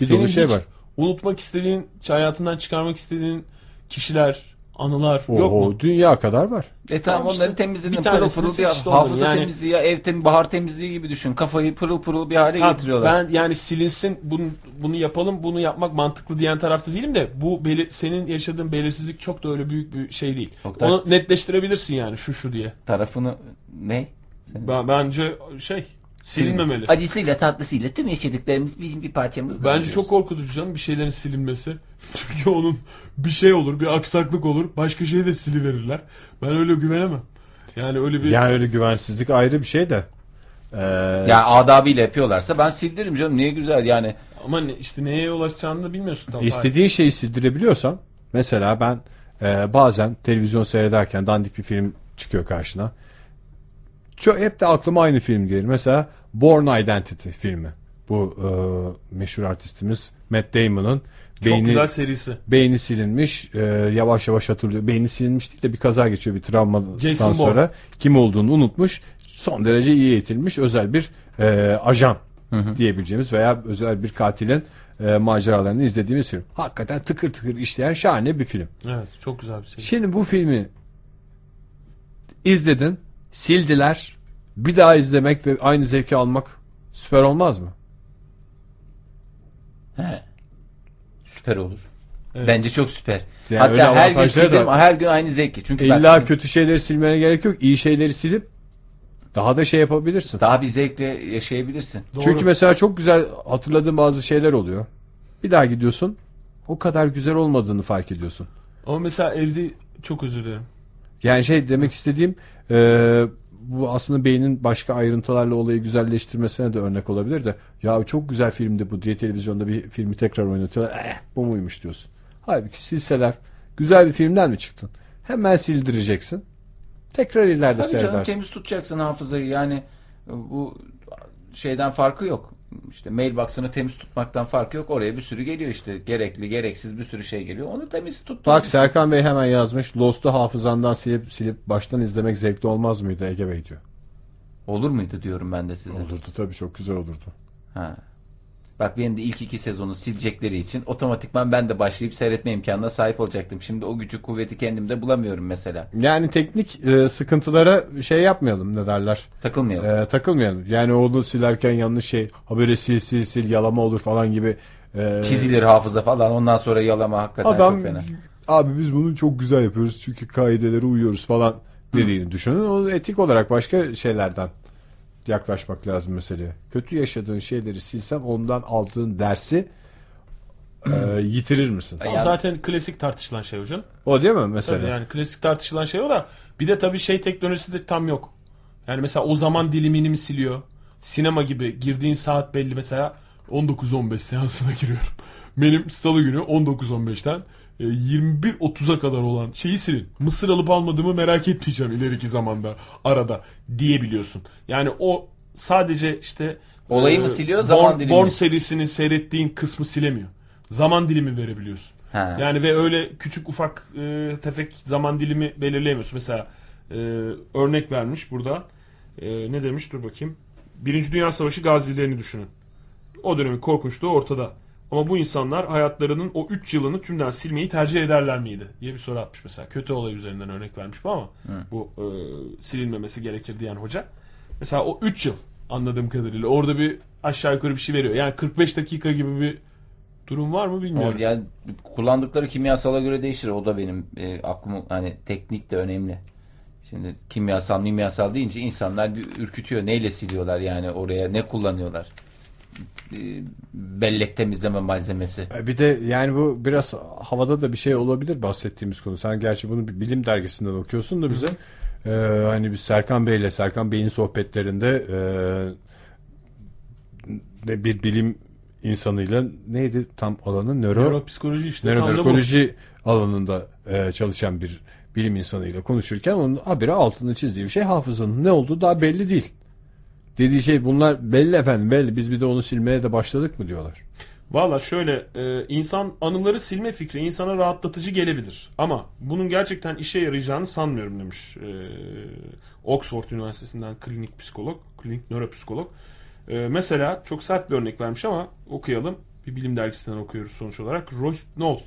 Speaker 1: Bir
Speaker 2: Senin
Speaker 1: dolu şey
Speaker 2: hiç
Speaker 1: var.
Speaker 2: Unutmak istediğin, hayatından çıkarmak istediğin kişiler, anılar yok
Speaker 1: Oho,
Speaker 2: mu?
Speaker 1: dünya kadar var.
Speaker 3: E tamam
Speaker 2: Tamam işte.
Speaker 3: onları temizledim
Speaker 2: Bir
Speaker 3: pırıl
Speaker 2: tanesini
Speaker 3: pırıl bir
Speaker 2: seçti
Speaker 3: hafıza
Speaker 2: onların yani.
Speaker 3: temizliği ya ev tem bahar temizliği gibi düşün. Kafayı pırıl pırıl bir hale
Speaker 2: Ha,
Speaker 3: Şey getiriyorlar.
Speaker 2: Ben yani silinsin bunu, bunu yapalım bunu yapmak mantıklı diyen tarafta değilim de bu belir- senin yaşadığın belirsizlik çok da öyle büyük bir şey değil.
Speaker 3: Oktay.
Speaker 2: Onu netleştirebilirsin yani şu şu diye.
Speaker 3: Tarafını ne?
Speaker 2: Ben, bence şey Silinmemeli.
Speaker 3: Acısıyla tatlısıyla tüm yaşadıklarımız bizim bir parçamız.
Speaker 2: Bence çok korkutucu canım bir şeylerin silinmesi. Çünkü onun bir şey olur, bir aksaklık olur. Başka şeyi de siliverirler. Ben öyle güvenemem. Yani öyle bir...
Speaker 1: Yani öyle güvensizlik ayrı bir şey de. Ee,
Speaker 3: Ya adabıyla yapıyorlarsa ben sildiririm canım. Niye güzel yani.
Speaker 2: Ama ne- işte neye yol açacağını da bilmiyorsun tam.
Speaker 1: İstediğin şeyi sildirebiliyorsan mesela ben e, bazen televizyon seyrederken dandik bir film çıkıyor karşına. Çok, hep de aklıma aynı film gelir. Mesela Born Identity filmi. Bu e, meşhur artistimiz Matt Damon'ın
Speaker 2: Çok
Speaker 1: beyni,
Speaker 2: güzel serisi.
Speaker 1: beyni silinmiş e, yavaş yavaş hatırlıyor. Beyni silinmiş değil de bir kaza geçiyor bir travmadan
Speaker 2: Jason Bourne.
Speaker 1: sonra. Kim olduğunu unutmuş. Son derece iyi eğitilmiş özel bir e, ajan diyebileceğimiz veya özel bir katilin e, maceralarını izlediğimiz film. Hakikaten tıkır tıkır işleyen şahane bir film.
Speaker 2: Evet çok güzel bir seri.
Speaker 1: Şimdi bu filmi izledin, sildiler. Bir daha izlemek ve aynı zevki almak süper olmaz mı?
Speaker 3: Süper olur. Bence çok süper.
Speaker 1: Yani öyle
Speaker 3: Hatta her gün
Speaker 1: avantajları da
Speaker 3: sildim,
Speaker 1: var.
Speaker 3: her gün aynı zevki. Çünkü
Speaker 1: İlla
Speaker 3: ben
Speaker 1: kötü şeyleri silmene gerek yok. İyi şeyleri silip daha da şey yapabilirsin.
Speaker 3: daha bir zevkle yaşayabilirsin.
Speaker 2: Doğru.
Speaker 1: Çünkü mesela çok güzel hatırladığın bazı şeyler oluyor. Bir daha gidiyorsun. O kadar güzel olmadığını fark ediyorsun.
Speaker 2: Ama mesela evde çok özür dilerim.
Speaker 1: Yani şey demek istediğim e, bu aslında beynin başka ayrıntılarla olayı güzelleştirmesine de örnek olabilir de ya çok güzel filmdi bu diye televizyonda bir filmi tekrar oynatıyorlar. Eh, bu muymuş diyorsun. Halbuki silseler güzel bir filmden mi çıktın? Hemen sildireceksin. Tekrar ileride
Speaker 3: Tabii canım
Speaker 1: seyredersin.
Speaker 3: temiz tutacaksın hafızayı. Yani e, bu şeyden farkı yok. İşte mailbox'ını temiz tutmaktan farkı yok. Oraya bir sürü geliyor işte. Gerekli, gereksiz bir sürü şey geliyor. Onu temiz tut.
Speaker 1: Bak Serkan Bey hemen yazmış. Lost'u hafızandan silip silip baştan izlemek zevkli olmaz mıydı Ege Bey diyor.
Speaker 3: Olur muydu diyorum ben de size.
Speaker 1: Olurdu tabii çok güzel olurdu.
Speaker 3: Ha. Bak benim de ilk iki sezonu silecekleri için otomatikman ben de başlayıp seyretme imkanına sahip olacaktım. Şimdi o gücü kuvveti kendimde bulamıyorum mesela.
Speaker 1: Yani teknik e, sıkıntılara şey yapmayalım ne derler.
Speaker 3: Takılmayalım.
Speaker 1: E, takılmayalım. Yani onu silerken yanlış şey haberi sil sil sil yalama olur falan gibi. e,
Speaker 3: Çizilir hafıza falan ondan sonra yalama hakikaten
Speaker 1: adam
Speaker 3: çok fena.
Speaker 1: abi biz bunu çok güzel yapıyoruz çünkü kaidelere uyuyoruz falan dediğini düşünün. Onu etik olarak başka şeylerden yaklaşmak lazım meseleye. Kötü yaşadığın şeyleri silsen ondan aldığın dersi e, yitirir misin?
Speaker 2: Ama
Speaker 3: Yani-
Speaker 2: zaten klasik tartışılan şey hocam.
Speaker 1: O değil mi mesela?
Speaker 2: Tabii yani klasik tartışılan şey o da bir de tabii şey teknolojisi de tam yok. Yani mesela o zaman dilimini mi siliyor? Sinema gibi girdiğin saat belli mesela 19-15 seansına giriyorum. Benim salı günü 19-15'ten e, 21.30'a kadar olan şeyi silin. Mısır alıp almadığımı merak etmeyeceğim ileriki zamanda arada diyebiliyorsun. Yani o sadece işte e,
Speaker 3: Olayı mı siliyor, zaman
Speaker 2: Born,
Speaker 3: dilimi?
Speaker 2: Born serisini seyrettiğin kısmı silemiyor. Zaman dilimi verebiliyorsun.
Speaker 3: Ha.
Speaker 2: Yani ve öyle küçük ufak e, tefek zaman dilimi belirleyemiyorsun. Mesela e, örnek vermiş burada. E, ne demiş dur bakayım. Birinci Dünya Savaşı gazilerini düşünün. O dönemin korkunçluğu ortada. Ama bu insanlar hayatlarının o 3 yılını tümden silmeyi tercih ederler miydi diye bir soru atmış mesela. Kötü olay üzerinden örnek vermiş bu ama bu e, silinmemesi gerekir diyen hoca. Mesela o 3 yıl anladığım kadarıyla orada bir aşağı yukarı bir şey veriyor. Yani 45 dakika gibi bir durum var mı
Speaker 3: O
Speaker 2: bilmiyorum.
Speaker 3: yani kullandıkları kimyasala göre değişir. O da benim e, aklım hani teknik de önemli. Şimdi kimyasal mimyasal deyince insanlar bir ürkütüyor. Neyle siliyorlar yani oraya ne kullanıyorlar? E, bellek temizleme malzemesi.
Speaker 1: E, Bir de yani bu biraz havada da bir şey olabilir bahsettiğimiz konu. Sen gerçi bunu bir bilim dergisinden okuyorsun da bize. E, hani biz Serkan Bey'le Serkan Bey'in sohbetlerinde e, ne- bir bilim insanıyla neydi tam alanı? Nöro,
Speaker 2: Nöropsikoloji işte. tam da bu.
Speaker 1: nöropsikoloji alanında e, çalışan bir bilim insanıyla konuşurken onun habire altını çizdiği bir şey hafızanın ne olduğu daha belli değil. Dediği şey bunlar belli efendim belli biz bir de onu silmeye de başladık mı diyorlar.
Speaker 2: Valla şöyle e, insan anıları silme fikri insana rahatlatıcı gelebilir. Ama bunun gerçekten işe yarayacağını sanmıyorum demiş. e, Oxford Üniversitesi'nden klinik psikolog, klinik nöropsikolog. E, mesela çok sert bir örnek vermiş ama okuyalım. Bir bilim dergisinden okuyoruz sonuç olarak. Rohypnol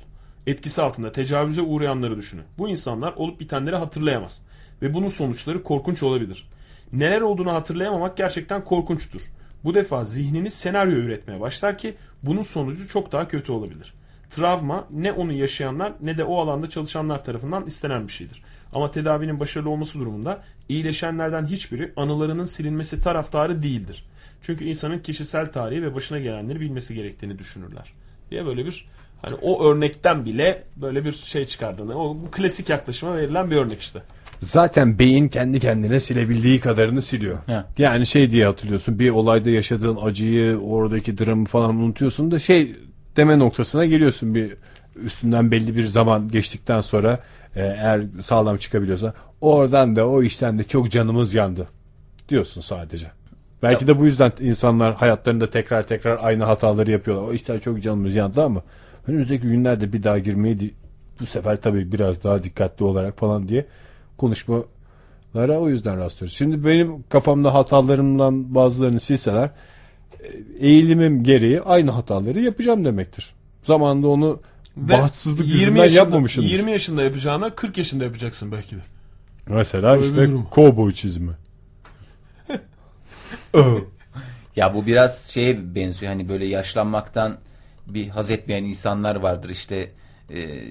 Speaker 2: etkisi altında tecavüze uğrayanları düşünün. Bu insanlar olup bitenleri hatırlayamaz. Ve bunun sonuçları korkunç olabilir. Neler olduğunu hatırlayamamak gerçekten korkunçtur. Bu defa zihnini senaryo üretmeye başlar ki bunun sonucu çok daha kötü olabilir. Travma ne onu yaşayanlar ne de o alanda çalışanlar tarafından istenen bir şeydir. Ama tedavinin başarılı olması durumunda iyileşenlerden hiçbiri anılarının silinmesi taraftarı değildir. Çünkü insanın kişisel tarihi ve başına gelenleri bilmesi gerektiğini düşünürler. Diye böyle bir hani o örnekten bile böyle bir şey çıkardığını. O bu klasik yaklaşıma verilen bir örnek işte.
Speaker 1: Zaten beyin kendi kendine silebildiği kadarını siliyor.
Speaker 3: He.
Speaker 1: Yani şey diye hatırlıyorsun. Bir olayda yaşadığın acıyı, oradaki dramı falan unutuyorsun da şey deme noktasına geliyorsun bir üstünden belli bir zaman geçtikten sonra e, eğer sağlam çıkabiliyorsa oradan da o işten de çok canımız yandı diyorsun sadece. Belki de bu yüzden insanlar hayatlarında tekrar tekrar aynı hataları yapıyorlar. O işten çok canımız yandı ama önümüzdeki günlerde bir daha girmeyi di- bu sefer tabii biraz daha dikkatli olarak falan diye konuşmalara o yüzden rastlıyoruz. Şimdi benim kafamda hatalarımdan bazılarını silseler e, eğilimim gereği aynı hataları yapacağım demektir. Zamanında onu
Speaker 2: Ve
Speaker 1: bahtsızlık
Speaker 2: 20
Speaker 1: yüzünden
Speaker 2: yaşında-
Speaker 1: yapmamışsındır.
Speaker 2: 20 yaşında yapacağına 40 yaşında yapacaksın belki de.
Speaker 1: Mesela
Speaker 2: Öyle
Speaker 1: işte
Speaker 2: durum.
Speaker 1: kovboy çizimi.
Speaker 3: Ya bu biraz şeye benziyor hani böyle yaşlanmaktan bir haz etmeyen insanlar vardır işte e,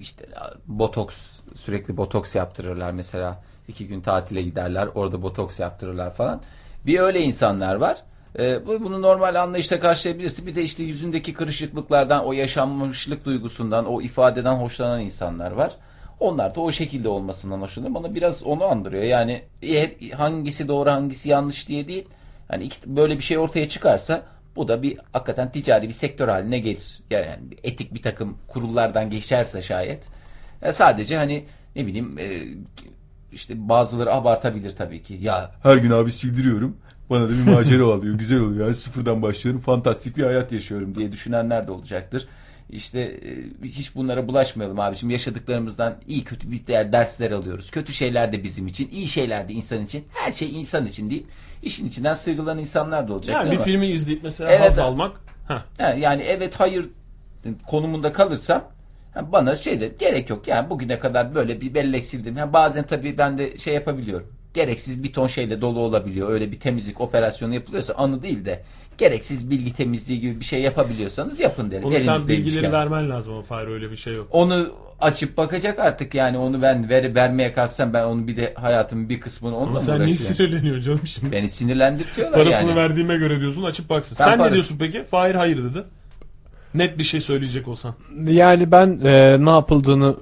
Speaker 3: işte botoks sürekli botoks yaptırırlar mesela iki gün tatile giderler orada botoks yaptırırlar falan. Bir öyle insanlar var. E, bu- bunu normal anlayışla karşılayabilirsin. Bir de işte yüzündeki kırışıklıklardan, o yaşanmışlık duygusundan, o ifadeden hoşlanan insanlar var. Onlar da o şekilde olmasından hoşlanıyor. Bana biraz onu andırıyor. Yani e, hangisi doğru hangisi yanlış diye değil. Hani iki- böyle bir şey ortaya çıkarsa bu da bir hakikaten ticari bir sektör haline gelir. Yani etik bir takım kurullardan geçerse şayet. E, sadece hani ne bileyim e, işte bazıları abartabilir tabii ki. Ya
Speaker 6: Her gün abi sildiriyorum. Bana da bir macera alıyor. Güzel oluyor. Yani sıfırdan başlıyorum. Fantastik bir hayat yaşıyorum diye.
Speaker 3: diye düşünenler de olacaktır. İşte e, hiç bunlara bulaşmayalım abiciğim. Yaşadıklarımızdan iyi kötü bir değer dersler alıyoruz. Kötü şeyler de bizim için, iyi şeyler de insan için. Her şey insan için deyip işin içinden sıyrılan insanlar da olacaktır.
Speaker 2: Yani bir
Speaker 3: ama-
Speaker 2: filmi izleyip mesela
Speaker 3: Evet.
Speaker 2: haz almak. Heh.
Speaker 3: Ha, yani evet hayır konumunda kalırsam ha, bana şey de gerek yok. Yani bugüne kadar böyle bir bellek sildim. Ha, bazen tabii ben de şey yapabiliyorum. Gereksiz bir ton şeyle dolu olabiliyor. Öyle bir temizlik operasyonu yapılıyorsa anı değil de gereksiz bilgi temizliği gibi bir şey yapabiliyorsanız yapın derim.
Speaker 2: Onu sen
Speaker 3: Elinizde
Speaker 2: bilgileri
Speaker 3: ilişken.
Speaker 2: vermen lazım ama Fahir öyle bir şey yok.
Speaker 3: Onu açıp bakacak artık yani onu ben ver, vermeye kalksam ben onu bir de hayatımın bir kısmını onunla
Speaker 2: Ama
Speaker 3: mı
Speaker 2: sen niye
Speaker 3: uğraşıyorum?
Speaker 2: sinirleniyorsun canım şimdi?
Speaker 3: Beni sinirlendirtiyorlar
Speaker 2: Parasını
Speaker 3: yani.
Speaker 2: verdiğime göre diyorsun açıp baksın.
Speaker 3: Ben
Speaker 2: sen
Speaker 3: parası-
Speaker 2: ne diyorsun peki? Fahir hayır dedi. Net bir şey söyleyecek olsan.
Speaker 1: Yani ben e, ne yapıldığını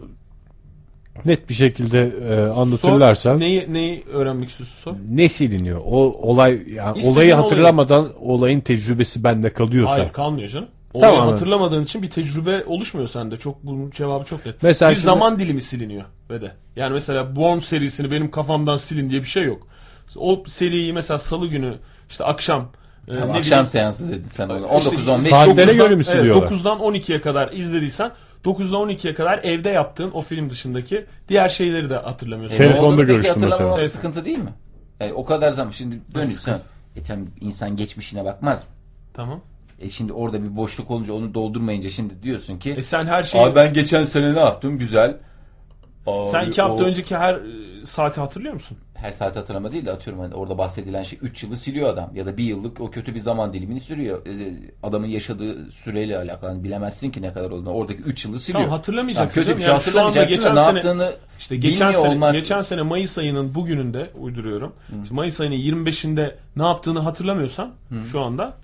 Speaker 1: net bir şekilde e, anlatırlarsa
Speaker 2: Sor,
Speaker 1: ne?
Speaker 2: neyi, neyi öğrenmek istiyorsun sor.
Speaker 1: siliniyor? O olay yani
Speaker 2: İstediğin
Speaker 1: olayı
Speaker 2: olayı.
Speaker 1: hatırlamadan olayın tecrübesi bende kalıyorsa.
Speaker 2: Hayır kalmıyor canım. Olayı
Speaker 1: Tamam.
Speaker 2: hatırlamadığın için bir tecrübe oluşmuyor sende. Çok bunun cevabı çok net.
Speaker 1: Mesela
Speaker 2: bir
Speaker 1: şimdi-
Speaker 2: zaman dilimi siliniyor ve de. Yani mesela Born serisini benim kafamdan silin diye bir şey yok. O seriyi mesela salı günü işte akşam e,
Speaker 3: Tamam,
Speaker 2: ne
Speaker 3: akşam
Speaker 2: bileyim,
Speaker 3: seansı dedin sen onu.
Speaker 2: İşte
Speaker 1: saat-
Speaker 3: 19-15
Speaker 1: Saatlere
Speaker 2: 9'dan
Speaker 1: göre mi
Speaker 2: evet,
Speaker 1: siliyorlar?
Speaker 2: 9'dan 12'ye kadar izlediysen 9'dan 12'ye kadar evde yaptığın o film dışındaki diğer şeyleri de hatırlamıyorsun.
Speaker 1: Telefonda
Speaker 3: Onu peki
Speaker 1: görüştüm mesela.
Speaker 3: hatırlamamak
Speaker 2: Evet.
Speaker 3: sıkıntı değil mi? E, o kadar zaman şimdi dönüyorsun.
Speaker 2: sıkıntı?
Speaker 3: E tamam insan geçmişine bakmaz mı?
Speaker 2: Tamam.
Speaker 3: E şimdi orada bir boşluk olunca onu doldurmayınca şimdi diyorsun ki
Speaker 2: E sen her şeyi
Speaker 6: Abi ben geçen sene ne yaptım? Güzel. Abi
Speaker 2: sen iki hafta
Speaker 6: o-
Speaker 2: önceki her e, saati hatırlıyor musun?
Speaker 3: her saat hatırlama değil de atıyorum hani orada bahsedilen şey 3 yılı siliyor adam ya da bir yıllık o kötü bir zaman dilimini sürüyor. E, adamın yaşadığı süreyle alakalı Hani bilemezsin ki ne kadar olduğunu. Oradaki 3 yılı siliyor.
Speaker 2: Tamam, hatırlamayacaksın
Speaker 3: kötü bir
Speaker 2: canım.
Speaker 3: şey
Speaker 2: Yani şu anda
Speaker 3: hatırlamayacaksın da
Speaker 2: geçen
Speaker 3: ne
Speaker 2: sene-
Speaker 3: yaptığını
Speaker 2: İşte geçen
Speaker 3: bilmiyor
Speaker 2: sene
Speaker 3: olmak.
Speaker 2: geçen sene Mayıs ayının bugününde uyduruyorum. İşte Mayıs ayının 25'inde ne yaptığını hatırlamıyorsan şu anda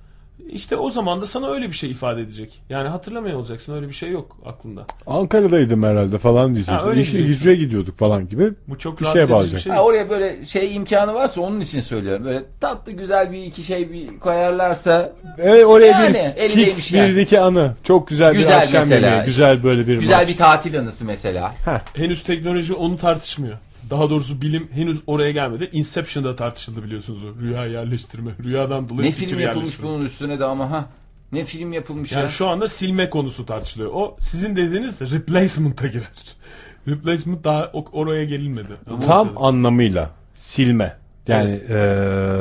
Speaker 2: işte o zaman da sana öyle bir şey ifade edecek. Yani hatırlamıyor olacaksın. Öyle bir şey yok aklında.
Speaker 1: Ankara'daydım herhalde falan diyeceksin.
Speaker 2: Ha, öyle
Speaker 1: İşe
Speaker 2: diyeceksin.
Speaker 1: gücüye gidiyorduk falan gibi.
Speaker 2: Bu çok
Speaker 1: Bir
Speaker 2: rahatsız
Speaker 1: şeye
Speaker 2: edici bir
Speaker 1: bağlayacak.
Speaker 2: şey.
Speaker 3: Ha, oraya böyle şey imkanı varsa onun için söylüyorum. Böyle tatlı güzel bir iki şey bir koyarlarsa
Speaker 1: E, oraya
Speaker 3: Yani,
Speaker 1: bir
Speaker 3: elindeymiş
Speaker 1: fix bir
Speaker 3: yani.
Speaker 1: iki anı. Çok güzel, bir
Speaker 3: Güzel
Speaker 1: akşam
Speaker 3: mesela.
Speaker 1: yemeği. Güzel böyle bir
Speaker 3: güzel
Speaker 1: maç.
Speaker 3: bir tatil anısı mesela.
Speaker 2: Henüz teknoloji onu tartışmıyor. Daha doğrusu bilim henüz oraya gelmedi. Inception'da tartışıldı biliyorsunuz o. Rüya yerleştirme. Rüyadan dolayı
Speaker 3: Ne
Speaker 2: fikir
Speaker 3: film yapılmış
Speaker 2: yerleştirme.
Speaker 3: bunun üstüne de ama ha. Ne film yapılmış
Speaker 2: Yani
Speaker 3: ya.
Speaker 2: şu anda silme konusu tartışılıyor. O sizin dediğiniz de replacement'a girer. Replacement daha o- oraya gelinmedi. Ama
Speaker 1: Tam
Speaker 2: ortada.
Speaker 1: anlamıyla silme. Yani e,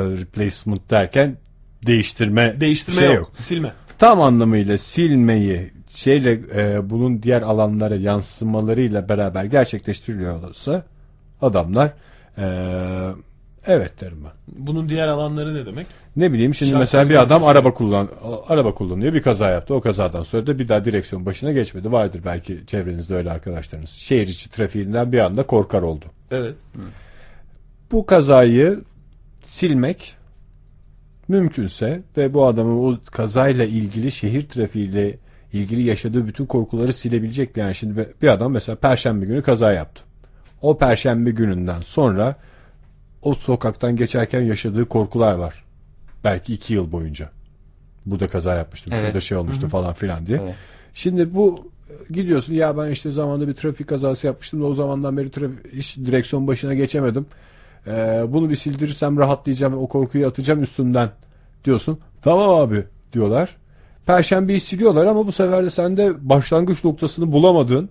Speaker 1: replacement derken değiştirme,
Speaker 2: değiştirme
Speaker 1: şey
Speaker 2: yok.
Speaker 1: yok.
Speaker 2: Silme.
Speaker 1: tam anlamıyla silmeyi şeyle e, bunun diğer alanlara yansımalarıyla beraber gerçekleştiriliyorsa adamlar e, evet derim ben.
Speaker 2: Bunun diğer alanları ne demek?
Speaker 1: Ne bileyim şimdi
Speaker 2: Şarkı
Speaker 1: mesela bir
Speaker 2: dinliyorsun.
Speaker 1: adam araba kullan araba kullanıyor bir kaza yaptı. O kazadan sonra da bir daha direksiyon başına geçmedi. Vardır belki çevrenizde öyle arkadaşlarınız. Şehir içi trafiğinden bir anda korkar oldu.
Speaker 2: Evet.
Speaker 1: Bu kazayı silmek mümkünse ve bu adamın o kazayla ilgili şehir trafiğiyle ilgili yaşadığı bütün korkuları silebilecek bir yani şimdi be- bir adam mesela perşembe günü kaza yaptı. O perşembe gününden sonra o sokaktan geçerken yaşadığı korkular var. Belki iki yıl boyunca. Burada kaza yapmıştım.
Speaker 3: Evet.
Speaker 1: Şurada şey olmuştu falan filan diye.
Speaker 3: Evet.
Speaker 1: Şimdi bu e, gidiyorsun ya ben işte zamanında bir trafik kazası yapmıştım da o zamandan beri trafik, hiç direksiyon başına geçemedim. Ee, bunu bir sildirirsem rahatlayacağım o korkuyu atacağım üstümden diyorsun. Tamam abi diyorlar. Perşembeyi siliyorlar ama bu sefer de sen de başlangıç noktasını bulamadın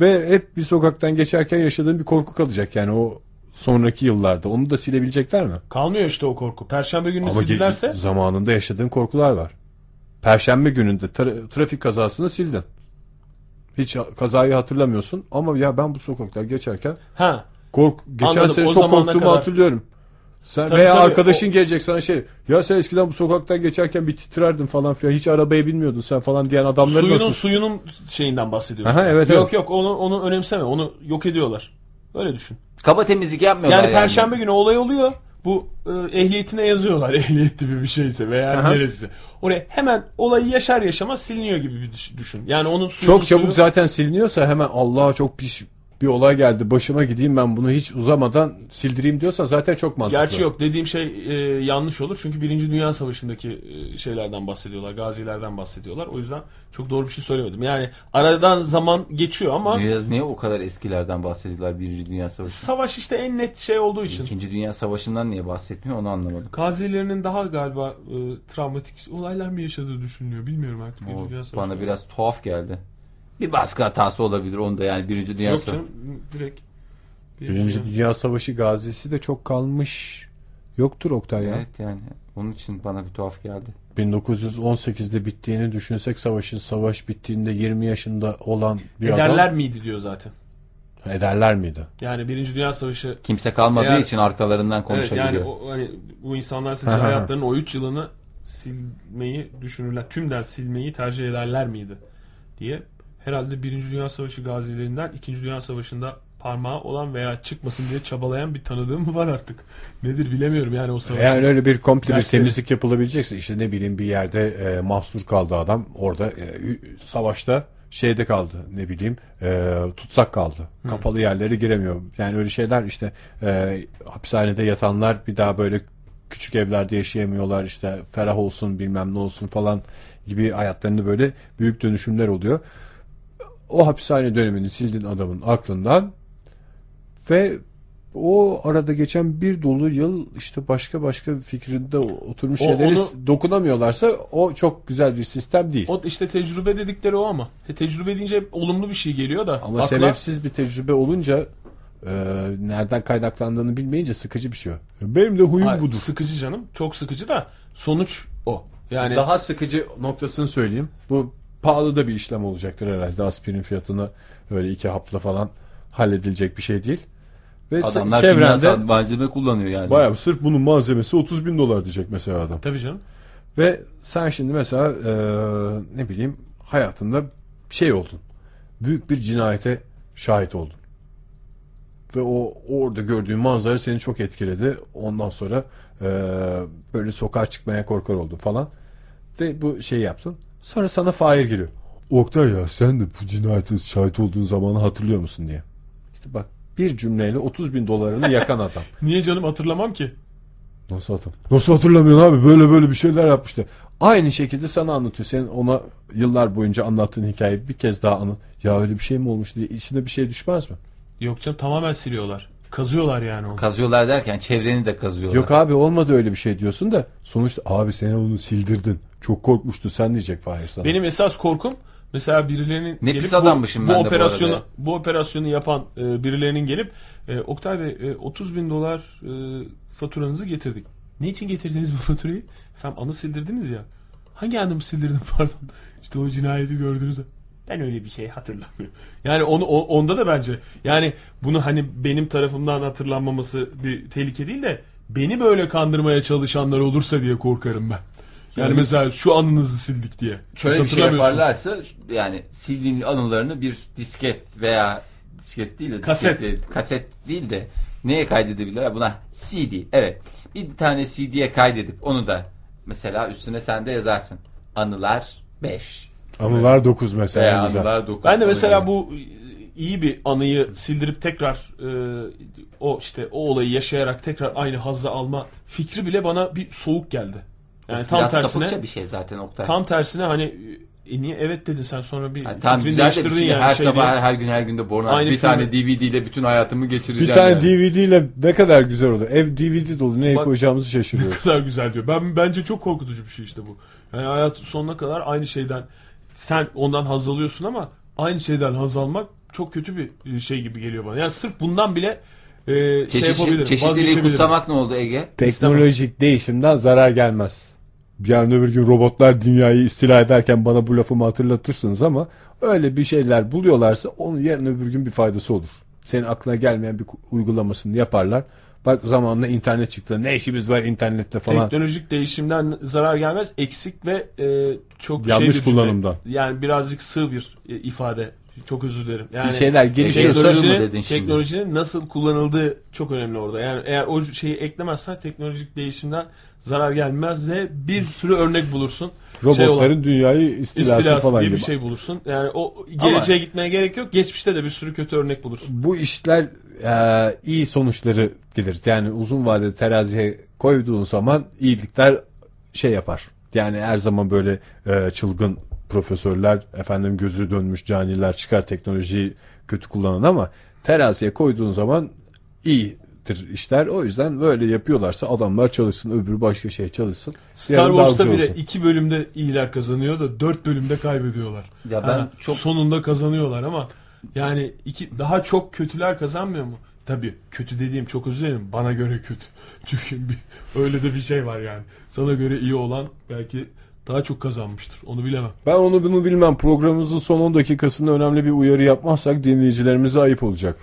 Speaker 1: ve hep bir sokaktan geçerken yaşadığın bir korku kalacak yani o sonraki yıllarda. Onu da silebilecekler mi?
Speaker 2: Kalmıyor işte o korku. Perşembe günü
Speaker 1: Ama ge-
Speaker 2: sildilerse
Speaker 1: zamanında yaşadığın korkular var. Perşembe gününde tra- trafik kazasını sildin. Hiç ha- kazayı hatırlamıyorsun ama ya ben bu sokaklar geçerken
Speaker 2: ha
Speaker 1: kork geçen
Speaker 2: Anladım,
Speaker 1: sene
Speaker 2: o
Speaker 1: çok
Speaker 2: zamana
Speaker 1: korktuğumu
Speaker 2: kadar.
Speaker 1: hatırlıyorum. Sen
Speaker 2: Tabii,
Speaker 1: veya
Speaker 2: tabii,
Speaker 1: arkadaşın gelecek sana şey ya sen eskiden bu sokaktan geçerken bir titrerdin falan filan hiç arabaya binmiyordun sen falan diyen adamları
Speaker 2: suyunun
Speaker 1: nasıl?
Speaker 2: suyunun şeyinden bahsediyorsun.
Speaker 1: Aha,
Speaker 2: sen.
Speaker 1: evet,
Speaker 2: yok
Speaker 1: evet.
Speaker 2: yok onu onu önemseme. Onu yok ediyorlar. Öyle düşün.
Speaker 3: Kaba temizlik yapmıyorlar
Speaker 2: Yani
Speaker 3: yani.
Speaker 2: perşembe günü olay oluyor. Bu e, ehliyetine yazıyorlar ehliyet gibi bir şeyse veya neresi. Oraya hemen olayı yaşar yaşamaz siliniyor gibi bir düş- düşün. Yani onun suyu
Speaker 1: Çok çabuk zaten siliniyorsa hemen Allah'a çok pis bir olay geldi başıma gideyim ben bunu hiç uzamadan sildireyim diyorsa zaten çok mantıklı.
Speaker 2: Gerçi yok dediğim şey e, yanlış olur. Çünkü Birinci Dünya Savaşı'ndaki e, şeylerden bahsediyorlar. Gazilerden bahsediyorlar. O yüzden çok doğru bir şey söylemedim. Yani aradan zaman geçiyor ama
Speaker 3: Biraz niye o kadar eskilerden bahsediyorlar Birinci Dünya Savaşı?
Speaker 2: savaş işte en net şey olduğu için.
Speaker 3: İkinci Dünya Savaşı'ndan niye bahsetmiyor onu anlamadım.
Speaker 2: Gazilerinin daha galiba e, travmatik olaylar mı yaşadığı düşünülüyor. Bilmiyorum artık.
Speaker 3: O
Speaker 2: Birinci Dünya Savaşı.
Speaker 3: bana biraz tuhaf geldi. Bir baskı hatası olabilir onda yani Birinci Dünya
Speaker 2: Yok
Speaker 3: Savaşı.
Speaker 2: canım direkt. bir
Speaker 1: Birinci
Speaker 2: şey.
Speaker 1: Dünya Savaşı gazisi de çok kalmış yoktur Oktay ya.
Speaker 3: Evet yani onun için bana bir tuhaf geldi.
Speaker 1: 1918'de bittiğini düşünsek savaşın savaş bittiğinde 20 yaşında olan bir
Speaker 2: Ederler
Speaker 1: adam
Speaker 2: miydi diyor zaten.
Speaker 1: ederler miydi?
Speaker 2: Yani Birinci Dünya Savaşı
Speaker 3: Kimse kalmadığı
Speaker 2: Eğer-
Speaker 3: için arkalarından
Speaker 2: evet,
Speaker 3: konuşabiliyor.
Speaker 2: yani o, hani bu insanlar sizce
Speaker 1: Hı hı.
Speaker 2: hayatlarının o 3 yılını silmeyi düşünürler. Tümden silmeyi tercih ederler miydi diye. Herhalde Birinci Dünya Savaşı gazilerinden İkinci Dünya Savaşı'nda parmağı olan veya çıkmasın diye çabalayan bir tanıdığım var artık. Nedir bilemiyorum yani o savaş.
Speaker 1: Eğer öyle bir komple bir
Speaker 2: Dersleri.
Speaker 1: temizlik yapılabilecekse işte ne bileyim bir yerde e, mahsur kaldı adam orada e, ü- savaşta şeyde kaldı ne bileyim e, tutsak kaldı. Kapalı yerlere giremiyor. Yani öyle şeyler işte e, hapishanede yatanlar bir daha böyle küçük evlerde yaşayamıyorlar işte ferah olsun bilmem ne olsun falan gibi hayatlarında böyle büyük dönüşümler oluyor. O hapishane dönemini sildin adamın aklından ve o arada geçen bir dolu yıl işte başka başka fikrinde oturmuş
Speaker 2: O-
Speaker 1: şeyleri
Speaker 2: onu-
Speaker 1: dokunamıyorlarsa o çok güzel bir sistem değil.
Speaker 2: O işte tecrübe dedikleri o ama. E, tecrübe deyince hep olumlu bir şey geliyor da.
Speaker 1: Ama
Speaker 2: akla-
Speaker 1: sebepsiz bir tecrübe olunca e, nereden kaynaklandığını bilmeyince sıkıcı bir şey o. Benim de huyum
Speaker 2: Hayır,
Speaker 1: budur.
Speaker 2: Sıkıcı canım. Çok sıkıcı da sonuç o. Yani
Speaker 1: Daha sıkıcı noktasını söyleyeyim. Bu pahalı da bir işlem olacaktır herhalde. Aspirin fiyatını öyle iki hapla falan halledilecek bir şey değil. Ve
Speaker 3: Adamlar kimyasal
Speaker 1: çevrende
Speaker 3: malzeme kullanıyor yani.
Speaker 1: bayağı sırf bunun malzemesi 30 bin dolar diyecek mesela adam.
Speaker 2: tabii canım.
Speaker 1: Ve sen şimdi mesela e, ne bileyim hayatında şey oldun. Büyük bir cinayete şahit oldun. Ve o orada gördüğün manzara seni çok etkiledi. Ondan sonra e, böyle sokağa çıkmaya korkar oldun falan. Ve bu şeyi yaptın. Sonra sana Fahir geliyor. Oktay ya sen de bu cinayete şahit olduğun zamanı hatırlıyor musun diye. İşte bak bir cümleyle 30 bin dolarını yakan adam.
Speaker 2: Niye canım hatırlamam ki?
Speaker 1: Nasıl hatır? Nasıl hatırlamıyorsun abi? Böyle böyle bir şeyler yapmıştı. Aynı şekilde sana anlatıyor. Senin ona yıllar boyunca anlattığın hikayeyi bir kez daha anlat. Ya öyle bir şey mi olmuş diye içine bir şey düşmez mi?
Speaker 2: Yok canım tamamen siliyorlar. Kazıyorlar yani onu.
Speaker 3: Kazıyorlar derken çevreni de kazıyorlar.
Speaker 1: Yok abi olmadı öyle bir şey diyorsun da sonuçta abi sen onu sildirdin. Çok korkmuştu sen diyecek Fahir sana.
Speaker 2: Benim esas korkum mesela birilerinin
Speaker 3: Ne
Speaker 2: gelip
Speaker 3: pis
Speaker 2: bu-
Speaker 3: adammışım
Speaker 2: bu,
Speaker 3: ben de bu
Speaker 2: operasyonu
Speaker 3: arada.
Speaker 2: bu operasyonu yapan e, birilerinin gelip e, Oktay Bey e, 30 bin dolar e, faturanızı getirdik. Ne için getirdiniz bu faturayı? Efendim anı sildirdiniz ya. Hangi anımı sildirdim pardon? İşte o cinayeti gördünüz. Ben öyle bir şey hatırlamıyorum. Yani onu o- onda da bence yani bunu hani benim tarafımdan hatırlanmaması bir tehlike değil de beni böyle kandırmaya çalışanlar olursa diye korkarım ben. Yani mesela şu anınızı sildik diye. Siz
Speaker 3: Şöyle bir şey
Speaker 2: hatırlamıyorsunuz.
Speaker 3: yaparlarsa yani sildiğin anılarını bir disket veya disket değil de
Speaker 2: Kaset.
Speaker 3: disket değil, kaset değil de neye kaydedebilirler? Buna CD. Evet. Bir tane CD'ye kaydedip onu da mesela üstüne sen de yazarsın. Anılar 5.
Speaker 1: Anılar 9 mesela.
Speaker 3: Veya
Speaker 1: güzel.
Speaker 3: anılar 9.
Speaker 2: Ben de mesela bu e, iyi bir anıyı sildirip tekrar e, o işte o olayı yaşayarak tekrar aynı hazzı alma fikri bile bana bir soğuk geldi. Yani tam
Speaker 3: Biraz
Speaker 2: tersine
Speaker 3: sapıkça bir şey zaten Oktay.
Speaker 2: tam tersine hani e, niye evet dedin sen sonra bir
Speaker 3: Yani tam
Speaker 2: fikrini
Speaker 3: güzel de bir
Speaker 2: değiştirdin
Speaker 3: şey.
Speaker 2: yani
Speaker 3: her
Speaker 2: şey
Speaker 3: sabah
Speaker 2: diye.
Speaker 3: her gün her günde Borna
Speaker 2: Aynı
Speaker 3: bir
Speaker 2: film-
Speaker 3: tane DVD ile bütün hayatımı
Speaker 1: Bir
Speaker 3: geçireceğim.
Speaker 1: tane
Speaker 3: yani.
Speaker 1: DVD ile ne kadar güzel olur. Ev DVD dolu neye
Speaker 2: Bak-
Speaker 1: koyacağımızı şaşırıyoruz.
Speaker 2: Ne kadar güzel diyor. Ben bence çok korkutucu bir şey işte bu. Yani hayat sonuna kadar aynı şeyden sen ondan haz alıyorsun ama aynı şeyden haz almak çok kötü bir şey gibi geliyor bana. Yani sırf bundan bile e, şey
Speaker 3: Çeşit,
Speaker 2: yapabilirim.
Speaker 3: çeşitliliği
Speaker 2: vazgeçebilirim.
Speaker 3: kutsamak ne oldu Ege?
Speaker 1: Teknolojik değişimden zarar gelmez. Yarın öbür gün robotlar dünyayı istila ederken bana bu lafımı hatırlatırsınız ama öyle bir şeyler buluyorlarsa onun yarın öbür gün bir faydası olur. Senin aklına gelmeyen bir ku- uygulamasını yaparlar. Bak zamanla internet çıktı. Ne işimiz var internette falan.
Speaker 2: Teknolojik değişimden zarar gelmez. Eksik ve e, çok
Speaker 1: Yanlış
Speaker 2: şey bir cümle.
Speaker 1: kullanımdan.
Speaker 2: Yani birazcık sığ bir e, ifade. Çok özür dilerim. Yani
Speaker 1: bir şeyler gelişiyorsa
Speaker 3: Teknoloji-
Speaker 2: teknolojinin,
Speaker 3: mı dedin şimdi?
Speaker 2: teknolojinin nasıl kullanıldığı çok önemli orada. Yani eğer o şeyi eklemezsen teknolojik değişimden zarar gelmez de bir sürü örnek bulursun. şey
Speaker 1: robotların
Speaker 2: olan,
Speaker 1: dünyayı istilası,
Speaker 2: istilası
Speaker 1: falan
Speaker 2: diye bir
Speaker 1: gibi.
Speaker 2: şey bulursun. Yani o geleceğe gitmeye gerek yok. Geçmişte de bir sürü kötü örnek bulursun.
Speaker 1: bu işler e, iyi sonuçları gelir. Yani uzun vadede teraziye koyduğun zaman iyilikler şey yapar. Yani her zaman böyle e, çılgın profesörler, efendim gözü dönmüş caniler çıkar teknolojiyi kötü kullanan ama teraziye koyduğun zaman iyidir işler. O yüzden böyle yapıyorlarsa adamlar çalışsın, öbürü başka şey çalışsın.
Speaker 2: Star
Speaker 1: Yarın daha
Speaker 2: Wars'ta
Speaker 1: güzel
Speaker 2: bile
Speaker 1: olsun.
Speaker 2: iki bölümde iyiler kazanıyor da dört bölümde kaybediyorlar.
Speaker 3: Ya ben
Speaker 2: Ha,
Speaker 3: çok-
Speaker 2: sonunda kazanıyorlar ama yani iki daha çok kötüler kazanmıyor mu? Tabii kötü dediğim çok özür dilerim bana göre kötü. Çünkü bir, öyle de bir şey var yani. Sana göre iyi olan belki daha çok kazanmıştır. Onu bilemem.
Speaker 1: Ben onu bunu bilmem. Programımızın son 10 dakikasında önemli bir uyarı yapmazsak dinleyicilerimize ayıp olacak.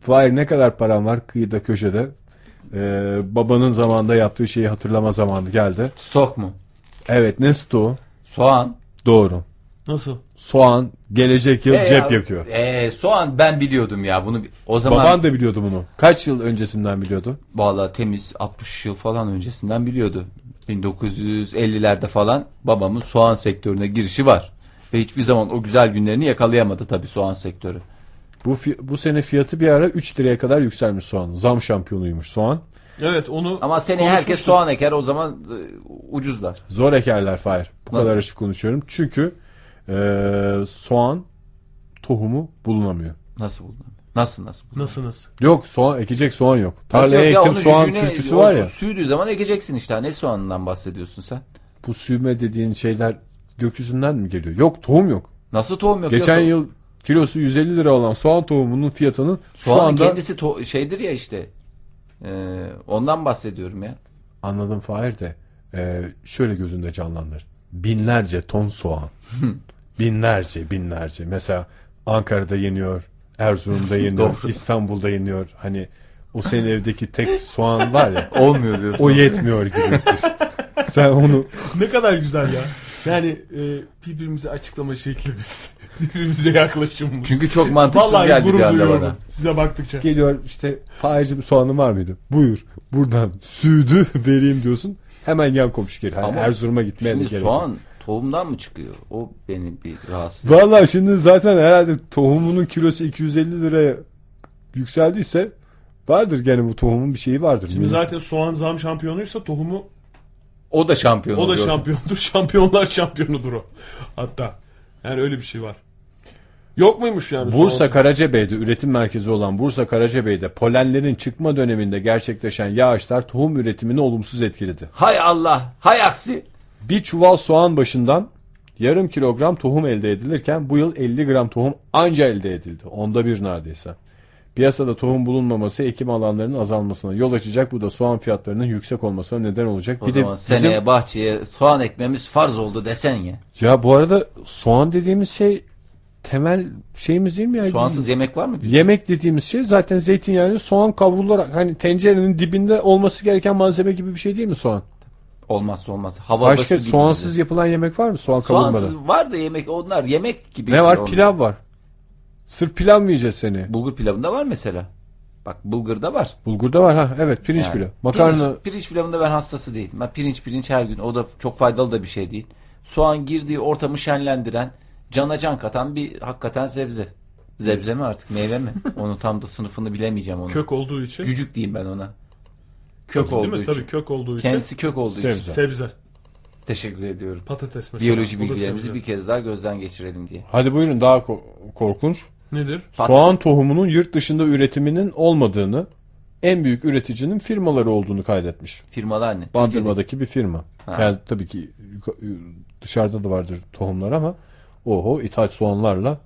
Speaker 1: Fahir ne kadar param var kıyıda köşede? Ee, babanın zamanında yaptığı şeyi hatırlama zamanı geldi.
Speaker 3: Stok mu?
Speaker 1: Evet ne stoğu?
Speaker 3: Soğan.
Speaker 1: Doğru.
Speaker 2: Nasıl?
Speaker 1: Soğan gelecek yıl
Speaker 3: E
Speaker 1: cep
Speaker 3: ya,
Speaker 1: yakıyor.
Speaker 3: e, soğan ben biliyordum ya bunu. bi- O zaman
Speaker 1: Baban da biliyordu bunu. Kaç yıl öncesinden biliyordu?
Speaker 3: Vallahi temiz 60 yıl falan öncesinden biliyordu. 1950'lerde falan babamın soğan sektörüne girişi var. Ve hiçbir zaman o güzel günlerini yakalayamadı tabii soğan sektörü.
Speaker 1: Bu, fi- bu sene fiyatı bir ara 3 liraya kadar yükselmiş soğan. Zam şampiyonuymuş soğan.
Speaker 2: Evet onu
Speaker 3: Ama seni herkes soğan eker o zaman e, ucuzlar.
Speaker 1: Zor ekerler Fahir. Bu
Speaker 3: Nasıl?
Speaker 1: kadar açık konuşuyorum. Çünkü eee, soğan tohumu bulunamıyor.
Speaker 3: Nasıl buldun? Nasıl nasıl buldun?
Speaker 2: nasınız?
Speaker 1: Yok soğan ekecek soğan yok.
Speaker 3: Nasıl
Speaker 1: Tarlaya
Speaker 3: yok ya,
Speaker 1: ektim
Speaker 3: onun
Speaker 1: soğan
Speaker 3: cücüğüne-
Speaker 1: türküsü
Speaker 3: o
Speaker 1: var ya.
Speaker 3: Sürdüğü zaman ekeceksin işte. Ne soğanından bahsediyorsun sen?
Speaker 1: Bu sürme dediğin şeyler gökyüzünden mi geliyor? Yok tohum yok.
Speaker 3: Nasıl tohum yok?
Speaker 1: Geçen
Speaker 3: ya,
Speaker 1: yıl kilosu 150 lira olan soğan tohumunun fiyatının şu
Speaker 3: Soğanın
Speaker 1: anda
Speaker 3: kendisi to- şeydir ya işte. E, ondan bahsediyorum ya.
Speaker 1: anladım Fahir de eee, şöyle gözünde canlandır. Binlerce ton soğan. binlerce binlerce. Mesela Ankara'da yeniyor, Erzurum'da yeniyor, İstanbul'da yeniyor. Hani o senin evdeki tek soğan var ya.
Speaker 6: Olmuyor diyorsun.
Speaker 1: O yetmiyor gibi. düşün. Sen onu
Speaker 2: Ne kadar güzel ya. Yani e, birbirimize açıklama şeklimiz, birbirimize yaklaşımımız.
Speaker 3: Çünkü çok mantıksız
Speaker 2: Vallahi
Speaker 3: geldi bir
Speaker 2: gurur
Speaker 3: anda
Speaker 2: duyuyorum
Speaker 3: bana.
Speaker 2: size baktıkça.
Speaker 1: geliyor işte Fahir'cim soğanın var mıydı? Buyur. Buradan südü vereyim diyorsun. Hemen yan komşu geliyor. Yani
Speaker 3: Ama
Speaker 1: Erzurum'a gitmeye de
Speaker 3: Şimdi
Speaker 1: gerek.
Speaker 3: soğan tohumdan mı çıkıyor? O beni bir rahatsız.
Speaker 1: Valla şimdi zaten herhalde tohumunun kilosu 250 liraya yükseldiyse vardır gene bu tohumun bir şeyi vardır.
Speaker 2: Şimdi zaten soğan zam şampiyonuysa tohumu
Speaker 3: O da şampiyon
Speaker 2: o da
Speaker 3: oluyor.
Speaker 2: şampiyondur. Şampiyonlar şampiyonudur o. Hatta yani öyle bir şey var. Yok muymuş yani?
Speaker 1: Bursa
Speaker 2: soğan?
Speaker 1: Karacabey'de üretim merkezi olan Bursa Karacabey'de polenlerin çıkma döneminde gerçekleşen yağışlar tohum üretimini olumsuz etkiledi.
Speaker 3: Hay Allah, hay aksi.
Speaker 1: Bir çuval soğan başından yarım kilogram tohum elde edilirken bu yıl 50 gram tohum anca elde edildi. Onda bir neredeyse. Piyasada tohum bulunmaması ekim alanlarının azalmasına yol açacak. Bu da soğan fiyatlarının yüksek olmasına neden olacak.
Speaker 3: O
Speaker 1: bir de
Speaker 3: zaman
Speaker 1: bizim-
Speaker 3: seneye bahçeye soğan ekmemiz farz oldu desen ya.
Speaker 1: Ya bu arada soğan dediğimiz şey temel şeyimiz değil mi ya?
Speaker 3: Soğansız yemek var mı? bizde?
Speaker 1: Yemek dediğimiz şey zaten zeytinyağını soğan kavrularak hani tencerenin dibinde olması gereken malzeme gibi bir şey değil mi soğan?
Speaker 3: Olmazsa olmaz. Hava
Speaker 1: Başka
Speaker 3: bası gibi şey.
Speaker 1: soğansız
Speaker 3: bize.
Speaker 1: yapılan yemek var mı soğan kavrulmadan?
Speaker 3: soğansız var da yemek onlar yemek gibi.
Speaker 1: Ne var?
Speaker 3: onlar.
Speaker 1: Pilav var. Sırf pilav mı yiyeceğiz seni?
Speaker 3: Bulgur pilavında var mesela. Bak bulgurda var.
Speaker 1: Bulgurda var ha. Evet pirinç
Speaker 3: Yani
Speaker 1: pilav. Makarna.
Speaker 3: Pirinç, pirinç pilavında ben hastası değilim. Ben pirinç pirinç her gün. O da çok faydalı da bir şey değil. Soğan girdiği ortamı şenlendiren, cana can katan bir hakikaten sebze. Zebze mi artık meyve mi? Onun tam da sınıfını bilemeyeceğim onu.
Speaker 2: Kök olduğu için.
Speaker 3: Cücük diyeyim ben ona. Kök
Speaker 2: Değil
Speaker 3: olduğu
Speaker 2: mi?
Speaker 3: için.
Speaker 2: Tabii kök olduğu için.
Speaker 3: Kendisi kök olduğu için.
Speaker 1: Sebze.
Speaker 2: Sebze.
Speaker 3: Teşekkür ediyorum.
Speaker 2: Patates mesela.
Speaker 3: Biyoloji
Speaker 2: O da
Speaker 3: bilgilerimizi
Speaker 2: sebze.
Speaker 3: bir kez daha gözden geçirelim diye.
Speaker 1: Hadi buyurun daha ko- korkunç.
Speaker 2: Nedir?
Speaker 1: Soğan tohumunun yurt dışında üretiminin olmadığını, en büyük üreticinin firmaları olduğunu kaydetmiş.
Speaker 3: Firmalar ne?
Speaker 1: Bandırma'daki bir firma.
Speaker 3: Ha.
Speaker 1: Yani tabii ki dışarıda da vardır tohumlar ama oho ithal soğanlarla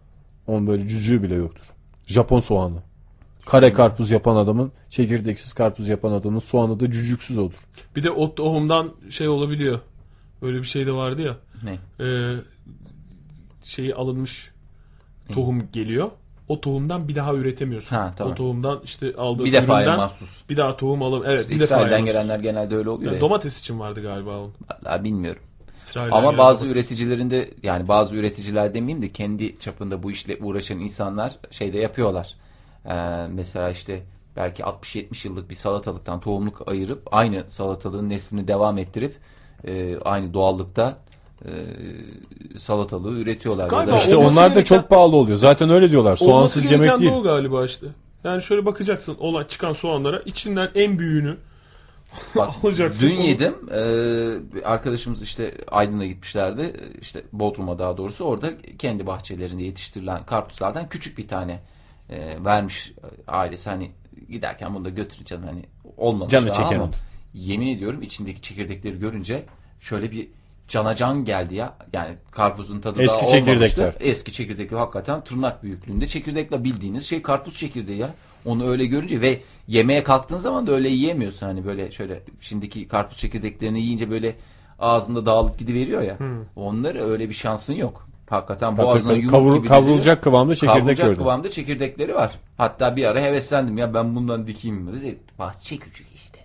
Speaker 1: onun böyle cücüğü bile yoktur. Japon soğanı. Kare karpuz yapan adamın, çekirdeksiz karpuz yapan adamın soğanı da cücüksüz olur.
Speaker 2: Bir de ot tohumdan şey olabiliyor. Öyle bir şey de vardı ya.
Speaker 3: Ne?
Speaker 2: Ee, şeyi alınmış tohum geliyor. O tohumdan bir daha üretemiyorsun.
Speaker 3: Ha, tamam.
Speaker 2: O tohumdan işte aldığı
Speaker 3: Bir defaya
Speaker 2: üründen
Speaker 3: mahsus.
Speaker 2: bir daha tohum alalım. Evet, bir defaya
Speaker 3: İsrail'den
Speaker 2: mahsus.
Speaker 3: gelenler genelde öyle oluyor.
Speaker 2: Yani
Speaker 3: ya.
Speaker 2: domates için vardı galiba onun.
Speaker 3: Vallahi bilmiyorum.
Speaker 2: İsrail'den
Speaker 3: Ama
Speaker 2: gelen
Speaker 3: bazı
Speaker 2: domates.
Speaker 3: üreticilerinde yani bazı üreticiler demeyeyim de kendi çapında bu işle uğraşan insanlar şeyde yapıyorlar. Ee, mesela işte belki 60-70 yıllık bir salatalıktan tohumluk ayırıp aynı salatalığın neslini devam ettirip e, aynı doğallıkta e, salatalığı üretiyorlar.
Speaker 2: Galiba
Speaker 3: Ya da-
Speaker 1: İşte
Speaker 2: olması
Speaker 1: onlar da
Speaker 2: gereken-
Speaker 1: çok pahalı oluyor. Zaten öyle diyorlar.
Speaker 2: Olması
Speaker 1: Soğansız
Speaker 2: gereken
Speaker 1: yemek
Speaker 2: de
Speaker 1: değil.
Speaker 2: o galiba işte. Yani şöyle bakacaksın olan çıkan soğanlara içinden en büyüğünü
Speaker 3: Bak,
Speaker 2: Alacaksın
Speaker 3: Dün
Speaker 2: onu.
Speaker 3: yedim. Ee, bir arkadaşımız işte Aydın'a gitmişlerdi. İşte Bodrum'a daha doğrusu. Orada kendi bahçelerinde yetiştirilen karpuzlardan küçük bir tane e, vermiş ailesi. Hani giderken bunu da götür canım. Hani olmamış
Speaker 1: Canı
Speaker 3: daha
Speaker 1: çeken
Speaker 3: ama
Speaker 1: oldu.
Speaker 3: yemin ediyorum içindeki çekirdekleri görünce şöyle bir cana can geldi ya. Yani karpuzun tadı
Speaker 1: Eski
Speaker 3: daha olmamıştı.
Speaker 1: çekirdekler.
Speaker 3: Eski çekirdek hakikaten tırnak büyüklüğünde çekirdekle bildiğiniz şey karpuz çekirdeği ya. Onu öyle görünce ve yemeğe kalktığın zaman da öyle yiyemiyorsun hani böyle şöyle şimdiki karpuz çekirdeklerini yiyince böyle ağzında dağılıp gidiveriyor ya.
Speaker 1: Hmm.
Speaker 3: Onları öyle bir şansın yok. Hakikaten boğazına
Speaker 1: Kavur-
Speaker 3: yumruk gibi diziliyor.
Speaker 1: kavrulacak kıvamda çekirdek
Speaker 3: Kavrulacak
Speaker 1: gördüm.
Speaker 3: kıvamda çekirdekleri var. Hatta bir ara heveslendim ya ben bundan dikeyim mi? Dedi, bahçe küçük işte.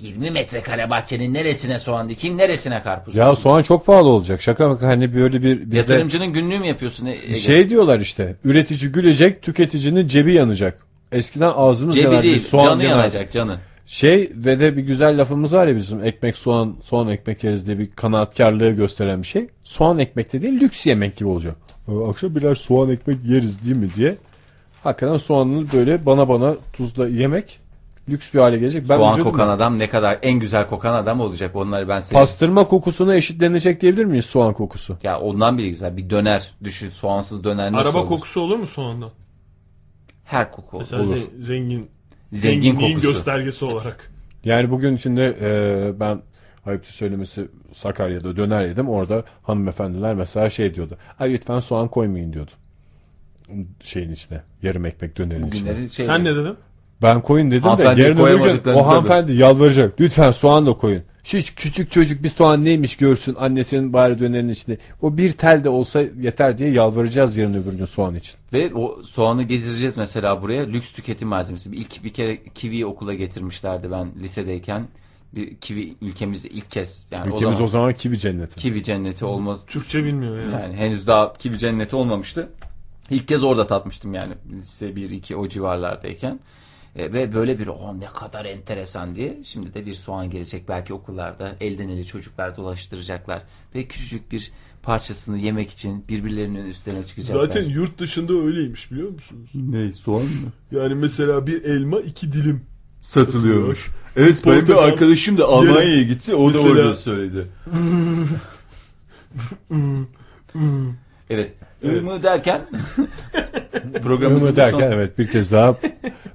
Speaker 3: 20 metrekare bahçenin neresine soğan dikeyim neresine karpuz
Speaker 1: Ya
Speaker 3: dikeyim?
Speaker 1: soğan çok pahalı olacak. Şaka maka hani böyle bir bizde
Speaker 3: Yatırımcının günlüğü mü yapıyorsun? e, Ege?
Speaker 1: şey diyorlar işte. Üretici gülecek, tüketicinin cebi yanacak. Eskiden ağzımız
Speaker 3: Cebi
Speaker 1: yanardı.
Speaker 3: değil
Speaker 1: soğan
Speaker 3: canı
Speaker 1: yanardı.
Speaker 3: yanacak canı.
Speaker 1: Şey ve de bir güzel lafımız var ya bizim ekmek soğan soğan ekmek yeriz diye bir kanaatkarlığı gösteren bir şey. Soğan ekmekte değil lüks yemek gibi olacak. Ee, Akşam birer soğan ekmek yeriz değil mi diye. Hakikaten soğanını böyle bana bana tuzla yemek lüks bir hale gelecek. Ben
Speaker 3: Soğan
Speaker 1: üzüldüm.
Speaker 3: kokan adam ne kadar en güzel kokan adam olacak. Onları ben seviyorum.
Speaker 1: Pastırma kokusuna eşitlenecek diyebilir miyiz soğan kokusu?
Speaker 3: Ya ondan bile güzel. Bir döner düşün. Soğansız döner nasıl
Speaker 2: Araba
Speaker 3: olur?
Speaker 2: kokusu olur mu soğandan?
Speaker 3: Her koku olur.
Speaker 2: Mesela ze- zengin
Speaker 3: Zengin
Speaker 2: zenginliğin
Speaker 3: kokusu.
Speaker 2: göstergesi olarak.
Speaker 1: Yani bugün içinde e, ben ayıptı söylemesi Sakarya'da döner yedim. Orada hanımefendiler mesela şey diyordu. Ay lütfen soğan koymayın diyordu. Şeyin içine. Yarım ekmek dönerin içine.
Speaker 3: Günleri şey-
Speaker 2: Sen ne dedin?
Speaker 1: Ben koyun dedim de
Speaker 6: Hanımefendi
Speaker 1: yarın öbür gün
Speaker 6: koyamadıklarınızı
Speaker 1: o
Speaker 6: da-
Speaker 1: hanımefendi yalvaracak. Lütfen soğan da koyun. Şu küçük çocuk bir soğan neymiş görsün annesinin bari dönerin içinde. O bir tel de olsa yeter diye yalvaracağız yarın öbür gün soğan için.
Speaker 3: Ve o soğanı getireceğiz mesela buraya. Lüks tüketim malzemesi. Bir İlk bir kere kivi okula getirmişlerdi ben lisedeyken. Bir kivi ülkemizde ilk kez. Yani o
Speaker 1: Ülkemiz
Speaker 3: zaman
Speaker 1: o zaman kivi cenneti.
Speaker 3: kivi cenneti olmaz.
Speaker 2: Türkçe bilmiyor yani.
Speaker 3: Yani henüz daha kivi cenneti olmamıştı. İlk kez orada tatmıştım yani lise 1-2 o civarlardayken. E, ve böyle bir o ne kadar enteresan diye şimdi de bir soğan gelecek belki okullarda elden ele çocuklar dolaştıracaklar ve küçücük bir parçasını yemek için birbirlerinin üstlerine çıkacaklar.
Speaker 2: Zaten yurt dışında öyleymiş biliyor musunuz?
Speaker 6: Ne soğan mı?
Speaker 2: Yani mesela bir elma iki dilim.
Speaker 6: Satılıyormuş. Evet benim bir
Speaker 2: Portakal.
Speaker 6: arkadaşım da Almanya'ya gitti o da
Speaker 2: Mesela-
Speaker 6: orada söyledi.
Speaker 3: Evet. Ümü derken
Speaker 1: Programı
Speaker 3: programımızın
Speaker 1: derken
Speaker 3: son...
Speaker 1: evet bir kez daha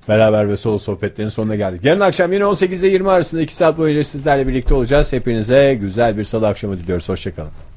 Speaker 1: beraber ve solo sohbetlerin sonuna geldik. Yarın akşam yine 18 ile 20 arasında 2 saat boyunca sizlerle birlikte olacağız. Hepinize güzel bir salı akşamı diliyoruz. Hoşçakalın.